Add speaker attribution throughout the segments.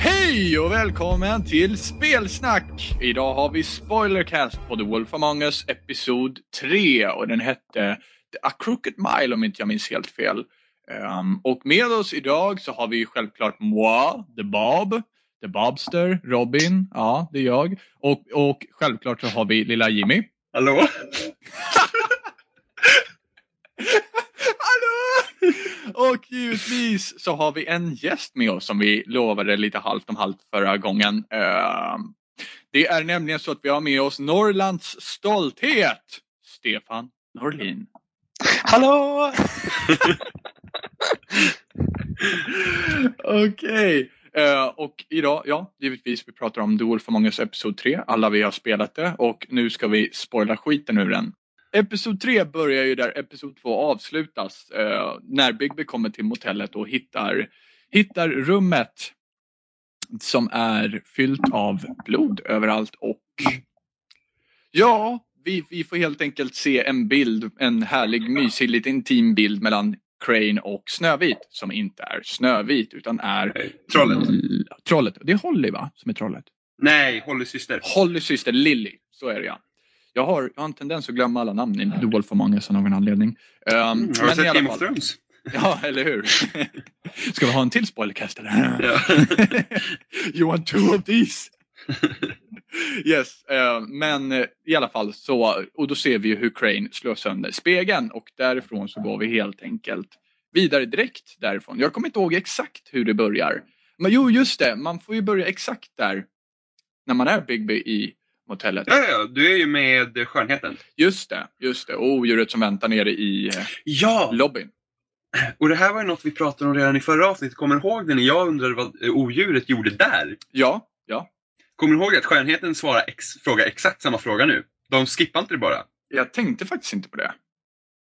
Speaker 1: Hej och välkommen till Spelsnack! Idag har vi Spoilercast på The Wolf Among Us Episod 3 och den hette A Crooked Mile om inte jag minns helt fel. Ehm, och med oss idag så har vi självklart moi, The Bob, The Bobster, Robin, ja det är jag. Och, och självklart så har vi lilla Jimmy.
Speaker 2: Hallå?
Speaker 1: Hallå! Och givetvis så har vi en gäst med oss som vi lovade lite halvt om halvt förra gången. Eh, Det är nämligen så att vi har med oss Norrlands stolthet, Stefan Norlin.
Speaker 3: Hallå!
Speaker 1: Okej. Eh, och idag, ja, givetvis, vi pratar om The Wolf Among Us Episod 3. Alla vi har spelat det och nu ska vi spoila skiten ur den. Episod 3 börjar ju där Episod 2 avslutas. Eh, när Bigby kommer till motellet och hittar, hittar rummet som är fyllt av blod överallt och ja, vi, vi får helt enkelt se en bild, en härlig, mysig, lite intim bild mellan Crane och Snövit som inte är Snövit utan är
Speaker 2: Trollet.
Speaker 1: L- Trollet. Det är Holly va? Som är trollet.
Speaker 2: Nej, Hollys syster.
Speaker 1: Hollys syster Lilly. Så är det ja. Jag har, jag har en tendens att glömma alla namn i The Wolf Among Us av någon anledning. Ehm,
Speaker 2: Mm, Har
Speaker 1: i
Speaker 2: du
Speaker 1: alla
Speaker 2: sett Game
Speaker 1: fall-
Speaker 2: of Thrones?
Speaker 1: Ja, eller hur? Ska vi ha en till spoilercast eller?
Speaker 2: Ja.
Speaker 1: you want two of these? yes, eh, men eh, i alla fall så, och då ser vi ju hur Crane slår sönder spegeln och därifrån så går vi helt enkelt vidare direkt därifrån. Jag kommer inte ihåg exakt hur det börjar. Men jo, just det, man får ju börja exakt där när man är Bigby i motellet.
Speaker 2: Ja, ja, du är ju med skönheten.
Speaker 1: Just det, just det. Och odjuret som väntar nere i eh,
Speaker 2: Ja,
Speaker 1: lobbyn.
Speaker 2: och det här var ju något vi pratade om redan i förra avsnittet. Kommer du ihåg det när jag undrade vad eh, odjuret gjorde där?
Speaker 1: Ja, ja.
Speaker 2: Kommer du ihåg att skönheten svarar ex fråga exakt samma fråga nu? De skippar inte det bara.
Speaker 1: Jag tänkte faktiskt inte på det.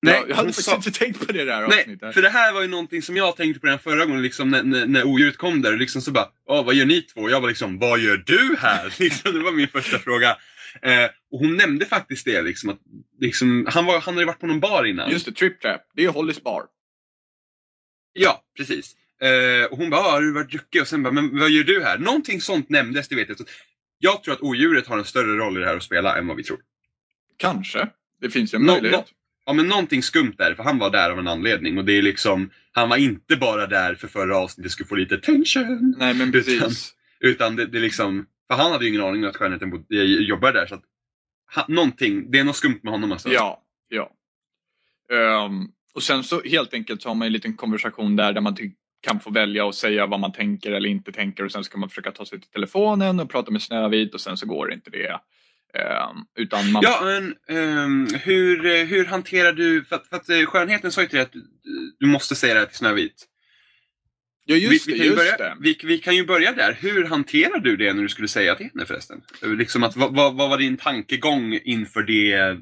Speaker 2: Nej,
Speaker 1: jag, jag hade
Speaker 2: hon
Speaker 1: faktiskt
Speaker 2: sa-
Speaker 1: inte tänkt på det där
Speaker 2: Nej,
Speaker 1: avsnittet.
Speaker 2: för det här var ju någonting som jag tänkte på den förra gången, liksom när, när, när odjuret kom där. Liksom så bara, Åh, vad gör ni två? Och jag var liksom, vad gör du här? Liksom, det var min första fråga. Eh, och hon nämnde faktiskt det, liksom, att, liksom, han, var, han hade ju varit på någon bar innan.
Speaker 1: Just det, Trip Trap. Det är Hollys bar.
Speaker 2: Ja, precis. Eh, och hon bara, "Ah, har du varit druckig? Och sen bara, men vad gör du här? Någonting sånt nämndes, det vet jag. Så jag tror att odjuret har en större roll i det här att spela än vad vi tror.
Speaker 1: Kanske. Det finns ju en
Speaker 2: Nå-
Speaker 1: möjlighet.
Speaker 2: nå- Ja, men någonting skumt där, för han var där av en anledning. Och det är liksom, han var inte bara där för förra avsnittet skulle få lite tension.
Speaker 1: Nej, men precis.
Speaker 2: Utan det, det är liksom, för han hade ju ingen aning om att skönheten bod, eh, jobbar där. Så att, han, någonting, det är något skumt med honom alltså.
Speaker 1: Ja, ja. Ehm, och sen så helt enkelt så har man en liten konversation där, där man ty- kan få välja och säga vad man tänker eller inte tänker och sen ska man försöka ta sig till telefonen och prata med Snövit och sen så går inte det. Ehm, utan man...
Speaker 2: Ja, men ehm, hur, eh, hur hanterar du, för att, för att eh, skönheten sa ju till dig att eh, du måste säga det här till Snövit.
Speaker 1: Ja, just
Speaker 2: vi,
Speaker 1: det,
Speaker 2: vi kan ju
Speaker 1: just
Speaker 2: börja,
Speaker 1: det.
Speaker 2: Vi, vi kan ju börja där. Hur hanterar du det när du skulle säga till henne förresten? Eh, Liksom att, vad, vad, vad var din tankegång inför det,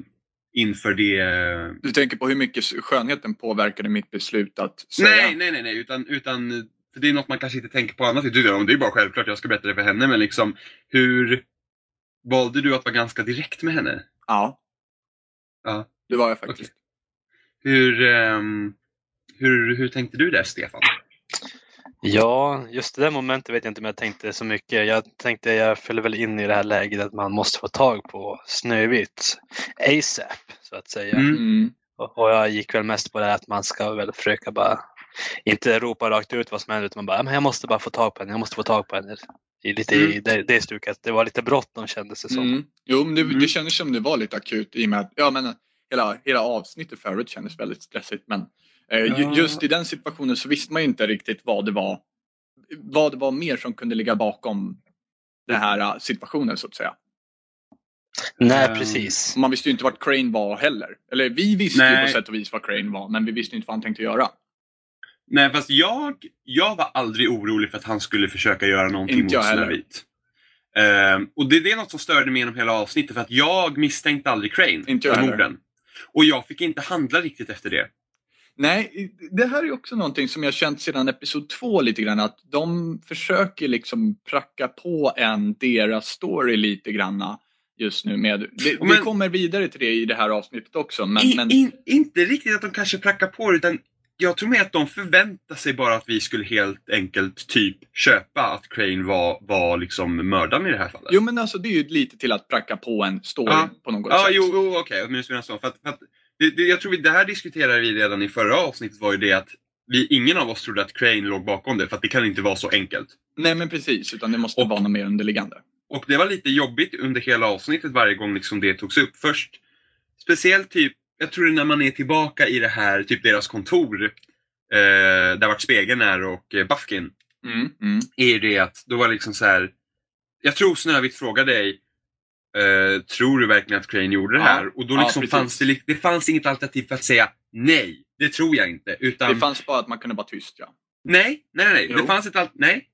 Speaker 2: inför det
Speaker 1: Du tänker på hur mycket skönheten påverkade mitt beslut att säga.
Speaker 2: Nej, nej, nej, nej. Utan, utan, för det är något man kanske inte tänker på annat. Du, det är ju bara självklart, jag ska berätta det för henne. Men liksom, hur valde du att vara ganska direkt med henne?
Speaker 1: Ja.
Speaker 2: Ja.
Speaker 1: Det var jag faktiskt.
Speaker 2: Hur, ehm, hur, hur tänkte du där, Stefan?
Speaker 3: Ja, just det där momentet vet jag inte om jag tänkte så mycket. Jag tänkte jag föll väl in i det här läget att man måste få tag på Snövit ASAP så att säga.
Speaker 2: Mm.
Speaker 1: Mm.
Speaker 3: Och och jag gick väl mest på det här att man ska väl försöka bara inte ropa rakt ut vad som händer utan man bara, "Ja, men jag måste bara få tag på henne, jag måste få tag på henne. I lite i
Speaker 2: Mm.
Speaker 3: det, det stuket. Det var lite bråttom kändes det som.
Speaker 1: Mm. Jo, men det,
Speaker 2: Mm.
Speaker 1: det kändes som det var lite akut i och med att ja, men, hela, hela avsnittet förut kändes väldigt stressigt. Men eh, ju-
Speaker 2: Ja.
Speaker 1: just i den situationen så visste man ju inte riktigt vad det var. Vad det var mer som kunde ligga bakom den här eh, situationen så att säga.
Speaker 3: Nej,
Speaker 2: Ehm,
Speaker 3: precis.
Speaker 1: Man visste ju inte vart Crane var heller. Eller vi visste ju
Speaker 2: Nej.
Speaker 1: på sätt och vis vad Crane var, men vi visste inte vad han tänkte göra.
Speaker 2: Nej, fast jag, jag var aldrig orolig för att han skulle försöka göra någonting
Speaker 1: Inte jag
Speaker 2: mot
Speaker 1: heller.
Speaker 2: Snövit. Ehm, och det, det är något som störde mig genom hela avsnittet, för att jag misstänkte aldrig Crane
Speaker 1: Inte jag
Speaker 2: för
Speaker 1: heller.
Speaker 2: morden. Och jag fick inte handla riktigt efter det.
Speaker 1: Nej, det här är också någonting som jag känt sedan episod två lite grann att de försöker liksom pracka på en deras story lite granna just nu med. Det, vi
Speaker 2: Men-
Speaker 1: kommer vidare till det i det här avsnittet också men,
Speaker 2: I,
Speaker 1: men
Speaker 2: in, inte riktigt att de kanske prackar på det, utan jag tror mer att de förväntade sig bara att vi skulle helt enkelt typ köpa att Crane var, var liksom mördaren i det här fallet.
Speaker 1: Jo men alltså det är ju lite till att pracka på en story
Speaker 2: Ja.
Speaker 1: på något
Speaker 2: Ja,
Speaker 1: sätt.
Speaker 2: jo, jo okej. Okay. För att, för att, det, det, jag tror vi, det här diskuterade vi redan i förra avsnittet var ju det att vi, ingen av oss trodde att Crane låg bakom det, för att det kan inte vara så enkelt.
Speaker 1: Nej men precis, utan det måste
Speaker 2: Och-
Speaker 1: vara något mer underliggande.
Speaker 2: Och det var lite jobbigt under hela avsnittet varje gång liksom det togs upp. Först, speciellt typ, jag tror det är när man är tillbaka i det här, typ deras kontor, eh, där vart spegeln är och eh, Bafkin,
Speaker 1: Mm, mm.
Speaker 2: är ju det att då var det liksom så här. jag tror Snövit frågade dig, eh, tror du verkligen att Crane gjorde det
Speaker 1: Ja.
Speaker 2: här? Och då
Speaker 1: Ja,
Speaker 2: liksom
Speaker 1: precis.
Speaker 2: fanns det, li- det fanns inget alternativ för att säga nej, det tror jag inte. Utan,
Speaker 1: Det fanns bara att man kunde vara tyst ja.
Speaker 2: nej, nej, nej,
Speaker 1: Jo.
Speaker 2: det fanns ett alternativ, nej.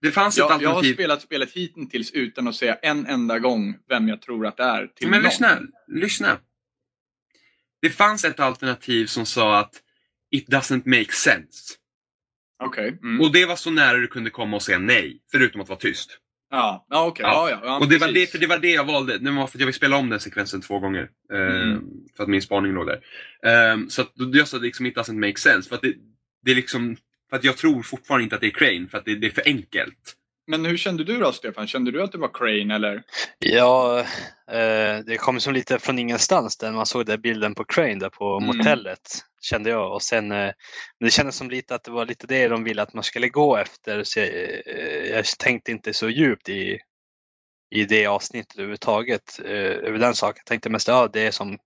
Speaker 2: Det fanns ett
Speaker 1: Jag, jag har
Speaker 2: alternativ.
Speaker 1: spelat spelet hittills utan att säga en enda gång vem jag tror att det är. Till
Speaker 2: Men
Speaker 1: någon.
Speaker 2: lyssna, lyssna. Det fanns ett alternativ som sa att it doesn't make sense.
Speaker 1: Okej. Mm.
Speaker 2: Och det var så nära du kunde komma och säga nej, förutom att vara tyst.
Speaker 1: Ja, ja okej. Ja. Ja, ja,
Speaker 2: och det var det,
Speaker 1: precis.
Speaker 2: för det var det jag valde. Det var för att jag vill spela om den sekvensen två gånger. eh,
Speaker 1: Mm.
Speaker 2: För att min spaning låg där. Ehm, så att då- jag sa liksom it doesn't make sense. För att det, det är liksom, för att jag tror fortfarande inte att det är Crane, för att det, det är för enkelt.
Speaker 1: Men hur kände du då Stefan? Kände du att det var Crane eller?
Speaker 3: Ja, eh, det kom som lite från ingenstans där man såg den bilden på Crane där på
Speaker 1: Mm.
Speaker 3: motellet. Kände jag. Och sen, eh, men det kändes som lite att det var lite det de ville att man skulle gå efter. Så jag, eh, jag tänkte inte så djupt i, i det avsnittet överhuvudtaget. Eh, över den saken. Jag tänkte mest att ja, det är som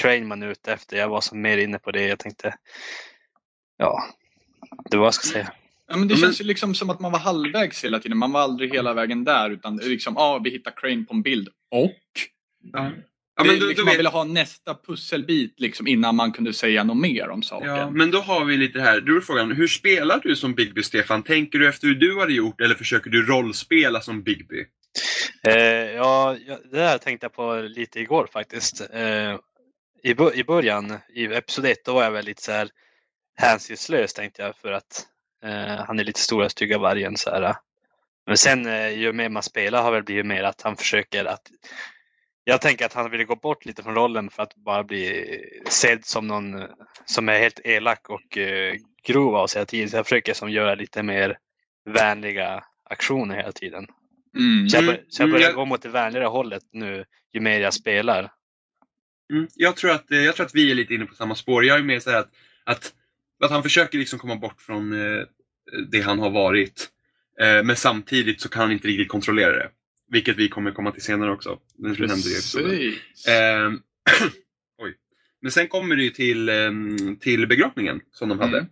Speaker 3: Crane man är ute efter. Jag var som mer inne på det. Jag tänkte, ja, det var vad jag ska säga.
Speaker 1: Ja, men det
Speaker 2: Ja, men-
Speaker 1: känns ju liksom som att man var halvvägs hela tiden. Man var aldrig hela vägen där utan det är liksom, ja ah, vi hittar Crane på en bild. Och?
Speaker 2: Ja,
Speaker 1: det,
Speaker 2: men
Speaker 1: är
Speaker 2: då- då
Speaker 1: liksom,
Speaker 2: vet-
Speaker 1: man ville ha nästa pusselbit liksom innan man kunde säga något mer om saken.
Speaker 2: Ja, men då har vi lite här, då är frågan, hur spelar du som Bigby Stefan? Tänker du efter hur du hade gjort eller försöker du rollspela som Bigby?
Speaker 3: Eh, ja, ja, det där tänkte jag på lite igår faktiskt. Eh, i, bo- I början, i episod 1, då var jag väl lite så här hänsynslös tänkte jag för att eh, han är lite stora stygga vargen. Så här. Men sen eh, ju mer man spelar har väl blivit mer att han försöker att jag tänker att han ville gå bort lite från rollen för att bara bli sedd som någon eh, som är helt elak och eh, grov av sig hela tiden. Så jag försöker som göra lite mer vänliga aktioner hela tiden.
Speaker 1: Mm.
Speaker 3: Så jag, bör,
Speaker 2: Mm,
Speaker 3: så jag
Speaker 2: mm,
Speaker 3: börjar
Speaker 2: jag-
Speaker 3: gå mot det vänligare hållet nu ju mer jag spelar.
Speaker 2: Mm. Jag, tror att, eh, jag tror att vi är lite inne på samma spår. Jag är mer så här att, att, att han försöker liksom komma bort från eh, det han har varit. Eh, men samtidigt så kan han inte riktigt kontrollera det. Vilket vi kommer komma till senare också. Det nämnde vi i episoden.
Speaker 1: Precis.
Speaker 2: Ehm, oj. Men sen kommer det ju till, ehm, till begravningen som de hade.
Speaker 1: Mm.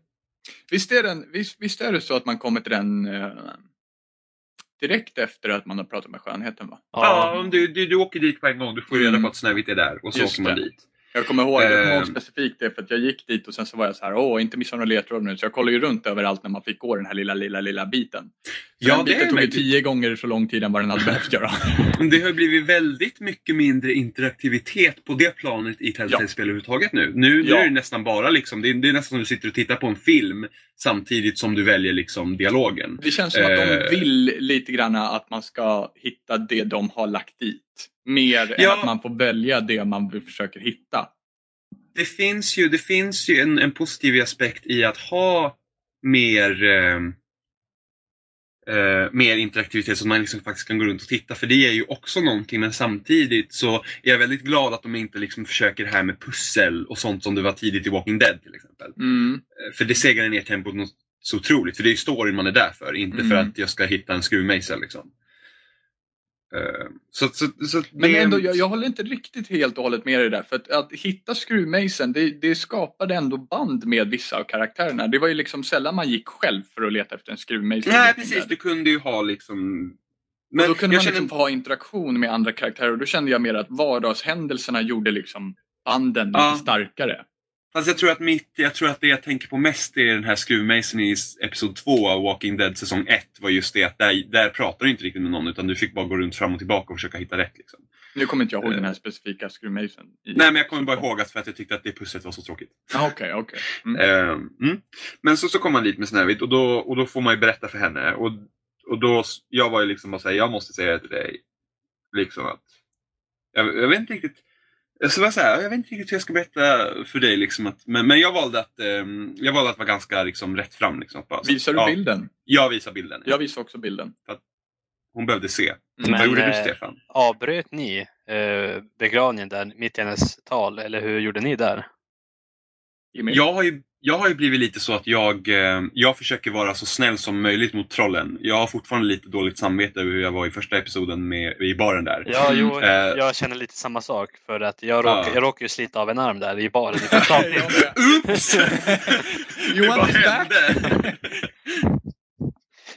Speaker 1: Visst, är den, visst, visst är det så att man kommer till den eh, direkt efter att man har pratat med skönheten va?
Speaker 2: Ja, om du, du, du åker dit på en gång. Du får reda
Speaker 1: Mm.
Speaker 2: på att Snövit är där och så
Speaker 1: Just
Speaker 2: åker man
Speaker 1: det.
Speaker 2: dit.
Speaker 1: Jag kommer ihåg, jag kommer ihåg
Speaker 2: Ehm.
Speaker 1: specifikt det för att jag gick dit och sen så var jag så här, åh inte missa några ledtrådar nu. Så jag kollade ju runt överallt när man fick gå den här lilla, lilla, lilla biten. Så
Speaker 2: Ja,
Speaker 1: den
Speaker 2: det
Speaker 1: biten
Speaker 2: är
Speaker 1: tog ju
Speaker 2: mäktigt.
Speaker 1: tio gånger så lång tid än vad den hade behövt göra.
Speaker 2: Men Det har ju blivit väldigt mycket mindre interaktivitet på det planet i Telltale-spel överhuvudtaget nu. Nu, nu
Speaker 1: Ja.
Speaker 2: är det nästan bara liksom, det är, det är nästan som du sitter och tittar på en film samtidigt som du väljer liksom dialogen.
Speaker 1: Det känns som att de
Speaker 2: Eh.
Speaker 1: vill lite grann att man ska hitta det de har lagt dit. Mer
Speaker 2: Ja.
Speaker 1: än att man får välja det man vill- försöker hitta.
Speaker 2: Det finns ju, det finns ju en, en positiv aspekt i att ha mer ehm, eh, mer interaktivitet så att man liksom faktiskt kan gå runt och titta för det är ju också någonting men samtidigt så är jag väldigt glad att de inte liksom försöker det här med pussel och sånt som det var tidigt i Walking Dead till exempel. Eh,
Speaker 1: Mm.
Speaker 2: För det segar ner tempot något så otroligt. För det är ju storyn man är där för. Inte
Speaker 1: Mm.
Speaker 2: för att jag ska hitta en skruvmejsel. Liksom. Eh, Så, så, så att
Speaker 1: Men
Speaker 2: det-
Speaker 1: ändå, jag, jag håller inte riktigt helt och hållet med dig där. För att, att hitta skruvmejseln, det, det skapade ändå band med vissa av karaktärerna. Det var ju liksom sällan man gick själv för att leta efter en skruvmejsel.
Speaker 2: Nej, precis. Du kunde ju ha liksom...
Speaker 1: Men
Speaker 2: Men
Speaker 1: då kunde
Speaker 2: jag
Speaker 1: man
Speaker 2: känner...
Speaker 1: liksom få ha interaktion med andra karaktärer och då kände jag mer att vardagshändelserna gjorde liksom banden lite
Speaker 2: Ja.
Speaker 1: starkare.
Speaker 2: Fast jag tror, att mitt, jag tror att det jag tänker på mest är den här skruvmejseln i s- episod 2 av Walking Dead säsong 1. Var just det att där, där pratar du inte riktigt med någon utan du fick bara gå runt fram och tillbaka och försöka hitta rätt. Liksom.
Speaker 1: Nu kommer inte jag ihåg
Speaker 2: Eh.
Speaker 1: den här specifika skruvmejseln. i-
Speaker 2: Nej, men jag kommer bara ihåg att för att jag tyckte att det pusslet var så tråkigt.
Speaker 1: Ah, Okej, okej. Mm.
Speaker 2: Eh, mm. Men så, så kom man dit med Snövit och då, och då får man ju berätta för henne. Och, och då, s- jag var ju liksom bara såhär, jag måste säga till dig. Liksom att, jag, jag vet inte riktigt. Så var jag, så här, jag vet inte riktigt hur jag ska berätta för dig. Liksom att, men, men jag valde att, eh, jag valde att vara ganska liksom, rätt fram. Liksom, att bara,
Speaker 1: Visar du
Speaker 2: ja,
Speaker 1: bilden?
Speaker 2: Jag visar bilden.
Speaker 1: Jag visar också bilden.
Speaker 2: Hon behövde se.
Speaker 1: Mm.
Speaker 2: Vad
Speaker 3: Men,
Speaker 2: gjorde du
Speaker 3: eh,
Speaker 2: Stefan?
Speaker 3: Avbröt ni eh, begravningen där mitt i hennes tal eller hur gjorde ni där?
Speaker 1: Jimmy.
Speaker 2: Jag har, ju, jag har ju blivit lite så att jag, eh, jag försöker vara så snäll som möjligt mot trollen. Jag har fortfarande lite dåligt samvete över hur jag var i första episoden med, i baren där.
Speaker 3: Ja,
Speaker 1: Mm,
Speaker 3: jo,
Speaker 2: eh.
Speaker 3: jag känner lite samma sak för att jag råkar,
Speaker 2: Ja.
Speaker 3: jag råkar ju slita av en arm där i baren. i
Speaker 1: Jag
Speaker 3: första-
Speaker 1: med.
Speaker 2: Oops! Det
Speaker 1: Johan
Speaker 2: bara
Speaker 1: is back.
Speaker 2: hände.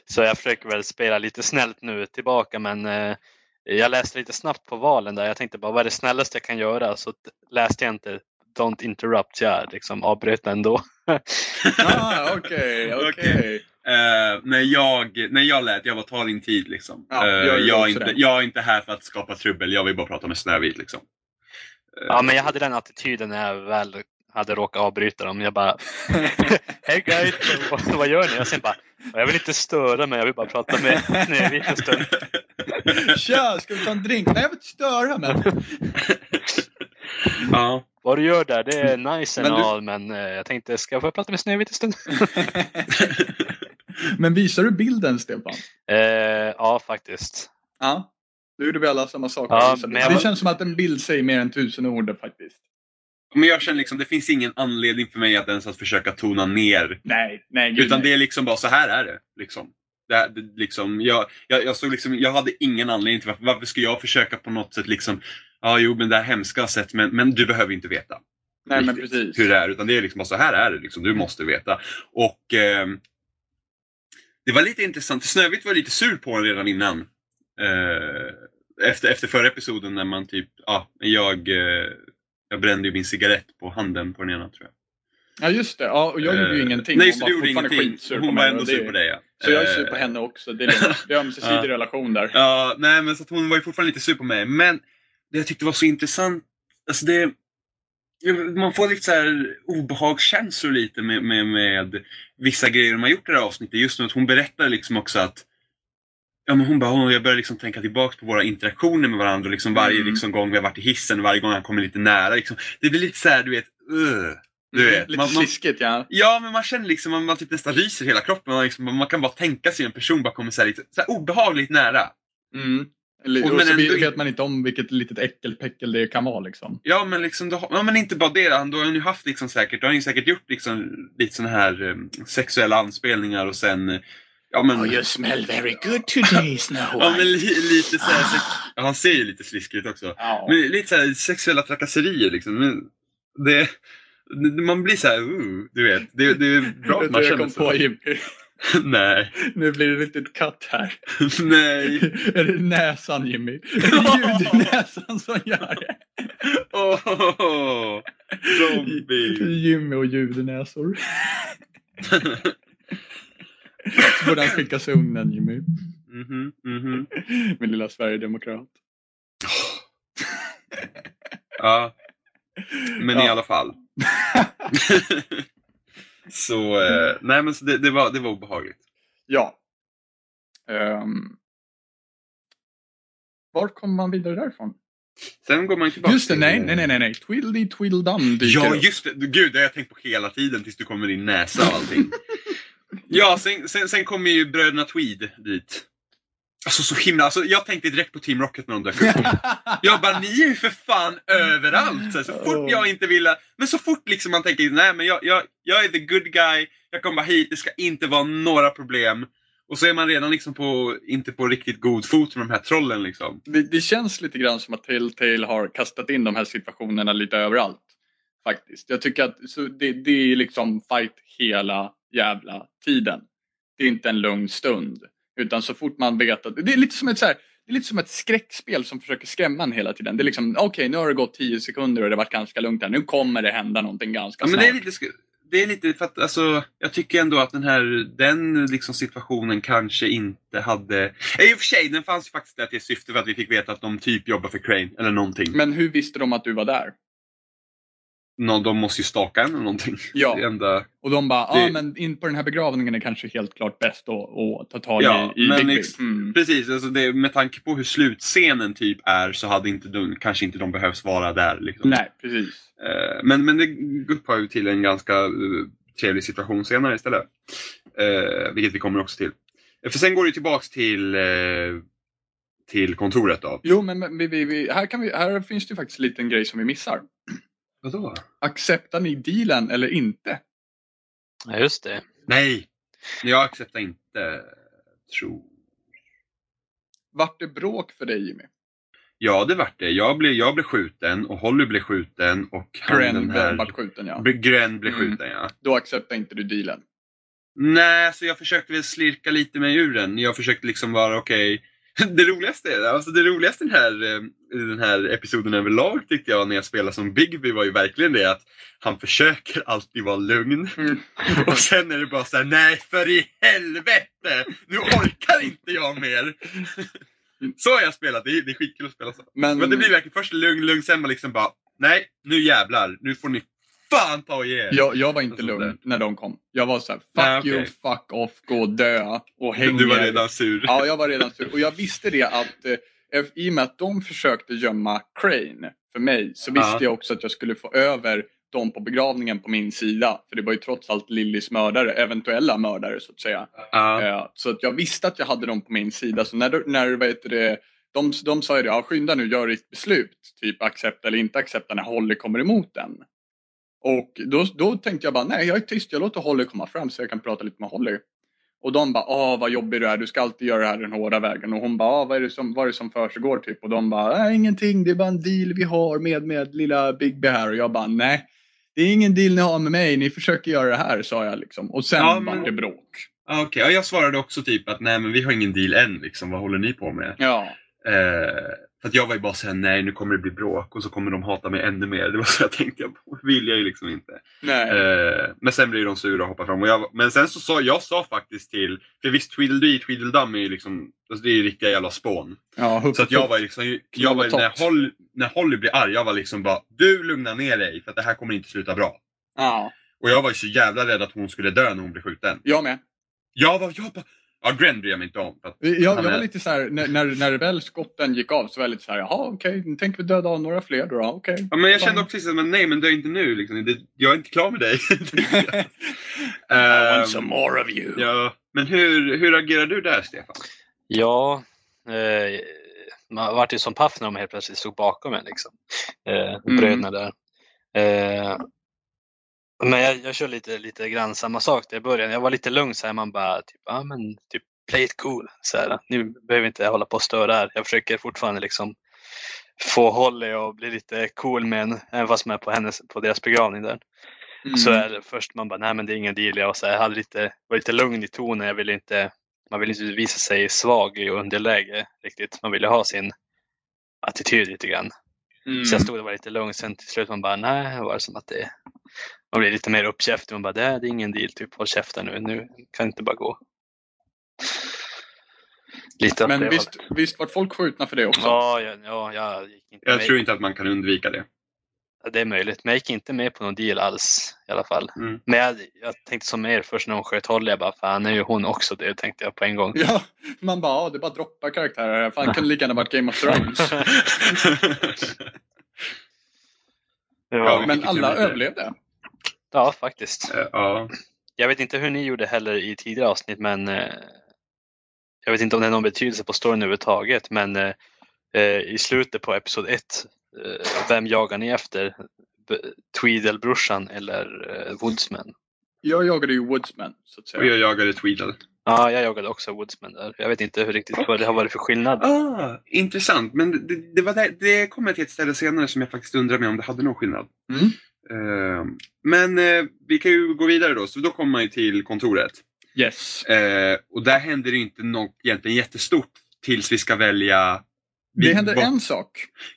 Speaker 3: Så jag försöker väl spela lite snällt nu tillbaka men eh, jag läste lite snabbt på valen där. Jag tänkte bara vad är det snällaste jag kan göra? Så t- läste jag inte Don't interrupt, så jag liksom avbröt ändå.
Speaker 1: Ah, Okej, okej.
Speaker 2: Okej. Eh, när, jag, när jag lät, jag var tal in tid liksom.
Speaker 1: Ja,
Speaker 2: Eh,
Speaker 1: jag gör
Speaker 2: jag, är
Speaker 1: också
Speaker 2: inte,
Speaker 1: det.
Speaker 2: jag är inte här för att skapa trubbel, jag vill bara prata med Snövit liksom. Eh,
Speaker 3: Ja, men jag hade den attityden när jag väl hade råkat avbryta dem. Jag bara Hej guys, vad- vad gör ni? Och sen bara jag vill inte störa men jag vill bara prata med Snövit en stund.
Speaker 1: Tja, ska vi ta en drink? Nej, jag vill inte störa men.
Speaker 2: ja.
Speaker 3: Vad du gör där, det är nice and
Speaker 1: Men du-
Speaker 3: all men eh, jag tänkte ska jag få prata med Snövit en stund?
Speaker 1: men visar du bilden Stefan?
Speaker 3: Eh, ja, faktiskt.
Speaker 1: Ja. Nu gjorde vi alla samma sak.
Speaker 3: Ja,
Speaker 1: det
Speaker 3: men jag var-
Speaker 1: känns som att en bild säger mer än tusen ord faktiskt.
Speaker 2: Men jag känner liksom, det finns ingen anledning för mig att ens att försöka tona ner
Speaker 1: Nej, nej. Gud,
Speaker 2: Utan
Speaker 1: nej.
Speaker 2: det är liksom bara, så här är det. Liksom. Det, här- det, liksom, jag, jag, jag, såg liksom, jag hade ingen anledning till varför, varför ska jag försöka på något sätt liksom, ja jo men det här hemska har jag sett men, men du behöver inte veta
Speaker 1: nej, men
Speaker 2: riktigt
Speaker 1: precis.
Speaker 2: hur det är. Utan det är liksom bara, så här är det, liksom, du måste veta. Och ehm, det var lite intressant, Snövit var lite sur på en redan innan. Eh, efter, efter förra episoden när man typ, ja, jag, eh, jag brände ju min cigarett på handen på den ena tror jag.
Speaker 1: Ja, just det. Ja, och jag gjorde ju
Speaker 2: Eh,
Speaker 1: ingenting.
Speaker 2: Nej,
Speaker 1: Hon
Speaker 2: så
Speaker 1: var
Speaker 2: du gjorde
Speaker 1: fortfarande
Speaker 2: ingenting.
Speaker 1: skitsur på
Speaker 2: Hon
Speaker 1: mig
Speaker 2: var
Speaker 1: och
Speaker 2: ändå
Speaker 1: det-
Speaker 2: sur på dig ja.
Speaker 1: Så jag är
Speaker 2: Eh,
Speaker 1: sur på henne också. Det är lugnt. Vi har ömsesidig relation där.
Speaker 2: Ja, nej men så att hon var ju fortfarande lite sur på mig. Men det jag tyckte var så intressant, alltså det... Man får lite så här obehagskänslor lite med, med, med vissa grejer de har gjort i det här avsnittet. Just nu att hon berättar liksom också att Ja, men hon bara, "Åh, jag börjar liksom tänka tillbaka på våra interaktioner med varandra. och Liksom varje
Speaker 1: Mm.
Speaker 2: liksom, gång vi har varit i hissen, varje gång han kommer lite nära. Liksom. Det blir lite så här, du vet, "Ugh", du vet.
Speaker 1: Mm, Lite
Speaker 2: Man- man-
Speaker 1: sliskigt ja.
Speaker 2: Ja, men man känner liksom man, man typ nästan ryser i hela kroppen. Man, liksom, man kan bara tänka sig en person bara kommer så här, lite, så här obehagligt nära.
Speaker 1: Mm. Eller,
Speaker 2: Och
Speaker 1: och
Speaker 2: men
Speaker 1: så
Speaker 2: ändå-
Speaker 1: vet man inte om vilket litet äckelpäckel det kan vara liksom.
Speaker 2: Ja, men liksom, då, har- ja, men inte bara det. Han, då har han ju haft liksom säkert, då har han ju säkert gjort liksom lite såna här em, sexuella anspelningar och sen, eh, ja men, ja,
Speaker 1: Oh, smell very good today, Snow
Speaker 2: men li, lite så här, sex, ja, han ser ju lite sliskigt också.
Speaker 1: Ja.
Speaker 2: Men lite så här sexuella trakasserier liksom. Men Det, det- man blir så här, uh, du vet. Det, det är bra att
Speaker 1: Vet
Speaker 2: man
Speaker 1: du, jag
Speaker 2: känner
Speaker 1: kom
Speaker 2: så.
Speaker 1: på Jimmy.
Speaker 2: Nej,
Speaker 1: Nu blir det lite katt här.
Speaker 2: nej.
Speaker 1: Är det näsan Jimmy? Är det ljud i näsan som gör det?
Speaker 2: Åh, zombie.
Speaker 1: Jimmy och ljudnäsor. Så borde han skickas i ugnen Jimmy.
Speaker 2: Mhm, mhm.
Speaker 1: Min lilla Sverigedemokrat.
Speaker 2: Ja, men i
Speaker 1: Ja.
Speaker 2: alla fall. så eh, nej, men så det, det, var, det var obehagligt.
Speaker 1: Ja. Ehm. var kommer man vidare därifrån? Eh.
Speaker 2: Sen går man tillbaka
Speaker 1: Just det,
Speaker 2: till- eh,
Speaker 1: nej, nej, nej, nej, nej. Twiddly twiddledum dyker
Speaker 2: Ja,
Speaker 1: upp.
Speaker 2: just det. Gud, det har jag tänkt på hela tiden tills du kom med din näsa och allting. ja, sen, sen, sen kommer ju bröderna Tweed dit. Alltså så himla, alltså, jag tänkte direkt på Team Rocket när de dök upp. Jag bara, ni är ju för fan överallt! Så, här, så fort jag inte ville, men så fort liksom man tänker, nej men jag, jag, jag är the good guy, jag kommer bara hit, det ska inte vara några problem. Och så är man redan liksom på, inte på riktigt god fot med de här trollen liksom.
Speaker 1: det, det känns lite grann som att Telltale har kastat in de här situationerna lite överallt. Faktiskt. Jag tycker att så det, det är liksom fight hela jävla tiden. Det är inte en lugn stund. Utan så fort man vet att... Det är lite som ett, så här, det är lite som ett skräckspel som försöker skrämma en hela tiden. Det är liksom, okej nu har det gått 10 sekunder och det har varit ganska lugnt här. Nu kommer det hända någonting ganska
Speaker 2: Ja, men
Speaker 1: snart.
Speaker 2: det är lite, sku- det är lite för att alltså, jag tycker ändå att den här, den liksom situationen kanske inte hade, Ja, i och för sig, den fanns ju faktiskt där till syfte för att vi fick veta att de typ jobbar för Crane, eller någonting.
Speaker 1: Men hur visste de att du var där?
Speaker 2: någon, de måste ju staka en eller någonting.
Speaker 1: Ja.
Speaker 2: Det enda,
Speaker 1: Och de bara, ja ah,
Speaker 2: Det-
Speaker 1: men in på den här begravningen är kanske helt klart bäst att, att ta tag
Speaker 2: Ja,
Speaker 1: i, i
Speaker 2: men
Speaker 1: Bigby.
Speaker 2: ex-
Speaker 1: mm.
Speaker 2: precis, alltså det, med tanke på hur slutscenen typ är så hade inte de, kanske inte de behövs vara där. Liksom.
Speaker 1: Nej, precis.
Speaker 2: Eh, men, men det upphör ju till en ganska eh, trevlig situation senare istället. Eh, vilket vi kommer också till. Eh, För sen går det ju tillbaks till, eh, till kontoret då.
Speaker 1: Jo, men, men vi, vi, vi, här, kan vi, här finns det ju faktiskt en liten grej som vi missar.
Speaker 2: Vadå?
Speaker 1: Acceptar ni dealen eller inte?
Speaker 3: Ja, just det.
Speaker 2: Nej! Jag accepterar inte, tror
Speaker 1: Vart det bråk för dig Jimmy?
Speaker 2: Ja, det vart det. Jag blev, jag blev skjuten och Holly blev skjuten och han den
Speaker 1: Gren
Speaker 2: här...
Speaker 1: vart skjuten ja.
Speaker 2: Bl- Gren blev
Speaker 1: Mm.
Speaker 2: skjuten, ja.
Speaker 1: Då acceptar inte du dealen.
Speaker 2: Nej, så jag försökte väl slirka lite mig ur den. Jag försökte liksom vara okej. Det roligaste, alltså det roligaste i den här, eh, i den här episoden överlag tyckte jag när jag spelade som Bigby var ju verkligen det att han försöker alltid vara lugn.
Speaker 1: Mm.
Speaker 2: Och sen är det bara så här: nej för i helvete! Nu orkar inte jag mer! Så har jag spelat, det är, det är skitkul att spela så. Men det blir verkligen först lugn, lugn, sen man liksom bara, nej nu jävlar, nu får ni fan ta och ge er.
Speaker 1: jag, jag var inte
Speaker 2: Sånt där.
Speaker 1: lugn när de kom. Jag var så här, fuck
Speaker 2: Alltså, Nej, okej.
Speaker 1: you, fuck off, gå och dö och häng
Speaker 2: du var
Speaker 1: er.
Speaker 2: redan sur.
Speaker 1: Ja, jag var redan sur. Och jag visste det att eh, eff- i och med att de försökte gömma Crane för mig så visste
Speaker 2: Ja.
Speaker 1: jag också att jag skulle få över dem på begravningen på min sida. För det var ju trots allt Lillys mördare, eventuella mördare så att säga.
Speaker 2: Ja.
Speaker 1: Eh, Så att jag visste att jag hade dem på min sida. Så när, du- när vad heter det, de, de sa ju det, ja, skynda nu, gör ditt beslut. Typ accepta eller inte accepta när Holly kommer emot den. Och då, då tänkte jag bara, nej jag är tyst, jag låter Holly komma fram så jag kan prata lite med Holly. Och de bara, ah vad jobbig du är, du ska alltid göra det här den hårda vägen. Och hon bara, ah, vad är det som, vad är det som försiggår typ? Och de bara, äh, ingenting, det är bara en deal vi har med, med lilla Bigby här. Och jag bara, nej. Det är ingen deal ni har med mig, ni försöker göra det här, sa jag liksom. Och sen
Speaker 2: Ja,
Speaker 1: vart
Speaker 2: men-
Speaker 1: det bråk.
Speaker 2: Ja, Ah, Okej, ja, jag svarade också typ att nej men vi har ingen deal än liksom, vad håller ni på med?
Speaker 1: Ja.
Speaker 2: Eh, för att jag var ju bara såhär, nej nu kommer det bli bråk och så kommer de hata mig ännu mer. Det var så jag tänkte, jag bara, vill jag ju liksom inte.
Speaker 1: Nej.
Speaker 2: Eh, men sen blir de sura och hoppar fram. Och jag, men sen så sa jag sa faktiskt till, för visst Tweedledee Tweedledum är ju liksom, alltså det är ju riktiga jävla spån.
Speaker 1: Ja, hupp,
Speaker 2: Så att jag var ju liksom, jag var, ju- när, Holly, när Holly blir arg, jag var liksom bara, du lugna ner dig för att det här kommer inte sluta bra.
Speaker 1: Ja,
Speaker 2: Och jag var ju så jävla rädd att hon skulle dö när hon blev skjuten.
Speaker 1: jag med.
Speaker 2: Jag var, jag bara, ja Gren bryr jag mig inte om. För att,
Speaker 1: Jag, jag
Speaker 2: Han
Speaker 1: var
Speaker 2: är-
Speaker 1: lite så här, när, när, när väl skotten gick av så var jag lite så här, jaha okej, nu tänker vi döda av några fler då, ja, okej.
Speaker 2: ja, men jag
Speaker 1: Fan.
Speaker 2: kände också liksom, men nej men dö inte nu liksom. det, jag är inte klar med dig.
Speaker 1: I
Speaker 2: Ehm,
Speaker 1: want some more of you.
Speaker 2: ja, men hur, hur agerar du där Stefan?
Speaker 3: Ja, eh, man vart ju som paff när de helt plötsligt stod bakom en. Liksom. Eh, Bröderna där. Eh, men jag, jag kör lite, lite grann samma sak där i början. Jag var lite lugn så här, man bara typ, ah, men, typ play it cool. Så här, nu behöver inte jag hålla på och störa här. Jag försöker fortfarande liksom få Holly och bli lite cool med en, även fast man är på, hennes, på deras begravning där.
Speaker 1: Mm.
Speaker 3: Så är det först man bara, nej men det är ingen deal. Jag var, så här, jag hade lite, var lite lugn i tonen. Jag ville inte, man ville inte visa sig svag i underläge riktigt. Man ville ha sin attityd lite grann.
Speaker 1: Mm.
Speaker 3: Så jag stod och var lite lugn. Sen till slut man bara, nej, var det som att det... Man blir lite mer uppkäftig. Man bara, det här det är ingen deal. Typ, håll käften nu. Nu kan det inte bara gå. Lite åt
Speaker 1: Men
Speaker 3: det
Speaker 1: visst, visst vart folk skjutna för det
Speaker 3: hållet.
Speaker 1: också?
Speaker 3: Ja, jag, ja, jag gick inte
Speaker 2: Jag
Speaker 3: med.
Speaker 2: tror inte att man kan undvika det.
Speaker 3: Det är möjligt, men jag gick inte med på någon deal alls i alla fall.
Speaker 2: Mm.
Speaker 3: Men jag, jag tänkte som er först när hon sköt Holly, jag bara fan nu är ju hon också död tänkte jag på en gång.
Speaker 1: Ja, man bara, ja, det bara droppar karaktärer här. Fan, det kan lika gärna varit Game of Thrones.
Speaker 2: Ja,
Speaker 1: Men
Speaker 2: vilket
Speaker 1: alla
Speaker 2: tur det är.
Speaker 1: överlevde.
Speaker 3: ja, faktiskt.
Speaker 2: Eh, ja.
Speaker 3: Jag vet inte hur ni gjorde heller i tidigare avsnitt, men eh, jag vet inte om det har någon betydelse på storyn överhuvudtaget, men eh, eh, i slutet på episod 1, eh, vem jagar ni efter? B- Tweedle-brorsan eller eh, Woodsman?
Speaker 1: Jag jagade ju Woodsman, så att
Speaker 2: Och
Speaker 1: säga.
Speaker 2: jag jagade Tweedle.
Speaker 3: Ja, jag jagade också Woodsman där. Jag vet inte hur riktigt vad det har varit för skillnad.
Speaker 2: Ah, intressant, men det, det, var där, det kommer till ett ställe senare som jag faktiskt undrar mig om det hade någon skillnad.
Speaker 1: Mm.
Speaker 2: Ehm, men eh, vi kan ju gå vidare då, så då kommer man ju till kontoret.
Speaker 1: Yes.
Speaker 2: Eh, och där händer det ju inte något egentligen jättestort tills vi ska välja...
Speaker 1: Det
Speaker 2: vi-
Speaker 1: händer
Speaker 2: vad-
Speaker 1: en sak.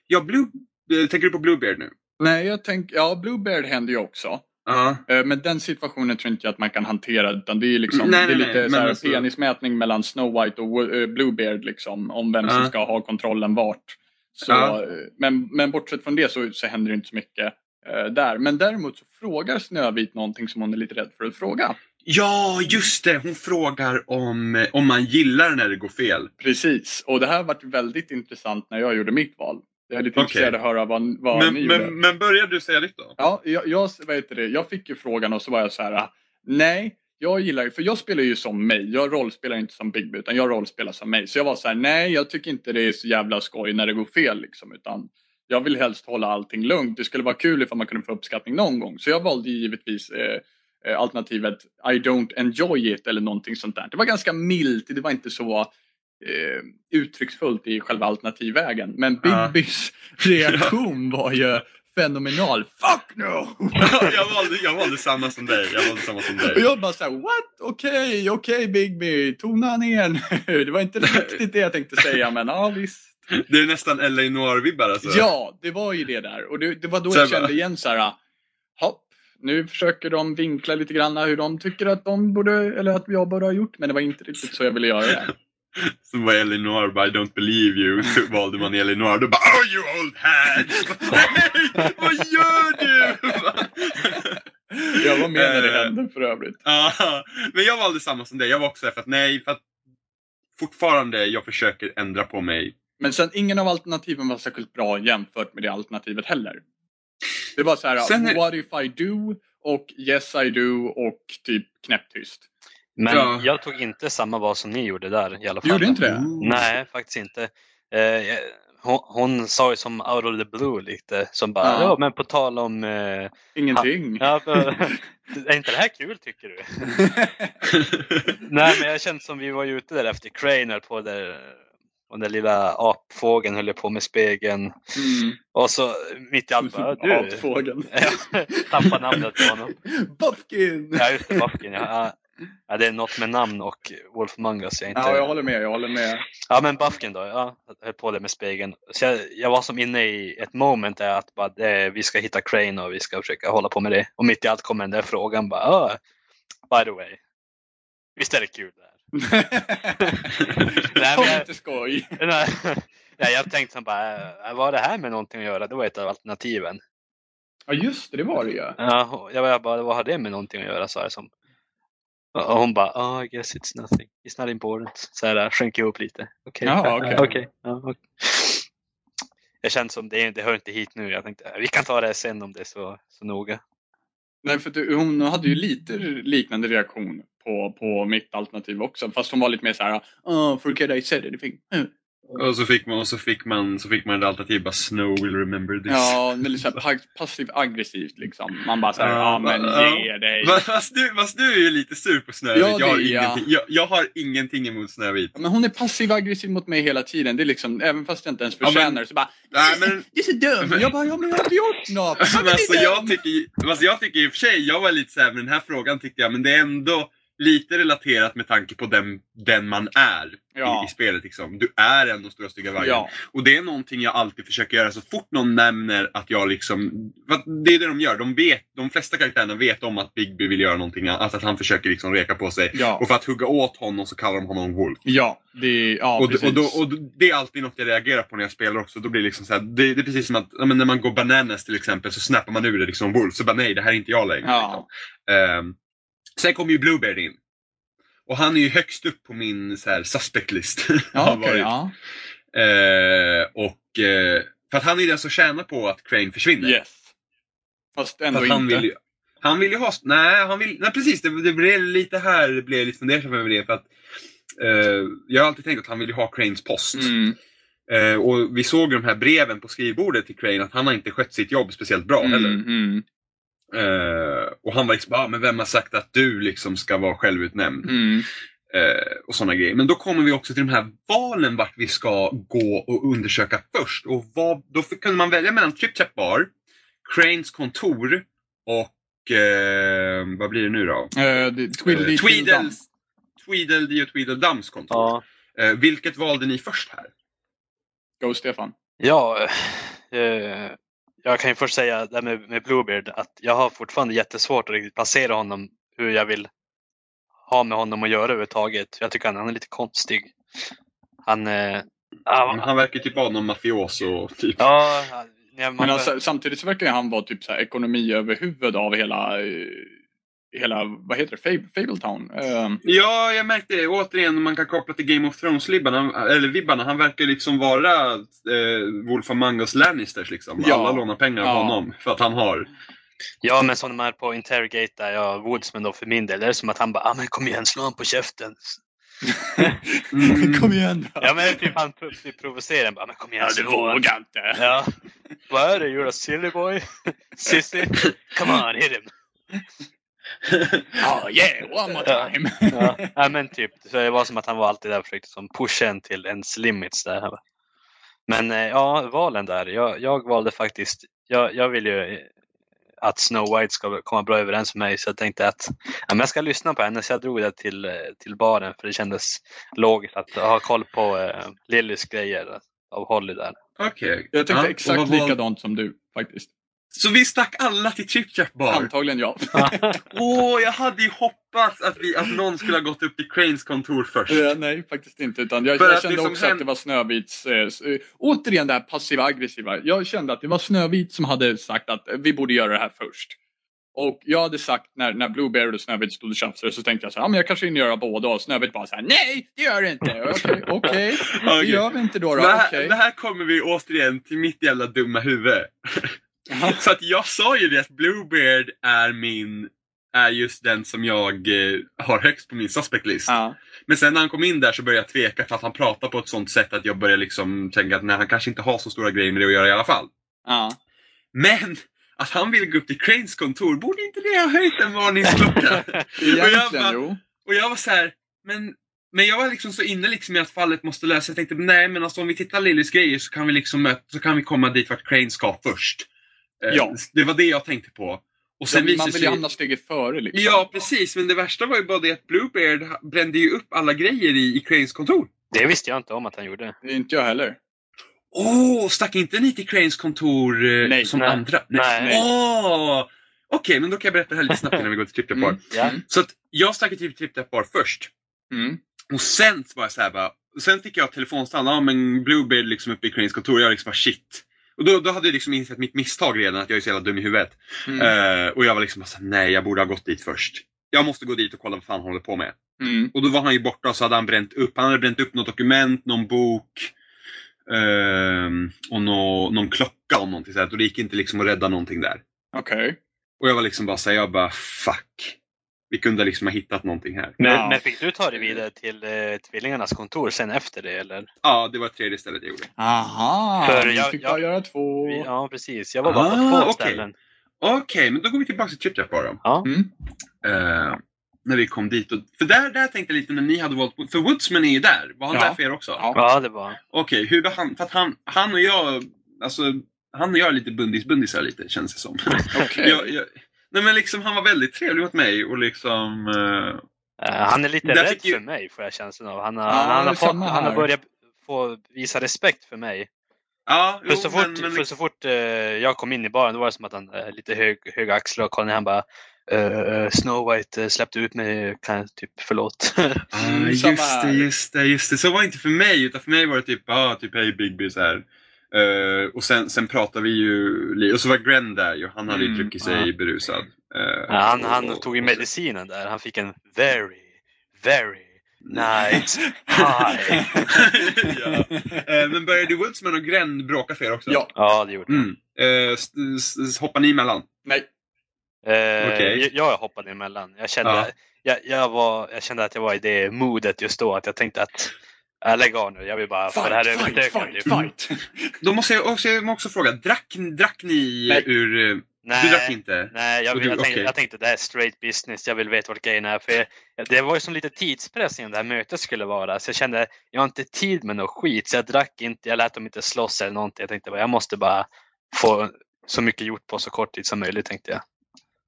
Speaker 2: Ja, Blue, eh, tänker du på Bluebeard nu?
Speaker 1: Nej, jag tänker, ja, Bluebeard hände ju också.
Speaker 2: Ja.
Speaker 1: Eh, Men den situationen tror inte jag att man kan hantera utan det är, liksom,
Speaker 2: Nej,
Speaker 1: det är
Speaker 2: nej,
Speaker 1: lite
Speaker 2: nej,
Speaker 1: så här
Speaker 2: men alltså-
Speaker 1: penismätning mellan Snow White och Wo- eh, Bluebeard liksom, om vem som
Speaker 2: Ja.
Speaker 1: ska ha kontrollen vart. Så,
Speaker 2: Ja.
Speaker 1: eh, men, men bortsett från det så, så händer det inte så mycket. eh, där. Men däremot så frågar Snövit någonting som hon är lite rädd för att fråga.
Speaker 2: Ja, just det! Hon frågar om, eh, om man gillar när det går fel.
Speaker 1: Precis, och det här varit väldigt intressant när jag gjorde mitt val. Jag är lite
Speaker 2: Okej.
Speaker 1: intresserad av att höra vad, vad ni
Speaker 2: Men,
Speaker 1: gjorde.
Speaker 2: men, men börjar du säga ditt då?
Speaker 1: Ja, jag, jag, vad heter det? jag fick ju frågan och så var jag så här. ah, Nej, jag gillar ju, för jag spelar ju som mig. Jag rollspelar inte som Bigby utan jag rollspelar som mig. Så jag var så här, nej jag tycker inte det är så jävla skoj när det går fel liksom. Utan jag vill helst hålla allting lugnt. Det skulle vara kul ifall man kunde få uppskattning någon gång. Så jag valde ju givetvis eh, eh, alternativet I don't enjoy it eller någonting sånt där. Det var ganska milt, det var inte så eh, uttrycksfullt i själva alternativvägen. Men
Speaker 2: Ja.
Speaker 1: Bigbys reaktion var ju fenomenal. Fuck no!
Speaker 2: jag, valde, jag valde samma som dig. Jag valde samma som
Speaker 1: Och
Speaker 2: dig.
Speaker 1: jag bara såhär, what? Okej, okej Bigby, tona ner nu. Det var inte riktigt det jag tänkte säga, men ja visst.
Speaker 2: Det är nästan L.A. Noir-vibbar alltså.
Speaker 1: Ja, det var ju det där. Och det, det var då
Speaker 2: Så
Speaker 1: jag
Speaker 2: jag bara-
Speaker 1: kände igen såhär, hopp. Nu försöker de vinkla lite grann hur de tycker att de borde, eller att jag borde ha gjort, men det var inte riktigt så jag ville göra det.
Speaker 2: Som var L.A. Noir, bara I don't believe you. Så valde man L.A. Noir. Då bara Oh you old hand! Nej! Vad gör du?
Speaker 1: Jag var med när det
Speaker 2: Eh,
Speaker 1: hände för övrigt.
Speaker 2: Ja, men jag valde samma som dig. Jag var också där för att nej, för att fortfarande jag försöker ändra på mig.
Speaker 1: Men sen ingen av alternativen var särskilt bra jämfört med det alternativet heller. Det var så här,
Speaker 2: Sen är-
Speaker 1: what if I do? Och yes I do och typ knäpptyst.
Speaker 3: Men
Speaker 2: Ja.
Speaker 3: jag tog inte samma val som ni gjorde där i alla
Speaker 1: Du
Speaker 3: fall.
Speaker 1: gjorde inte det?
Speaker 2: Ooh.
Speaker 3: Nej, faktiskt inte. Eh, jag- hon, hon sa ju som out of the blue lite, som bara
Speaker 1: Ja.
Speaker 3: ja, men på tal om... Eh,
Speaker 1: Ingenting.
Speaker 3: ja, är inte det här kul tycker du? Nej, men jag kände som vi var ju ute där efter Crane höll på där och den lilla apfågeln höll på med spegeln.
Speaker 1: Mm.
Speaker 3: Och så mitt i allt bara, du!
Speaker 1: Apfågeln.
Speaker 3: Tappade namnet på honom.
Speaker 1: Bufkin!
Speaker 3: Ja, just det, Buffkin. Ja, ja. ja, det är något med namn och Wolf Among Us. Jag inte...
Speaker 1: Ja, jag håller med. Jag håller med.
Speaker 3: Ja, men Buffkin då. Ja, jag höll på det med spegeln. Så jag, jag var som inne i ett moment där att bara, det, vi ska hitta Crane och vi ska försöka hålla på med det. Och mitt i allt kommer den där frågan bara, "Ah, by the way. Visst är det kul det här? Nej,
Speaker 1: Kom
Speaker 3: men jag-
Speaker 1: inte skoj.
Speaker 3: Nej, nej, jag tänkte som bara, "Äh, vad har det här med någonting att göra? Det var ett av alternativen.
Speaker 1: Ja, just det. Det var det ju.
Speaker 3: Ja, och jag bara, vad har det med någonting att göra? sa jag som. Och hon bara, oh, I guess it's nothing. It's not important. Så här, sjönk ihop lite. Okej.
Speaker 1: Ja, okej.
Speaker 3: Okej, ja, okej. Jag kände som det, det hör inte hit nu. Jag tänkte vi kan ta det här sen om det är så, så noga.
Speaker 1: Nej, för du, hon hade ju lite liknande reaktion på, på mitt alternativ också. Fast hon var lite mer så här, oh, forget I said anything. Mm.
Speaker 2: och så fick man, och så fick man, så fick man det alternativet bara Snow will remember this.
Speaker 1: Ja, men lite så här pa- passiv-aggressivt liksom. Man bara så här,
Speaker 2: Ja,
Speaker 1: ja men
Speaker 2: ja.
Speaker 1: ge dig.
Speaker 2: Fast, fast, du, fast du är ju lite sur på Snövit.
Speaker 1: Ja, det
Speaker 2: jag, har
Speaker 1: är jag.
Speaker 2: ingenting, jag, jag har ingenting emot Snövit.
Speaker 1: Ja, Men hon är passiv-aggressiv mot mig hela tiden. Det är liksom, även fast jag inte ens
Speaker 2: Ja, men-
Speaker 1: förtjänar det så bara,
Speaker 2: Nej, men,
Speaker 1: Du är så dum! Jag bara, ja men jag har inte gjort något! Ja, men
Speaker 2: men
Speaker 1: det är
Speaker 2: alltså,
Speaker 1: dum.
Speaker 2: jag, tycker, alltså, jag tycker i och för sig, jag var lite såhär med den här frågan tyckte jag, men det är ändå lite relaterat med tanke på den, den man är i,
Speaker 1: Ja,
Speaker 2: i spelet. Liksom. Du är ändå Stora Stygga Vargen.
Speaker 1: ja,
Speaker 2: Och det är någonting jag alltid försöker göra så fort någon nämner att jag liksom... För att det är det de gör. De, vet, de flesta karaktärerna vet om att Bigby vill göra någonting. Alltså att han försöker liksom reka på sig.
Speaker 1: ja,
Speaker 2: Och för att hugga åt honom så kallar de honom Wolf.
Speaker 1: ja, det, ja
Speaker 2: och,
Speaker 1: precis.
Speaker 2: och, då, och då- det är alltid något jag reagerar på när jag spelar också. Då blir det liksom så här, det, det är precis som att ja, men när man går bananas till exempel så snappar man ur det liksom Wolf. Så bara nej, det här är inte jag längre.
Speaker 1: ja.
Speaker 2: Ehm, sen kommer ju Bluebeard in. Och han är ju högst upp på min så här, suspect list.
Speaker 1: Ja,
Speaker 2: Har
Speaker 1: okej,
Speaker 2: varit.
Speaker 1: ja.
Speaker 2: Eh, och, eh, för att han är den som tjänar på att Crane försvinner.
Speaker 1: Yes. Fast
Speaker 2: för
Speaker 1: ändå
Speaker 2: att
Speaker 1: inte.
Speaker 2: han vill ju, han vill ju ha... Nej, han vill, nej precis. Det, det blev lite här det blev jag lite fundersam över det. För att, eh, jag har alltid tänkt att han vill ju ha Cranes post.
Speaker 1: Mm,
Speaker 2: Eh, och vi såg ju de här breven på skrivbordet till Crane att han har inte skött sitt jobb speciellt bra heller.
Speaker 1: mm, mm,
Speaker 2: Eh, och han var liksom ah, men vem har sagt att du liksom ska vara självutnämnd?
Speaker 1: mm.
Speaker 2: Eh, och sådana grejer. Men då kommer vi också till de här valen vart vi ska gå och undersöka först. Och vad, då fick, kunde man välja mellan Trip Trap Bar, Cranes kontor och eh, vad blir det nu då?
Speaker 1: Eh, det- Tweedledee Tweedledum.
Speaker 2: Eh, Tweedles, Tweedledee och Tweedledums kontor.
Speaker 3: Ja,
Speaker 2: Eh, vilket valde ni först här?
Speaker 1: Go Stefan.
Speaker 3: ja eh, jag kan ju först säga det här med, med Bluebeard att jag har fortfarande jättesvårt att riktigt placera honom hur jag vill ha med honom att göra överhuvudtaget. Jag tycker han, han är lite konstig. Han, eh, han,
Speaker 2: Han verkar typ vara någon mafioso. Typ.
Speaker 3: Ja, han- när man
Speaker 1: Men
Speaker 3: bör-
Speaker 1: alltså, samtidigt så verkar ju han vara typ så här ekonomiöverhuvud av hela, eh, hela vad heter det, Fab- Fabletown. Eh,
Speaker 2: Ja, jag märkte det. Återigen, man kan koppla till Game of Thrones-vibbarna. Eller vibbarna. Han verkar liksom vara eh, Wolf Among Us Lannisters liksom.
Speaker 1: Ja.
Speaker 2: Alla lånar pengar av
Speaker 1: Ja.
Speaker 2: honom för att han har.
Speaker 3: Ja, men som de är på Interrogate där, ja, Woodsman då för min del, det är som att han bara ah, men kom igen, slå honom på käften.
Speaker 2: Mm.
Speaker 1: Kom igen då!
Speaker 3: Ja, men typ han pro- typ provocerar en bara, men kom igen,
Speaker 1: Ja, du
Speaker 3: slå honom."
Speaker 1: vågar inte!
Speaker 3: Ja. Vad är det, you're a silly boy? Sissy? Come on, hit him.
Speaker 1: Oh yeah, one more time!
Speaker 3: Ja. ja, men typ. Så det var som att han var alltid där och försökte som pusha en till ens limits. Där. Men eh, ja, valen där. Jag, jag valde faktiskt, jag, jag vill ju eh, att Snow White ska komma bra överens med mig så jag tänkte att ja, men jag ska lyssna på henne så jag drog det till, eh, till baren för det kändes logiskt att ha koll på eh, Lillys grejer av Holly där.
Speaker 2: Okej.
Speaker 1: Jag tänkte
Speaker 2: Ja, och
Speaker 1: exakt
Speaker 2: vad var-
Speaker 1: likadant som du faktiskt.
Speaker 2: Så vi stack alla till Chip Chap Bar.
Speaker 1: Antagligen ja.
Speaker 2: Åh, jag hade ju hoppats att, vi, att någon skulle ha gått upp till Cranes kontor först.
Speaker 1: Eh, Nej, faktiskt inte. Utan jag,
Speaker 2: För
Speaker 1: jag
Speaker 2: att
Speaker 1: kände
Speaker 2: det som
Speaker 1: också att
Speaker 2: händer-
Speaker 1: det var Snövits... Eh, s- eh, återigen det här passiva aggressiva. Jag kände att det var Snövit som hade sagt att eh, vi borde göra det här först. Och jag hade sagt när, när Blueberry och Snövit stod och tjafsade så tänkte jag så här, "Ja, men jag kanske hinner göra båda och Snövit bara så här, nej det gör det inte. Okej, okej, det
Speaker 2: Okej.
Speaker 1: gör vi inte då. då.
Speaker 2: Det här,
Speaker 1: Okej.
Speaker 2: det här kommer vi återigen till mitt jävla dumma huvud. Så att jag sa ju det att Bluebeard är min, är just den som jag eh, har högst på min suspect list.
Speaker 1: Ja.
Speaker 2: Men sen när han kom in där så började jag tveka för att han pratar på ett sånt sätt att jag började liksom tänka att nej, han kanske inte har så stora grejer med det att göra i alla fall.
Speaker 1: Ja.
Speaker 2: Men att han vill gå upp till Cranes kontor, borde inte det ha höjt en varningsklocka? Och jag
Speaker 1: Egentligen
Speaker 2: bara-
Speaker 1: jo.
Speaker 2: Och jag var så här, men, men jag var liksom så inne liksom i att fallet måste lösas. Jag tänkte, nej men alltså om vi tittar Lillys grejer så kan vi liksom möta, så kan vi komma dit vart Crane ska först. Eh,
Speaker 1: Ja.
Speaker 2: Det var det jag tänkte på. Och sen
Speaker 1: man
Speaker 2: visade
Speaker 1: vill ju
Speaker 2: sig...
Speaker 1: hamna steget före liksom.
Speaker 2: Ja, precis. Men det värsta var ju bara det att Bluebeard ha- brände ju upp alla grejer i, i Cranes kontor.
Speaker 3: Det visste jag inte om att han gjorde.
Speaker 1: Det är Inte jag heller.
Speaker 2: Åh, stack inte ni till Cranes kontor eh,
Speaker 1: Nej.
Speaker 2: som
Speaker 3: Nej.
Speaker 2: andra?
Speaker 3: Nej.
Speaker 2: Åh! Okej, men då kan jag berätta det här lite snabbt innan vi går till Trip Tap Bar.
Speaker 1: Mm.
Speaker 3: Ja.
Speaker 2: Så att jag typ, stack till Trip Tap Bar först.
Speaker 1: Mm.
Speaker 2: Och sen så var jag så här bara, sen fick jag telefonstall, ja men Bluebeard liksom uppe i Cranes kontor, jag liksom bara shit. Och då, då hade jag liksom insett mitt misstag redan, att jag är så jävla dum i huvudet.
Speaker 1: Mm.
Speaker 2: Eh, och jag var liksom bara så här, nej jag borde ha gått dit först. Jag måste gå dit och kolla vad fan han håller på med.
Speaker 1: Mm.
Speaker 2: Och då var han ju borta och så hade han bränt upp, han hade bränt upp något dokument, någon bok. ehm, och nå, någon klocka och någonting sånt. Och det gick inte liksom att rädda någonting där.
Speaker 1: Okej.
Speaker 2: Och jag var liksom bara såhär, jag bara fuck. Vi kunde liksom ha hittat någonting här.
Speaker 3: Men,
Speaker 1: Ja.
Speaker 3: men fick du ta dig vidare till eh, tvillingarnas kontor sen efter det? Eller?
Speaker 2: Ja, det var tredje stället jag gjorde.
Speaker 1: Aha,
Speaker 3: För
Speaker 1: vi
Speaker 3: jag-
Speaker 1: fick
Speaker 3: jag-
Speaker 1: bara göra två.
Speaker 3: Ja, precis. Jag var bara på
Speaker 2: Ah,
Speaker 3: två
Speaker 2: okej.
Speaker 3: ställen.
Speaker 2: Okej, men då går vi tillbaka till ChipChap bara.
Speaker 1: Mm.
Speaker 2: Eh, när vi kom dit. Och, för där, där tänkte jag lite när ni hade valt... För Woodsman är ju där. Var han
Speaker 1: Ja.
Speaker 2: där för er också?
Speaker 1: Ja.
Speaker 3: Ja, det var
Speaker 2: Okej, hur behand, för att han, han och jag... Alltså, han och jag är lite bundis-bundisar lite, känns det som.
Speaker 1: Okej.
Speaker 2: jag, jag, nej men liksom, han var väldigt trevlig mot mig och liksom... eh,
Speaker 3: Eh, Han är lite
Speaker 2: Där
Speaker 3: rädd
Speaker 2: fick ju-
Speaker 3: för mig får jag känslan av. Han har,
Speaker 1: Ja,
Speaker 3: han
Speaker 1: det
Speaker 3: har,
Speaker 1: är
Speaker 3: fått,
Speaker 1: samma
Speaker 3: han har
Speaker 1: här.
Speaker 3: börjat få visa respekt för mig.
Speaker 2: ja,
Speaker 3: För så fort, för så fort eh, jag kom in i baren då var det som att han eh, lite hög, höga axlar och kollade ner. Han bara eh, eh, Snow White eh, släppte ut mig, kan jag typ förlåt.
Speaker 2: Ah,
Speaker 1: Mm,
Speaker 2: just
Speaker 1: samma
Speaker 2: det,
Speaker 1: här.
Speaker 2: just det, just det. Så var det inte för mig, utan för mig var det typ, ah, typ hej Bigby så här. Eh, och sen, sen pratade vi ju, li- och så var Glenn där ju, han hade ju
Speaker 1: Mm,
Speaker 2: druckit sig berusad. Eh,
Speaker 3: Ja, han,
Speaker 2: och-
Speaker 3: han tog ju
Speaker 2: och-
Speaker 3: medicinen där. Han fick en very, very nice high.
Speaker 2: ja. Eh, men började Woodsman och Glenn bråka för er också?
Speaker 1: Ja.
Speaker 3: Ja, det gjorde han.
Speaker 2: Mm. Eh, s- s- s- hoppar ni emellan?
Speaker 1: Nej.
Speaker 3: Eh,
Speaker 2: Okej.
Speaker 3: jag- Jag hoppade emellan. Jag kände,
Speaker 2: Ja.
Speaker 3: jag, jag, var, jag kände att jag var i det modet just då. Att jag tänkte att äh, lägg av nu. Jag vill bara få det här överstökat.
Speaker 1: fight,
Speaker 3: typ.
Speaker 1: fight.
Speaker 2: Då måste jag också, jag måste också fråga, drack, drack ni
Speaker 1: Nej.
Speaker 2: ur... eh, Du drack
Speaker 3: Nej,
Speaker 2: inte?
Speaker 3: nej jag,
Speaker 2: Och
Speaker 3: vill,
Speaker 2: du,
Speaker 3: jag, tänkte,
Speaker 2: okej.
Speaker 3: jag tänkte det här är straight business. Jag vill veta vad grejen är. För jag, det var ju som lite tidspress innan det här mötet skulle vara. Så jag kände jag har inte tid med något skit. Så jag drack inte. Jag lät dem inte slåss eller någonting. Jag tänkte bara jag måste bara få så mycket gjort på så kort tid som möjligt tänkte jag.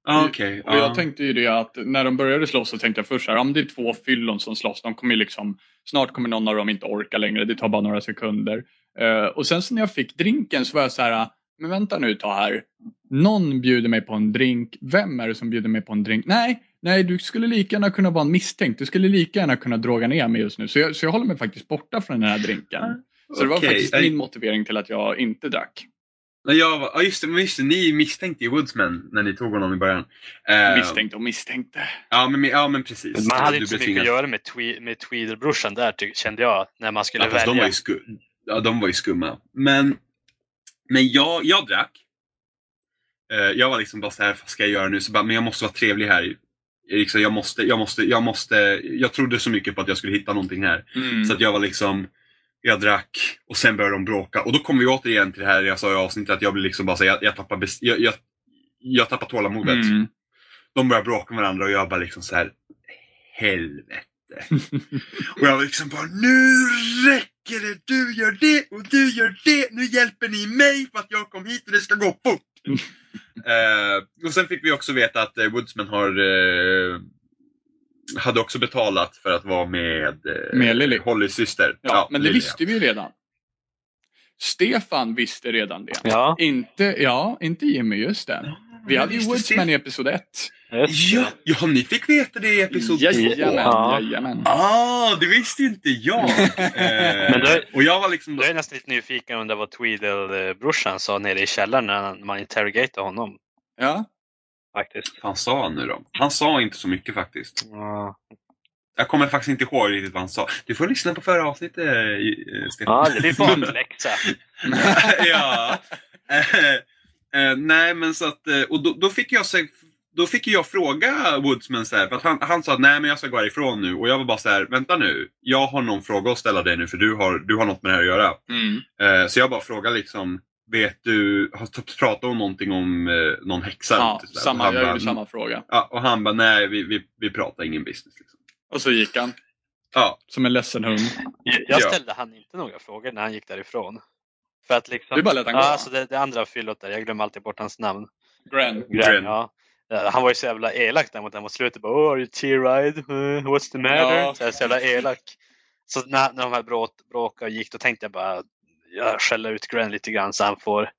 Speaker 2: Ah, Okej.
Speaker 1: Mm. Och jag
Speaker 2: ja.
Speaker 1: tänkte ju det att när de började slåss så tänkte jag först så här, om det är två fyllon som slåss, de kommer ju liksom, snart kommer någon av dem inte orka längre, det tar bara några sekunder. Eh, och sen så när jag fick drinken så var jag så här, men vänta nu ett tag här. Någon bjuder mig på en drink, vem är det som bjuder mig på en drink? Nej, nej du skulle lika gärna kunna vara en misstänkt, du skulle lika gärna kunna droga ner mig just nu. Så jag, så jag håller mig faktiskt borta från den här drinken. Så det var
Speaker 2: Okej,
Speaker 1: faktiskt
Speaker 2: jag-
Speaker 1: min motivering till att jag inte drack.
Speaker 2: Nej, jag var, ja, just det, men just det, ni misstänkte ju Woodsman när ni tog honom i början. Eh,
Speaker 1: Misstänkt och misstänkte.
Speaker 2: Ja, men, ja, men precis.
Speaker 3: Man hade
Speaker 2: Du
Speaker 3: inte så
Speaker 2: blev
Speaker 3: mycket
Speaker 2: tvingad.
Speaker 3: att göra med, twe- med Tweederbrorsan där ty- kände jag, när man skulle
Speaker 2: Ja, fast
Speaker 3: välja.
Speaker 2: de var ju, sku- ja, de var ju skumma. Men, men jag, jag drack. Eh, jag var liksom bara så här, vad ska jag göra nu? Så bara, men jag måste vara trevlig här. Liksom, jag, måste, jag, måste, jag, måste, jag trodde så mycket på att jag skulle hitta någonting här.
Speaker 1: Mm.
Speaker 3: Mm.
Speaker 2: Så att jag var liksom, jag drack och sen började de bråka. Och då kommer vi återigen till det här jag sa i avsnittet, att jag blir liksom bara så här, jag, jag tappar, bes- jag, jag, jag tappar tålamodet.
Speaker 1: Mm.
Speaker 2: De börjar bråka med varandra och jag bara liksom så här, helvete. och jag var liksom bara, nu räcker det! Du gör det och du gör det! Nu hjälper ni mig för att jag kom hit och det ska gå fort! Eh, och sen fick vi också veta att eh, Woodsman har eh, hade också betalat för att vara med, eh,
Speaker 1: Med Lily.
Speaker 2: Hollys syster.
Speaker 1: Ja, men det
Speaker 2: Lily,
Speaker 1: visste vi ju redan. Stefan visste redan det.
Speaker 3: Ja,
Speaker 1: Inte, ja, inte Jimmy, just det.
Speaker 2: Ja,
Speaker 1: Vi
Speaker 2: men
Speaker 1: hade ju
Speaker 2: visst,
Speaker 1: Woodsman
Speaker 2: det-
Speaker 1: i episod 1.
Speaker 3: just det.
Speaker 2: Ja, ja, ni fick veta det i episod två.
Speaker 3: Ja.
Speaker 1: Jajamän, jajamän.
Speaker 2: Ah, det visste inte jag! Eh,
Speaker 3: Men då-
Speaker 2: och jag var liksom...
Speaker 3: Då är jag nästan lite nyfiken om det var Tweedle-brorsan sa nere i källaren när han- man interrogatade honom.
Speaker 1: Ja.
Speaker 3: Faktiskt.
Speaker 2: Vad fan sa han nu då? Han sa inte så mycket faktiskt.
Speaker 3: Ja,
Speaker 2: Jag kommer faktiskt inte ihåg riktigt vad han sa. Du får lyssna på förra avsnittet, eh, Stefan.
Speaker 3: det blir bakläxa.
Speaker 2: ja. Eh, eh, nej, men så att... eh, Och då, då fick jag så, då fick ju jag fråga Woodsman så här, för att han, han sa att nej men jag ska gå härifrån nu. Och jag var bara så här, vänta nu. Jag har någon fråga att ställa dig nu för du har, du har något med det här att göra.
Speaker 1: Mm.
Speaker 2: Eh, så jag bara frågar liksom, vet du, har typ pratat om någonting om eh, någon häxa?
Speaker 1: Ja,
Speaker 2: Och
Speaker 1: samma,
Speaker 2: han
Speaker 1: jag
Speaker 2: bara,
Speaker 1: gjorde samma fråga.
Speaker 2: Ja, och han bara, nej vi, vi, vi pratar ingen business. Liksom.
Speaker 1: Och så gick han.
Speaker 2: Ja.
Speaker 1: Som en ledsen hund.
Speaker 3: Jag
Speaker 2: Ja.
Speaker 3: ställde han inte några frågor när han gick därifrån. För att liksom...
Speaker 1: Du bara lät han gå.
Speaker 3: Ja, alltså det, det andra fyllot där, jag glömmer alltid bort hans namn.
Speaker 1: Grand.
Speaker 2: Gren.
Speaker 3: Ja. Ja, Han var ju så jävla elak där mot den mot slutet. Bara, oh, are you tear-eyed? Eh, What's the matter?
Speaker 1: Ja.
Speaker 3: Så, här, så jävla elak. Så när, när de här bråt, bråkade och gick, då tänkte jag bara jag skäller ut Gren lite grann så han får,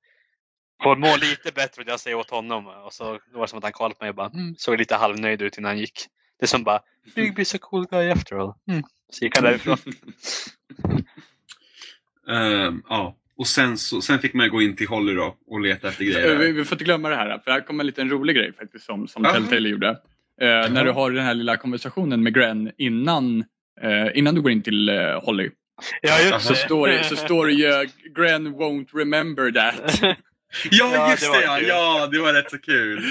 Speaker 3: får må lite bättre och jag säger åt honom. Och så då var det som att han kollade på mig och bara mm, såg lite halvnöjd ut innan han gick. Det är som bara Big is a cool guy after all. Mm. Så gick han därifrån.
Speaker 2: Ehm, ja. Och sen, så, sen fick man ju gå in till Holly då och leta efter
Speaker 1: Eh, Vi,
Speaker 2: grejer.
Speaker 1: vi får inte glömma det här, för här kommer en liten rolig grej faktiskt som, som
Speaker 2: Jaha.
Speaker 1: Telltale gjorde. Eh, när du har den här lilla konversationen med Gren innan, eh, innan du går in till eh, Holly.
Speaker 3: Ja,
Speaker 1: Så
Speaker 3: just
Speaker 2: Jaha.
Speaker 3: det.
Speaker 1: står det, så står det ju eh, Gren won't remember that.
Speaker 2: Ja,
Speaker 3: Ja,
Speaker 2: just
Speaker 3: det
Speaker 2: det!
Speaker 3: var
Speaker 2: Ja.
Speaker 3: kul.
Speaker 2: ja, det var rätt så kul.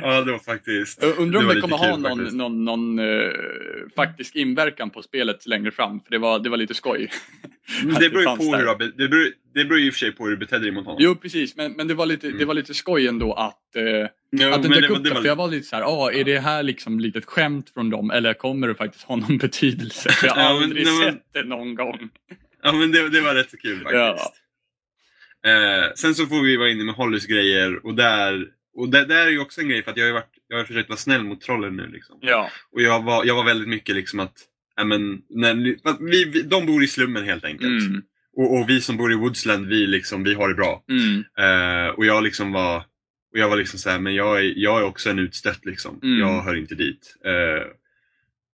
Speaker 2: Ja, det var faktiskt.
Speaker 1: Eh, Undrar om
Speaker 2: var
Speaker 1: det,
Speaker 2: lite
Speaker 1: kommer ha
Speaker 2: kul
Speaker 1: någon,
Speaker 2: faktiskt.
Speaker 1: någon, någon eh, faktisk inverkan på spelet längre fram. För det var, det var lite skoj. Att
Speaker 2: Det beror ju
Speaker 1: fanns
Speaker 2: på
Speaker 1: där.
Speaker 2: hur du har be- det beror, det beror ju i och för sig på hur du betedde dig mot honom.
Speaker 1: Jo precis, men, men det, var lite,
Speaker 2: Mm.
Speaker 1: det var lite skoj ändå att, eh,
Speaker 2: Jo,
Speaker 1: att den
Speaker 2: men
Speaker 1: dök
Speaker 2: var-
Speaker 1: upp. där,
Speaker 2: var-
Speaker 1: För jag var lite så här, ah, är det här liksom lite ett skämt från dem eller kommer det faktiskt ha någon betydelse? För jag har
Speaker 2: Ja, men-
Speaker 1: aldrig
Speaker 2: nej, men-
Speaker 1: sett det någon gång.
Speaker 2: Ja, men det, det var rätt så kul faktiskt. Eh, sen så får vi vara inne med Hollys grejer och där, och där, där är ju också en grej för att jag har, ju varit, jag har försökt vara snäll mot trollen nu liksom.
Speaker 1: Ja.
Speaker 2: Och jag var, jag var väldigt mycket liksom att, ja men, när, ni- för att vi, vi, de bor i slummen helt enkelt.
Speaker 1: Mm,
Speaker 2: Och, och vi som bor i Woodsland, vi liksom, vi har det bra.
Speaker 1: mm,
Speaker 2: Eh, och jag liksom var och jag var liksom såhär, men jag är, jag är också en utstött liksom.
Speaker 1: Mm.
Speaker 2: Jag hör inte dit. Eh,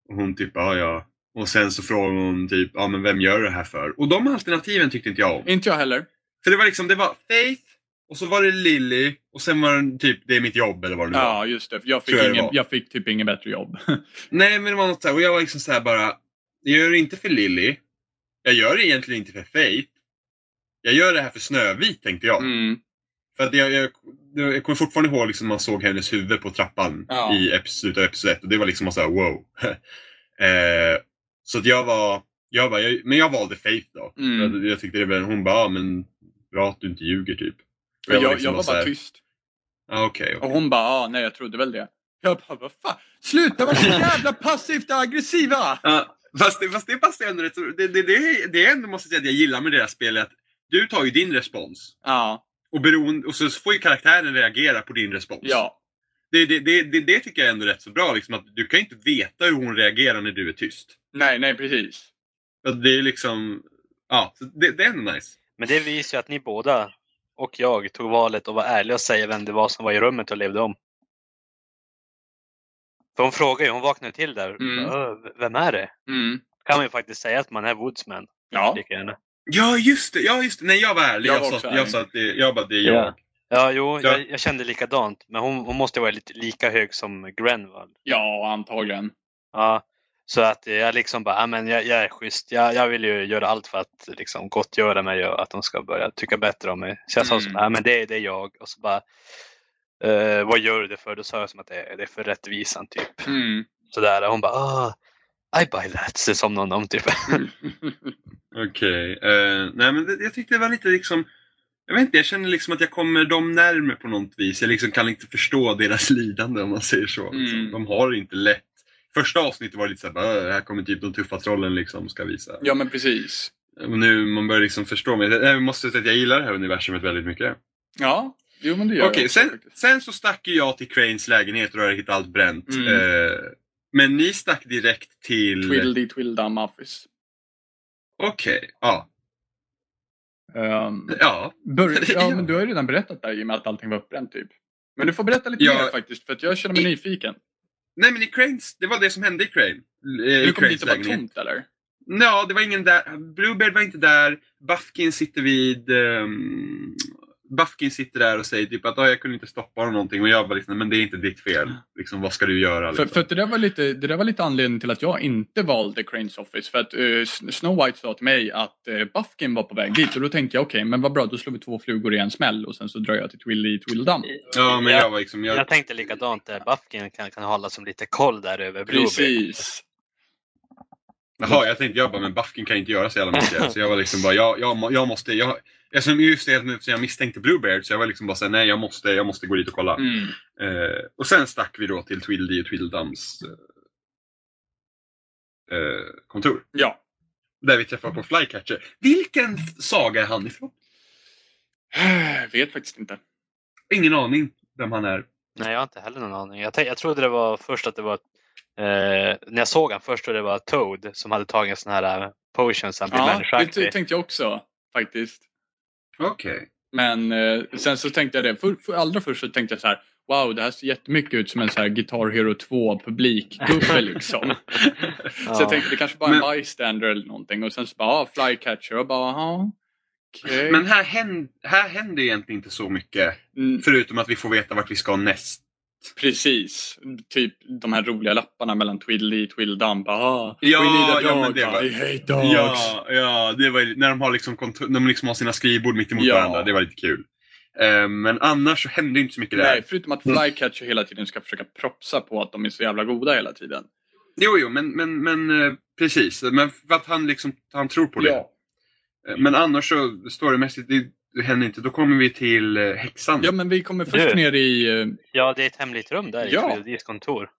Speaker 2: och hon typ, ja ja. Och sen så frågade hon typ, ja men vem gör du det här för? Och de alternativen tyckte inte jag om.
Speaker 1: inte jag heller.
Speaker 2: För det var liksom, det var Faith, och så var det Lily, och sen var det typ, det är mitt jobb eller vad det nu var.
Speaker 1: Ja, just det. För Jag fick,
Speaker 2: Tror jag det
Speaker 1: ingen,
Speaker 2: var.
Speaker 1: jag fick typ inget bättre jobb.
Speaker 2: Nej men det var något såhär, och jag var liksom såhär bara, jag gör det inte för Lily. Jag gör det egentligen inte för Faith. Jag gör det här för Snövit tänkte jag.
Speaker 1: Mm.
Speaker 2: För att jag, jag, jag kommer fortfarande ihåg liksom man såg hennes huvud på trappan
Speaker 1: Ja.
Speaker 2: i episod- slutet av episod 1 och det var liksom såhär wow. eh, så att jag var, jag var jag, men jag valde Faith då.
Speaker 1: Mm.
Speaker 2: För att Jag, tyckte det var, hon bara, "Ja, men bra att du inte ljuger typ. Och
Speaker 1: Jag, jag,
Speaker 2: liksom
Speaker 1: var
Speaker 2: så
Speaker 1: bara
Speaker 2: här,
Speaker 1: tyst.
Speaker 2: Ah, okej,
Speaker 1: Och
Speaker 2: okej.
Speaker 1: hon bara, ah, nej jag trodde väl det. Jag bara, vad fan? Sluta vara så jävla passivt aggressiva!
Speaker 2: Ja, fast, det, fast det passar ju ändå rätt så- det, det, det, det jag ändå måste säga att jag gillar med deras spel är att du tar ju din respons.
Speaker 1: Ja,
Speaker 2: Och, beroende, och så får ju karaktären reagera på din respons.
Speaker 1: ja.
Speaker 2: Det, det, det, det, det tycker jag är ändå rätt så bra. Liksom, att du kan ju inte veta hur hon reagerar när du är tyst.
Speaker 1: Nej, nej precis.
Speaker 2: Att det är liksom... Ja, så det, det är ändå nice.
Speaker 3: Men det visar ju att ni båda och jag tog valet att vara ärliga och säga vem det var som var i rummet och levde om. För hon frågar ju, hon vaknar ju till där.
Speaker 1: Mm.
Speaker 3: "Ö, v- Vem är det?
Speaker 1: Mm.
Speaker 3: Kan man ju faktiskt säga att man är Woodsman.
Speaker 1: Ja.
Speaker 3: Lika gärna.
Speaker 2: Ja, just det! Ja, just det. Nej, jag var ärlig.
Speaker 1: Jag
Speaker 2: Jag,
Speaker 1: var
Speaker 2: sa,
Speaker 1: också
Speaker 2: jag
Speaker 1: ärlig.
Speaker 2: sa att det, jag bara, det är jag.
Speaker 3: Ja. Ja, jo,
Speaker 2: Ja.
Speaker 3: Jag, jag kände likadant. Men hon, hon måste vara lite lika hög som Grenvall.
Speaker 1: Ja, antagligen.
Speaker 3: Ja, så att jag liksom bara, "Ah, men jag, jag är schysst. Jag, jag vill ju göra allt för att liksom, gottgöra mig och att de ska börja tycka bättre om mig. Så jag sa
Speaker 1: Mm.
Speaker 3: så här, "Ah, men det, det är jag. Och så bara, "Eh, vad gör du det för? Då sa jag som att det, det är för rättvisan typ.
Speaker 1: Mm.
Speaker 3: Sådär. Och hon bara, ah, I buy that. Som någon om typ.
Speaker 2: Okej. eh, nej, men det, jag tyckte det var lite liksom... Jag vet inte, jag känner liksom att jag kommer dem närmare på något vis. Jag liksom kan inte förstå deras lidande om man säger så. Liksom.
Speaker 1: Mm.
Speaker 2: De har det inte lätt. Första avsnittet var det lite såhär, här kommer typ de tuffa trollen liksom ska visa.
Speaker 1: Ja, men precis.
Speaker 2: Och nu man börjar liksom förstå mig. Jag jag måste säga att jag gillar det här universumet väldigt mycket.
Speaker 1: Ja, jo men det gör
Speaker 2: Okej,
Speaker 1: jag också
Speaker 2: sen,
Speaker 1: faktiskt.
Speaker 2: sen så stack ju jag till Cranes lägenhet och där jag hittade allt bränt.
Speaker 1: Mm.
Speaker 2: Eh, men ni stack direkt till...
Speaker 1: Twildy Twilda Muffis.
Speaker 2: Okej, ja.
Speaker 1: Um,
Speaker 2: Ja,
Speaker 1: bör- ja,
Speaker 2: Ja.
Speaker 1: men du har ju redan berättat där i och med att allting var uppbränt typ. Men du får berätta lite
Speaker 2: Ja.
Speaker 1: mer faktiskt, för att jag känner mig
Speaker 2: I-
Speaker 1: nyfiken.
Speaker 2: Nej men i Cranes, det var det som hände i Crane. Eh, i
Speaker 1: Du kom
Speaker 2: Cranes
Speaker 1: dit och var
Speaker 2: lägenhet.
Speaker 1: tomt eller?
Speaker 2: Ja, det var ingen där. Bluebeard var inte där. Buffkin sitter vid... ehm, Buffkin sitter där och säger typ att "Ah, jag kunde inte stoppa honom någonting och jag bara liksom, men det är inte ditt fel. Liksom, vad ska du
Speaker 1: För,
Speaker 2: göra? Liksom.
Speaker 1: för att det, där var lite, det där var lite anledningen till att jag inte valde Cranes Office. För att eh, Sn- Snow White sa till mig att uh, Buffkin var på väg dit och då tänkte jag okej, men vad bra, då slår vi två flugor i en smäll och sen så drar jag till Twilly Twildam.
Speaker 2: Ja, men jag
Speaker 3: jag,
Speaker 2: var liksom...
Speaker 3: jag
Speaker 2: Jag,
Speaker 3: tänkte likadant där. Buffkin kan, kan hålla som lite koll där över Blueberry.
Speaker 1: Precis.
Speaker 2: jaha, jag tänkte, jag bara, men Buffkin kan inte göra så jävla mycket. Så jag var liksom bara, jag, jag, må- jag måste... Jag, eftersom just det, eftersom jag misstänkte Bluebeard så jag var liksom bara såhär, nej jag måste, jag måste gå dit och kolla.
Speaker 1: Mm.
Speaker 2: Eh, och sen stack vi då till Twildy och Twildams eh, eh, kontor.
Speaker 1: Ja.
Speaker 2: Där vi träffar på Flycatcher. Vilken f- saga är han ifrån?
Speaker 1: Vet faktiskt inte.
Speaker 2: Ingen aning vem han är.
Speaker 3: Nej, jag har inte heller någon aning. Jag, tänk- jag trodde det var först att det var, eh, när jag såg han först trodde jag det var Toad som hade tagit en sån här eh, potion så han blev
Speaker 1: Ja, det
Speaker 3: människaaktig.
Speaker 1: tänkte jag också faktiskt.
Speaker 2: Okej.
Speaker 1: Men eh, sen så tänkte jag det. För, för allra först så tänkte jag så här. Wow, det här ser jättemycket ut som en så här Guitar Hero 2 publikgubbe liksom.
Speaker 3: Ja.
Speaker 1: Så jag tänkte det kanske bara är en
Speaker 2: Men-
Speaker 1: bystander eller någonting. Och sen så bara, ah, flycatcher. Och bara, aha. Okej.
Speaker 2: Men här, händ, här händer egentligen inte så mycket.
Speaker 1: Mm,
Speaker 2: Förutom att vi får veta vart vi ska näst.
Speaker 1: Precis. Typ de här roliga lapparna mellan Twiddly, Twilldump. Aha,
Speaker 2: Ja,
Speaker 1: we need a
Speaker 2: ja, men
Speaker 1: dog.
Speaker 2: det var-
Speaker 1: I hate dogs.
Speaker 2: Ja, ja det var, när de har, liksom kontor, de liksom har sina skrivbord mitt emot
Speaker 1: Ja.
Speaker 2: varandra. Det var lite kul. Eh, men annars så hände inte så mycket där.
Speaker 1: Nej, förutom
Speaker 2: Mm.
Speaker 1: att Flycatcher hela tiden ska försöka propsa på att de är så jävla goda hela tiden.
Speaker 2: Jo, jo, men, men, men eh, precis. Men för att han, liksom, han tror på det.
Speaker 1: Ja.
Speaker 2: Eh, Men annars så storymässigt, det, det händer inte. Då kommer vi till eh, häxan.
Speaker 1: ja, men vi kommer först
Speaker 3: Du.
Speaker 1: ner i... eh,
Speaker 3: ja, det är ett hemligt rum där
Speaker 1: Ja.
Speaker 3: i Fredriks kontor.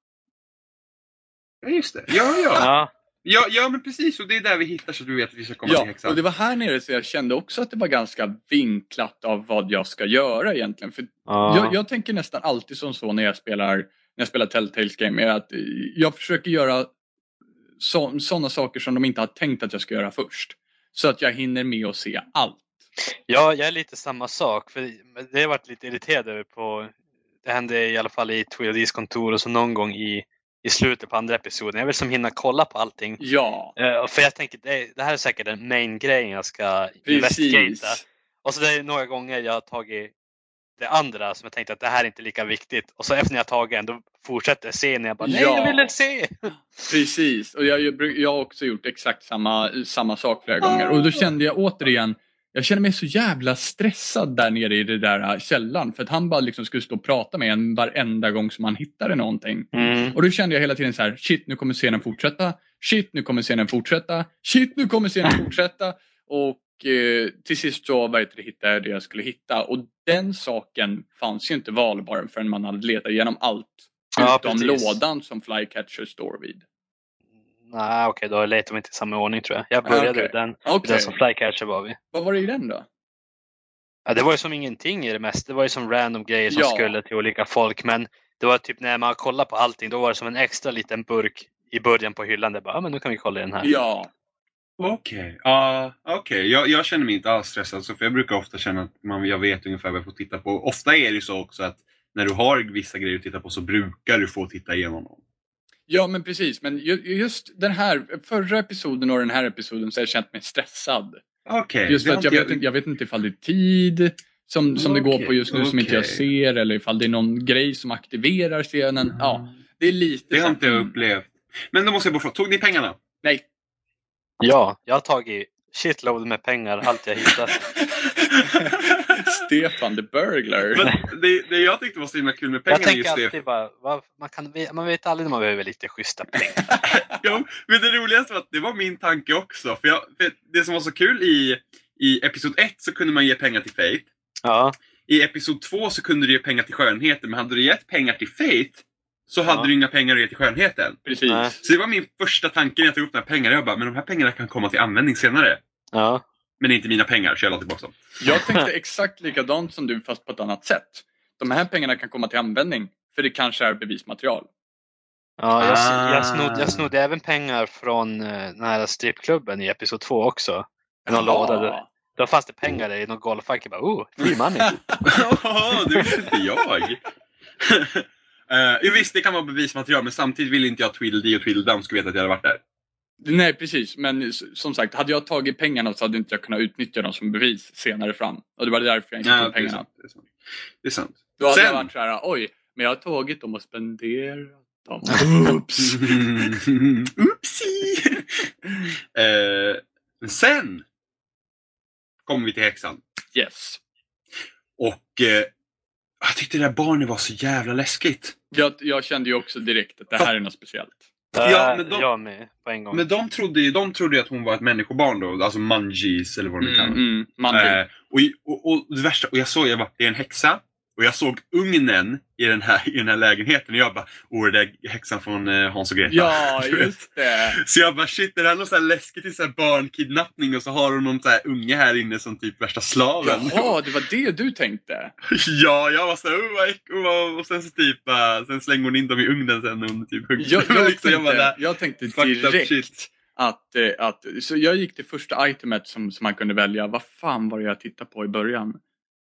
Speaker 2: Ja, just det. Ja, ja.
Speaker 3: Ja,
Speaker 2: Ja, ja men precis. Och det är där vi hittar så att du vet att vi ska komma till
Speaker 1: Ja,
Speaker 2: häxan.
Speaker 1: och det var här nere så jag kände också att det var ganska vinklat av vad jag ska göra egentligen. För
Speaker 3: ja.
Speaker 1: jag, jag tänker nästan alltid som så när jag spelar, när jag spelar Telltales Game, är att eh, jag försöker göra sådana saker som de inte har tänkt att jag ska göra först. Så att jag hinner med att se allt.
Speaker 3: Ja, jag är lite samma sak. För det har jag varit lite irriterad över på. Det hände i alla fall i Twilodys kontor och så någon gång i, i slutet på andra episoden. Jag vill som hinna kolla på allting.
Speaker 1: Ja,
Speaker 3: Eh, för jag tänker, det, det här är säkert den main grejen jag ska investigata.
Speaker 1: precis.
Speaker 3: Och så det är några gånger jag har tagit det andra som jag tänkte att det här är inte lika viktigt. Och så efter när jag tagit en, då fortsätter jag se när jag bara, nej
Speaker 1: Ja.
Speaker 3: jag ville se!
Speaker 1: Precis, och jag, jag, jag har också gjort exakt samma, samma sak flera gånger.
Speaker 3: Ah.
Speaker 1: Och då kände jag återigen, jag kände mig så jävla stressad där nere i det där äh, källaren. För att han bara liksom skulle stå och prata med en varenda gång som han hittade någonting. Och då kände jag hela tiden så här, shit nu kommer scenen fortsätta. Shit nu kommer scenen fortsätta. Shit nu kommer scenen fortsätta. Och eh, till sist så vad heter det, hittade jag det jag skulle hitta. Och den saken fanns ju inte valbar förrän man hade letat igenom allt.
Speaker 3: Ja,
Speaker 1: utom
Speaker 3: precis.
Speaker 1: lådan som Flycatcher står vid.
Speaker 3: Nej okej, då letar vi inte i samma ordning tror jag. Jag började
Speaker 1: Ah, okej.
Speaker 3: vid den, vid
Speaker 1: Okej,
Speaker 3: den som flycatcher var vi.
Speaker 1: vad var det i den då?
Speaker 3: Ja, det var ju som ingenting i det mesta. Det var ju som random grejer som
Speaker 1: Ja.
Speaker 3: skulle till olika folk. Men det var typ när man kollade på allting, då var det som en extra liten burk i början på hyllan. Där bara, ja men nu kan vi kolla i den här.
Speaker 1: Ja,
Speaker 2: Okej. ja okej. Jag, jag känner mig inte alls stressad. Så för jag brukar ofta känna att man, jag vet ungefär vad jag får titta på. Ofta är det ju så också att när du har vissa grejer att titta på så brukar du få titta igenom dem.
Speaker 1: ja men precis. Men ju- just den här, förra episoden och den här episoden så har jag känt mig stressad.
Speaker 2: Okej.
Speaker 1: Just
Speaker 2: det
Speaker 1: för
Speaker 2: har
Speaker 1: att jag
Speaker 2: inte
Speaker 1: vet, inte, jag vet inte ifall det är tid. som, som det går
Speaker 2: Okej,
Speaker 1: på just nu som inte jag
Speaker 2: okej.
Speaker 1: ser eller ifall det är någon grej som aktiverar scenen. Ja, det är lite...
Speaker 2: Det har
Speaker 1: så-
Speaker 2: inte jag upplevt. Men då måste jag bara fråga, tog ni pengarna?
Speaker 1: Nej,
Speaker 3: Ja, jag har tagit shitload med pengar, allt jag hittat.
Speaker 1: Stefan the Burglar.
Speaker 2: Men det, det jag tyckte var så himla kul med
Speaker 3: jag
Speaker 2: pengarna
Speaker 3: tänker
Speaker 2: just det.
Speaker 3: alltid bara, vad- man, kan, ve- man vet aldrig när man behöver lite schyssta pengar.
Speaker 2: Ja, men det roligaste var att det var min tanke också. För, jag, för Det som var så kul i, i episod 1 så kunde man ge pengar till Faith.
Speaker 3: Ja,
Speaker 2: I episod 2 så kunde du ge pengar till skönheten, men hade du gett pengar till Faith så hade
Speaker 3: Ja.
Speaker 2: du inga pengar att ge till skönheten.
Speaker 1: Precis.
Speaker 3: Nej.
Speaker 2: Så det var min första tanke när jag tog upp de här pengarna. Jag bara, men de här pengarna kan komma till användning senare.
Speaker 3: ja.
Speaker 2: Men det är inte mina pengar, så jag la tillbaka dem.
Speaker 1: Jag tänkte exakt likadant som du fast på ett annat sätt. De här pengarna kan komma till användning för det kanske är bevismaterial.
Speaker 3: ja jag, s-
Speaker 2: Ah.
Speaker 3: jag, snod, jag snodde även pengar från eh, den här strippklubben i episod två också. I någon låda. där- Då fanns det pengar där i någon golvfack. Jag bara, oh, free money.
Speaker 2: Åh, det visste inte jag! Eh, Jo visst, det kan vara bevismaterial, men samtidigt vill inte jag att Tweedledee och Tweedledum skulle veta att jag hade varit där.
Speaker 1: Nej precis, men s- som sagt, hade jag tagit pengarna så hade inte jag kunnat utnyttja dem som bevis senare fram. Och det var därför jag inte
Speaker 2: Ja,
Speaker 1: tog
Speaker 2: det är
Speaker 1: pengarna.
Speaker 2: sant. Typ, Det är sant. Det är sant.
Speaker 1: Då hade
Speaker 2: Sen-
Speaker 1: jag varit så här, oj, men jag har tagit dem och spenderat dem. Oops!
Speaker 2: Oopsie! Eh, men sen kommer vi till häxan.
Speaker 1: Yes.
Speaker 2: Och eh, jag tyckte det där barnet var så jävla läskigt.
Speaker 1: Jag, jag kände ju också direkt att det här är något speciellt.
Speaker 2: Ja,
Speaker 3: ja,
Speaker 2: men de-
Speaker 3: Eh, Jag med, på en gång.
Speaker 2: Men de trodde ju de trodde ju att hon var ett människobarn då, alltså mungies eller vad de nu kallar
Speaker 1: Mm,
Speaker 2: det.
Speaker 1: mm, manlig.
Speaker 2: Eh, och, och, och det värsta, och jag såg, jag bara, det är en häxa. Och jag såg ugnen i den här, i den här lägenheten och jag bara, åh, det där är häxan från eh, Hans och Greta.
Speaker 1: Ja,
Speaker 2: Du vet.
Speaker 1: just det.
Speaker 2: Så jag bara shit, är det här något så här läskigt i så här barnkidnappning och så har de någon så här unge här inne som typ värsta slaven.
Speaker 1: Jaha, det var det du tänkte.
Speaker 2: ja, jag var så här, oh, vad äck- oh, vad-" och sen så typ, eh, sen slänger hon in dem i ugnen sen när hon typ hugger.
Speaker 1: Jag, jag,
Speaker 2: liksom, jag bara,
Speaker 1: tänkte,
Speaker 2: "Nä,
Speaker 1: jag tänkte
Speaker 2: fucked up
Speaker 1: direkt
Speaker 2: shit.
Speaker 1: att, eh, att... Så jag gick till första itemet som, som man kunde välja. Vad fan var det jag tittade på i början?